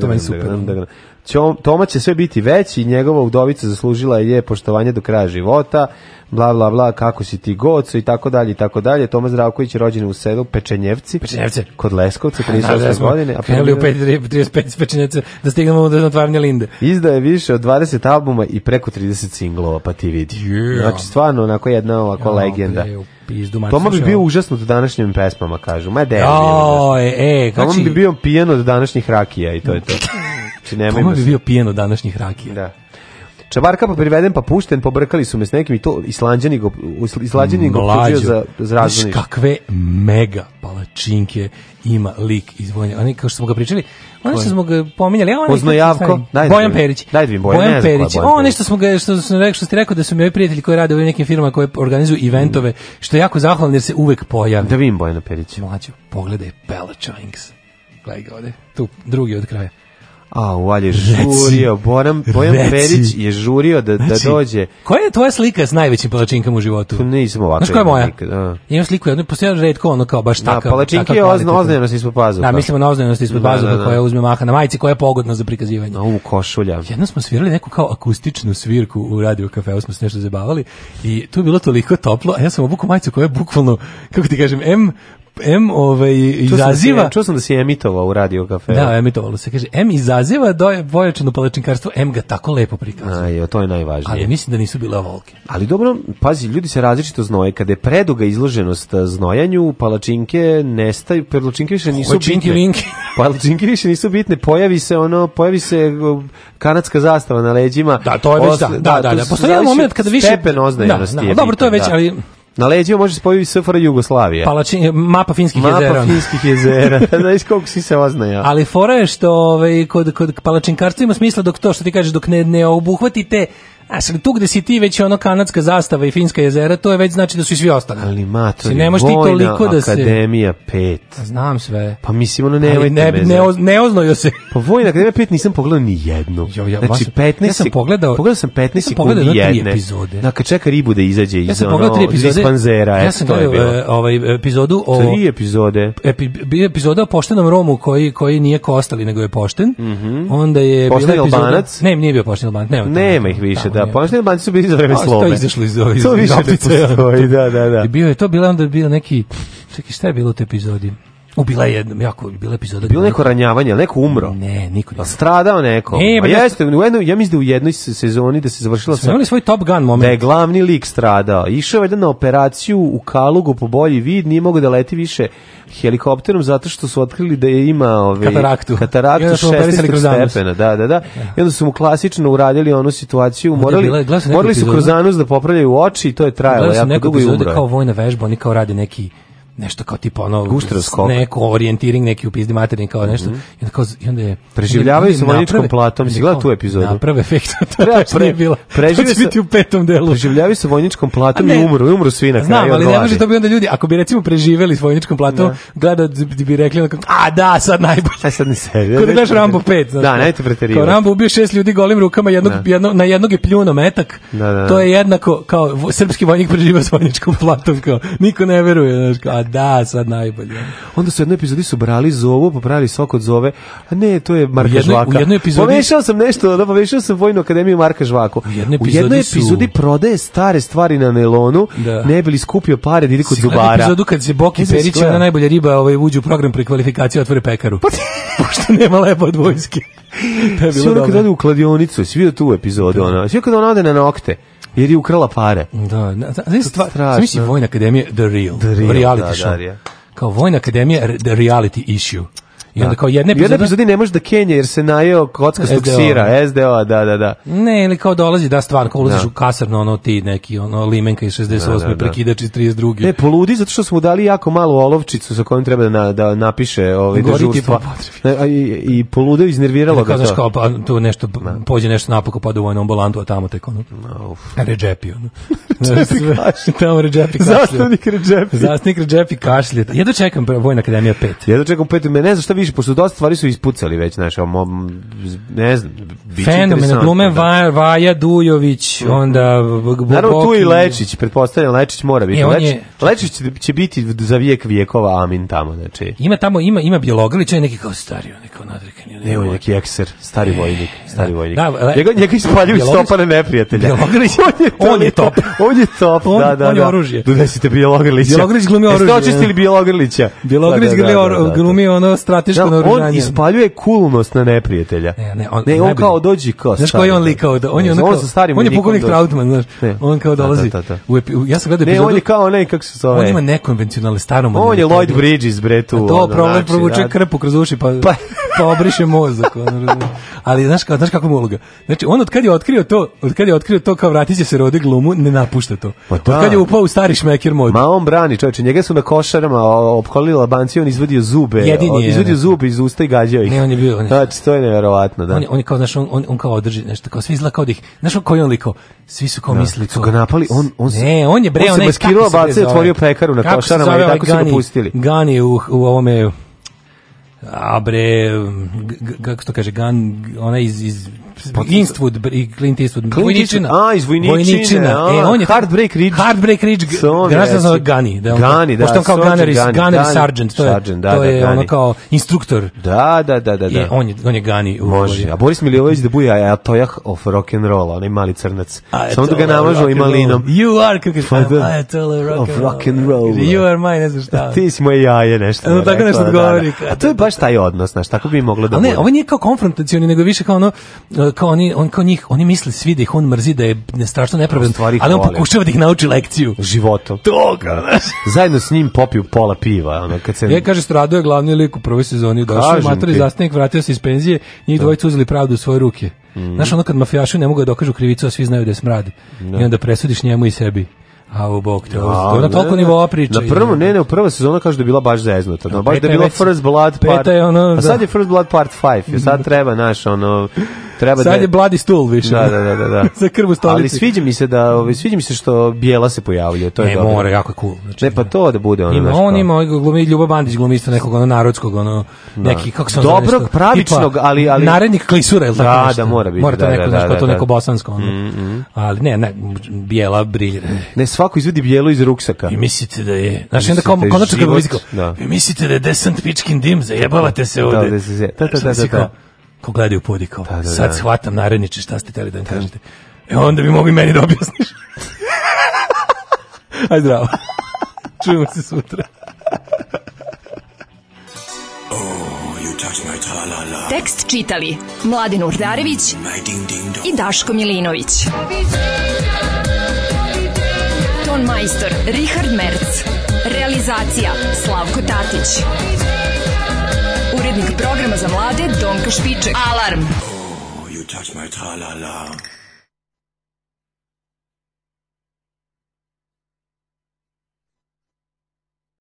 To meni super.
Ćom- Toma će sve biti veći, njegova udovica zaslužila je poštovanje do kraja života, bla, bla, bla, kako si ti goco i tako dalje i tako dalje. Toma Zdravković je rođen u selu Pečenjevci.
Pečenjevce.
Kod
(laughs)
Leskovca,
Da, da
38
smo
godine. a
krenuli u
preminuo-
5.35 spečenjaca da stignemo do otvaranja Linde.
Izdao je više od 20 albuma i preko 30 singlova, pa ti vidi.
Yeah.
Znači, stvarno, onako jedna ovako legenda.
Bre, u pizdu, mater,
Toma bi
slušaj,
bio
ovo.
užasno do današnjim pesmama, kažu. Ma de,
O, e, e,
Toma
znači,
bi bio pijen od današnjih rakija i to je
(laughs)
to. Znači, nemojmo
Toma bi
se-
bio pijen od današnjih rakija.
Da. Čabarka pa priveden pa pušten, pobrkali su me s nekim i to islanđani go, islanđani go optužio
Mlađo,
za, za razvojni.
znaš kakve mega palačinke ima lik iz Vojne. Oni, kao što smo ga pričali, oni što smo ga pominjali. a on je
Poznojavko?
stari.
Daj da
Bojan
vidim.
Perić.
Daj da vidim Bojan, ne znam ko je
Perić.
Bojan
O,
Perić.
nešto smo ga, što, sam rekao, što ste rekao da su mi ovi prijatelji koji rade u ovim nekim firmama koje organizuju eventove, što je jako zahvalno jer se uvek pojavi.
Da vidim Bojana Perića.
Mlađo, pogledaj palačinks. Gledaj ga ovde, tu, drugi od kraja.
A, Uvalj je žurio, Bojan, Bojan
reci.
Perić je žurio da, da
Znači,
dođe.
Koja je tvoja slika s najvećim palačinkama u životu?
Pa Nisam ovako.
Znaš koja je moja?
nikad, da.
Ja imam sliku jednu, postoje redko ono kao baš
Da,
takav.
palačinke
takav
pa je ozna-
kvalitetan.
oznajnost ispod pazuha.
Da, mislimo na oznajnost ispod
Da,
pazuha
da, da.
koja uzme maha na majici, koja je pogodna za prikazivanje.
Na ovu košulja.
Jedno smo svirali neku kao akustičnu svirku u radio kafeu, smo se nešto zabavali i tu je bilo toliko toplo, a ja sam obukao majicu koja je bukvalno, kako ti kažem, M, M ovaj,
Čuo sam da si-
izaziva...
Čuo sam da si emitovao u radio kafe.
Da, emitovalo se. Kaže, M izaziva doje pojačano palačinkarstvo, M ga tako lepo prikazuje.
Aj, to je najvažnije.
Ali mislim da nisu bile volke.
Ali dobro, pazi, ljudi se različito znoje. Kada je preduga izloženost eh, znojanju, palačinke nestaju, palačinke više nisu
Palačinki
bitne.
linki.
palačinke više nisu bitne. Pojavi se ono, pojavi se eh, kanadska zastava na leđima.
Da, to je već da.
Osle-
Da, da,
tu
da.
se
Postoji jedan
zavisi
moment kada više
znači stepen oznajenosti.
Da,
je
da, dobro, to je već,
bitan, da.
ali
Na leđima može se pojaviti SFRJ Jugoslavije.
palačin, mapa finskih
Mapa
jezera. ono.
finskih jezera. (laughs) Znaš koliko si se oznaja.
Ali fora je što ovaj, kod, kod palačinkarstva ima smisla dok to što ti kažeš dok ne, ne obuhvatite A sad tu gde si ti već ono kanadska zastava i finska jezera, to je već znači da su i svi ostali.
Ali matori,
Si ne možeš ti
Vojna
toliko da se-
Akademija 5.
Znam sve.
Pa mislim, ono nemojte
Ali ne,
me
ne,
za-
oz- ne oznojio se.
Pa Vojna Akademija 5 nisam pogledao ni jednu.
Jo, ja,
znači,
vas-
15
ja sam
sek-
pogledao-
pogledao sam 15
ja sam
sekundi
pogledao tri
jedne.
epizode.
Da, kad čeka ribu da izađe iz,
Ja sam
ono,
pogledao tri epizode.
iz panzera.
Ja
eto,
sam
to je
gledao
bilo. Znači,
e, ovaj, epizodu o...
Tri epizode.
epi, bio je epizoda o poštenom Romu koji koji nije kostali nego je pošten. Onda je bila
Pošteni
epizoda-
Mhm. Albanac?
Ne, nije bio pošten Albanac, nema.
Nema ih više, da. pa-
pošten
Poštene banci su bili za vreme slove.
To je izašlo iz ove iz,
To
iz
više ne
optice. ono?
postoji, da, da, da.
I bio je to bila onda je bio neki čekaj šta je bilo u toj epizodi? U bila je jednom jako bila epizoda.
Bilo neko Pa- ranjavanje, ali neko umro.
Ne, niko
nije. Stradao neko.
E,
A
pa da-
jeste, u jednoj, ja mislim da u jednoj se- sezoni da se završila
Smo
sa
imali svoj Top Gun moment.
da je glavni lik stradao. Išao je na operaciju u Kalugu po bolji vid, nije mogao da leti više helikopterom zato što su otkrili da je ima ove,
Kataraktu. I
kataraktu
onda su mu operisali
16.
Krozanus.
stepena. Da, da, da. I onda su mu klasično uradili onu situaciju,
Ovdje je Pa bila-
morali,
gledao sam neku
morali su
epizodu.
Krozanus da popravljaju oči i to je trajalo
Gledao sam
Pa,
neku
jako dugo i
epizodu
umro. je.
kao vojna vežba, oni kao rade neki nešto kao tipa ono
Guštra skok. Mhm.
neko orijentiring neki upizdi materini kao nešto i onda kao i onda je
Preživljavaju
onda im
sa vojničkom
naprave-
platom, si gledao tu epizodu?
naprave efekt (laughs)
Pre-
to pre,
pre-
nije bilo
prežive
to će
sa-
biti u petom delu
Preživljavaju sa vojničkom platom
A ne.
i umru, i umru svi na kraju.
Znam,
od
ali ne
gladi.
može to bi onda ljudi, ako bi recimo preživeli s vojničkom platom, gledao bi bi rekli, onako, a da, sad najbolje.
Aj sad ni sebi.
Kada gledaš Rambo 5. znaš
Da,
kao.
nemojte
Kao
preterivati.
Rambo ubio šest ljudi golim rukama, jednog,
Da.
jedno, na jednog je pljuno metak.
Da, da, da.
To je jednako kao vo- srpski vojnik preživio s vojničkom platom. Kao, niko ne veruje. Znaš, kao, a da, sad najbolje.
Onda su u jednoj epizodi su brali zovu, popravili sok od zove, a ne, to je Marka
U jednoj-
Žvaka.
u jednoj epizodi-
Pomešao sam nešto, da, pomešao sam Vojnu akademiju Marka Žvaku. U
jednoj
u jednoj
epizodi su-
epizodi prodaje stare stvari na nelonu,
Da.
ne bi li skupio pare da ide kod
Si gledao
zubara.
epizodu kad se Boki
Ne znam si
Perić
gledao.
na najbolja riba ovaj, uđu u program pre kvalifikacije otvore pekaru.
Pa-
(laughs) Pošto nema lepo od vojske. To je
Svi
bilo
ono kad ode
dobro.
u kladionicu, svi vidio tu epizodu, ona. Svi kad ona ode na nokte, jer je ukrala pare.
Da, na- znaš stvar,
strašno.
zamisli Vojna akademija The Real,
The Real,
reality
da, da,
show.
Real.
kao Vojna akademija re- The Reality Issue. I onda kao jedne
U jednoj
epizode...
epizodi ne može da Kenja jer se najeo kockastog
SDO.
sira, SDO, da, da, da.
Ne, ili kao dolazi da stvarno, kao ulaziš
Da.
u kasarnu, ono ti neki, ono limenka iz 68.
Da, E, da, da.
prekidač iz 32.
Ne, poludi zato što smo mu dali jako malu olovčicu sa kojom treba da, na, da napiše ovaj
Gori ti
dežurstva.
po
Ne, a I, i poludeo iznerviralo
kao,
ga
znaš, kao,
to.
pa, tu nešto, pođe nešto napako, pada u vojnu ambulantu, a tamo tek ono, (laughs) Redžepi,
(laughs)
ono. Sve- (laughs) tamo Redžepi kašlje.
Zastavnik Redžepi.
Zastavnik Redžepi kašlje. Jedno čekam pre- Vojna akademija 5.
Ja da čekam pet, me ne znam šta više, pošto dosta stvari su ispucali već, znaš, a mom, ne znam, biće
Fenomen,
interesantno,
glume
da. Mhm.
Vaja, Vaja Dujović, onda... B- B-
Naravno tu
Boki.
i Lečić, pretpostavljam Lečić mora biti.
E, on
Lečić,
je-
Lečić će, će biti za vijek vijekova amin tamo, znači.
Ima tamo, ima, ima Bjelogrlić, on je neki kao stari, on je kao nadrekani. on je
Ne, on je neki ekser, stari vojnik, stari vojnik.
E, Da, le-
njega, njega ispaljuju
Bjelogrlić-
stopane neprijatelja.
Bjelogrlić, on je top.
(laughs) On je top,
On-
da, da.
on je
da.
oružje.
Donesite Bjelogrlića.
Bjelogrlić glumi
Jeste
oružje,
očistili
ne?
Bjelogrlića?
Bjelogrlić
Da, da, da,
glumi
da, da, da.
or- glumi ono strateško
Da, on
naoružanje.
ispaljuje kulnost na neprijatelja.
Ne, ne, on-
ne, on
najbolje.
kao dođi kao
Znaš
stari,
koji je on
da.
lik kao da on je
Pa Ne,
ono
on
kao,
sa starim
on je
likom
pukovnik
dođe.
Trautman, znaš.
Ne.
On kao
Da, da,
dolazi.
da, da.
u epi- u- ja sam gledao
Ne,
epizodu.
on je kao onaj, kako se zove?
on ima nekonvencionalne staromodne.
On je
metode.
Lloyd Bridges, bre, tu.
A To
ono,
problem
znači,
provuče
da.
krpu kroz uši pa pa, obriše mozak, ono, razumiješ. Ali znaš kako znaš kako mu je uloga. Znači on od kad je otkrio to, od kad je otkrio to kao vratiće se rode glumu, ne napušta to.
Pa
Od
da.
kad je upao u stari šmeker mod.
Ma on brani, čovječe, njega su na košarama o- opkolili Labanci, on izvadio zube,
Jedini
on
je,
izvadio
ne.
zube iz usta i gađao ih.
Ne, on je bio- on je-
Znači, to je neverovatno, da.
On, je, on je kao, znaš, on, on, on kao održi nešto, kao svi izgleda kao da ih, znaš on koji je on liko, svi su kao
Da,
mislili
su
kao...
ga napali, on- on se-
ne, on je bre,
on se
onaj,
maskirao,
kako se bre
bacio i
zove?
otvorio pekaru na
Kako se
Košarama i
zove ovaj
tako su ga
Gani-
pustili.
Gani u, u ovome, a bre, g- g- kako to kaže, Gun, ona iz, iz Instwood i Clint Eastwood.
Clint Eastwood, a, iz Vojničine, a,
e, on je
Heartbreak Ridge.
Heartbreak Ridge, g-
Se on
graždan
reče.
zove Gani. Da, on-
Gani, da,
Pošto on kao
Sergeant
Gunner,
Gani,
Gunner, Gunner
Gani,
Sargent, to je,
Sergeant, da,
to
da,
je ono
Gani.
kao instruktor.
Da, da, da, da. da.
Je, on, je, on je Gani. u-
Može. A Boris Milivojević da buja ja tojah ah, of rock and roll, onaj mali crnac. Samo da ga
ovaj
namažu i malinom.
You are, kako je,
Pa da.
Ayatollah rock
Of
and
rock and roll. E,
You are mine, ne znam šta.
(laughs) Ti si moje jaje, nešto.
Ono
je
tako
rekla,
nešto
da,
odgovori.
da. A to je baš taj odnos, znaš, tako bi moglo da
Ali ne, ovaj-
bude.
ovo nije kao konfrontacioni, nego više kao ono, e, kao oni, on kao njih, oni misle svi da ih on mrzi, da je ne- strašno
U
nepravedan,
stvari
ali on
hvale.
pokušava da ih nauči lekciju.
Životom.
Toga, znaš.
Zajedno s njim popiju pola piva, ono, kad se...
Ja kaže Strado je glavni lik u prvoj sezoni došao,
Kažem
matori
ti.
zastavnik vratio se iz penzije, njih dvojica uzeli pravdu u svoje ruke.
Mhm.
Znaš, ono kad mafijaši ne mogu da dokažu krivicu, a svi znaju da je smrad. I onda presudiš njemu i sebi. A u bok te, ovo- to je na
Pa, ne,
toliko
ne.
nivoa priča.
Na prvo, ne, ne, u prva sezona kaže da je bila baš zeznuta. Da, baš
peta
da je
je
bila
već-
First Blood
peta
Part...
je ono,
A sad
da.
je First Blood Part 5. Sad treba, naš, ono... Treba
Sad
da...
je bladi stul više.
Da, da, da, da. da.
(laughs) Za krv u stolici.
Ali sviđa mi se da, ovaj sviđa mi se što Bijela se pojavljuje, to je
Ne,
dobro.
mora, jako je cool.
Znači, ne, pa to da bude ono.
Ima
znaš,
on,
kao-
ima ovaj glumi Ljuba Bandić glumi isto nekog ono narodskog, ono neki kako se on
Dobrog,
zove nešto,
pravičnog,
tipa
ali- ali-
Narednik klisura ili tako
Da,
nešto.
da, mora biti,
Mora to
da,
neko,
da,
znaš,
da,
kao to
da. Mm,
neko bosansko, ono. Ali ne, ne, bijela briljira.
Ne, svako izvedi Bijelu iz ruksaka.
I mislite da je. Znaš, i onda
Mislite,
kao konačno kad bi
život,
vizikao,
da.
vi mislite da je desant pičkin dim, zajebavate se
Da,
ovde.
da se- da, da,
Znaš,
da,
onda si
da, da.
kao, Ko gledaju u podi, kao,
da,
sad
da.
shvatam naredniče šta ste teli da im kažete. E onda bi mogli meni da objasniš. (laughs) Aj zdravo. (laughs) Čujemo se sutra.
Tekst čitali Mladin Urdarević i Daško Milinović. Ton majstor Richard Merc. Realizacija Slavko Tatić. Urednik programa za mlade Donka Špiček. Alarm!
You touch my tra-la-la.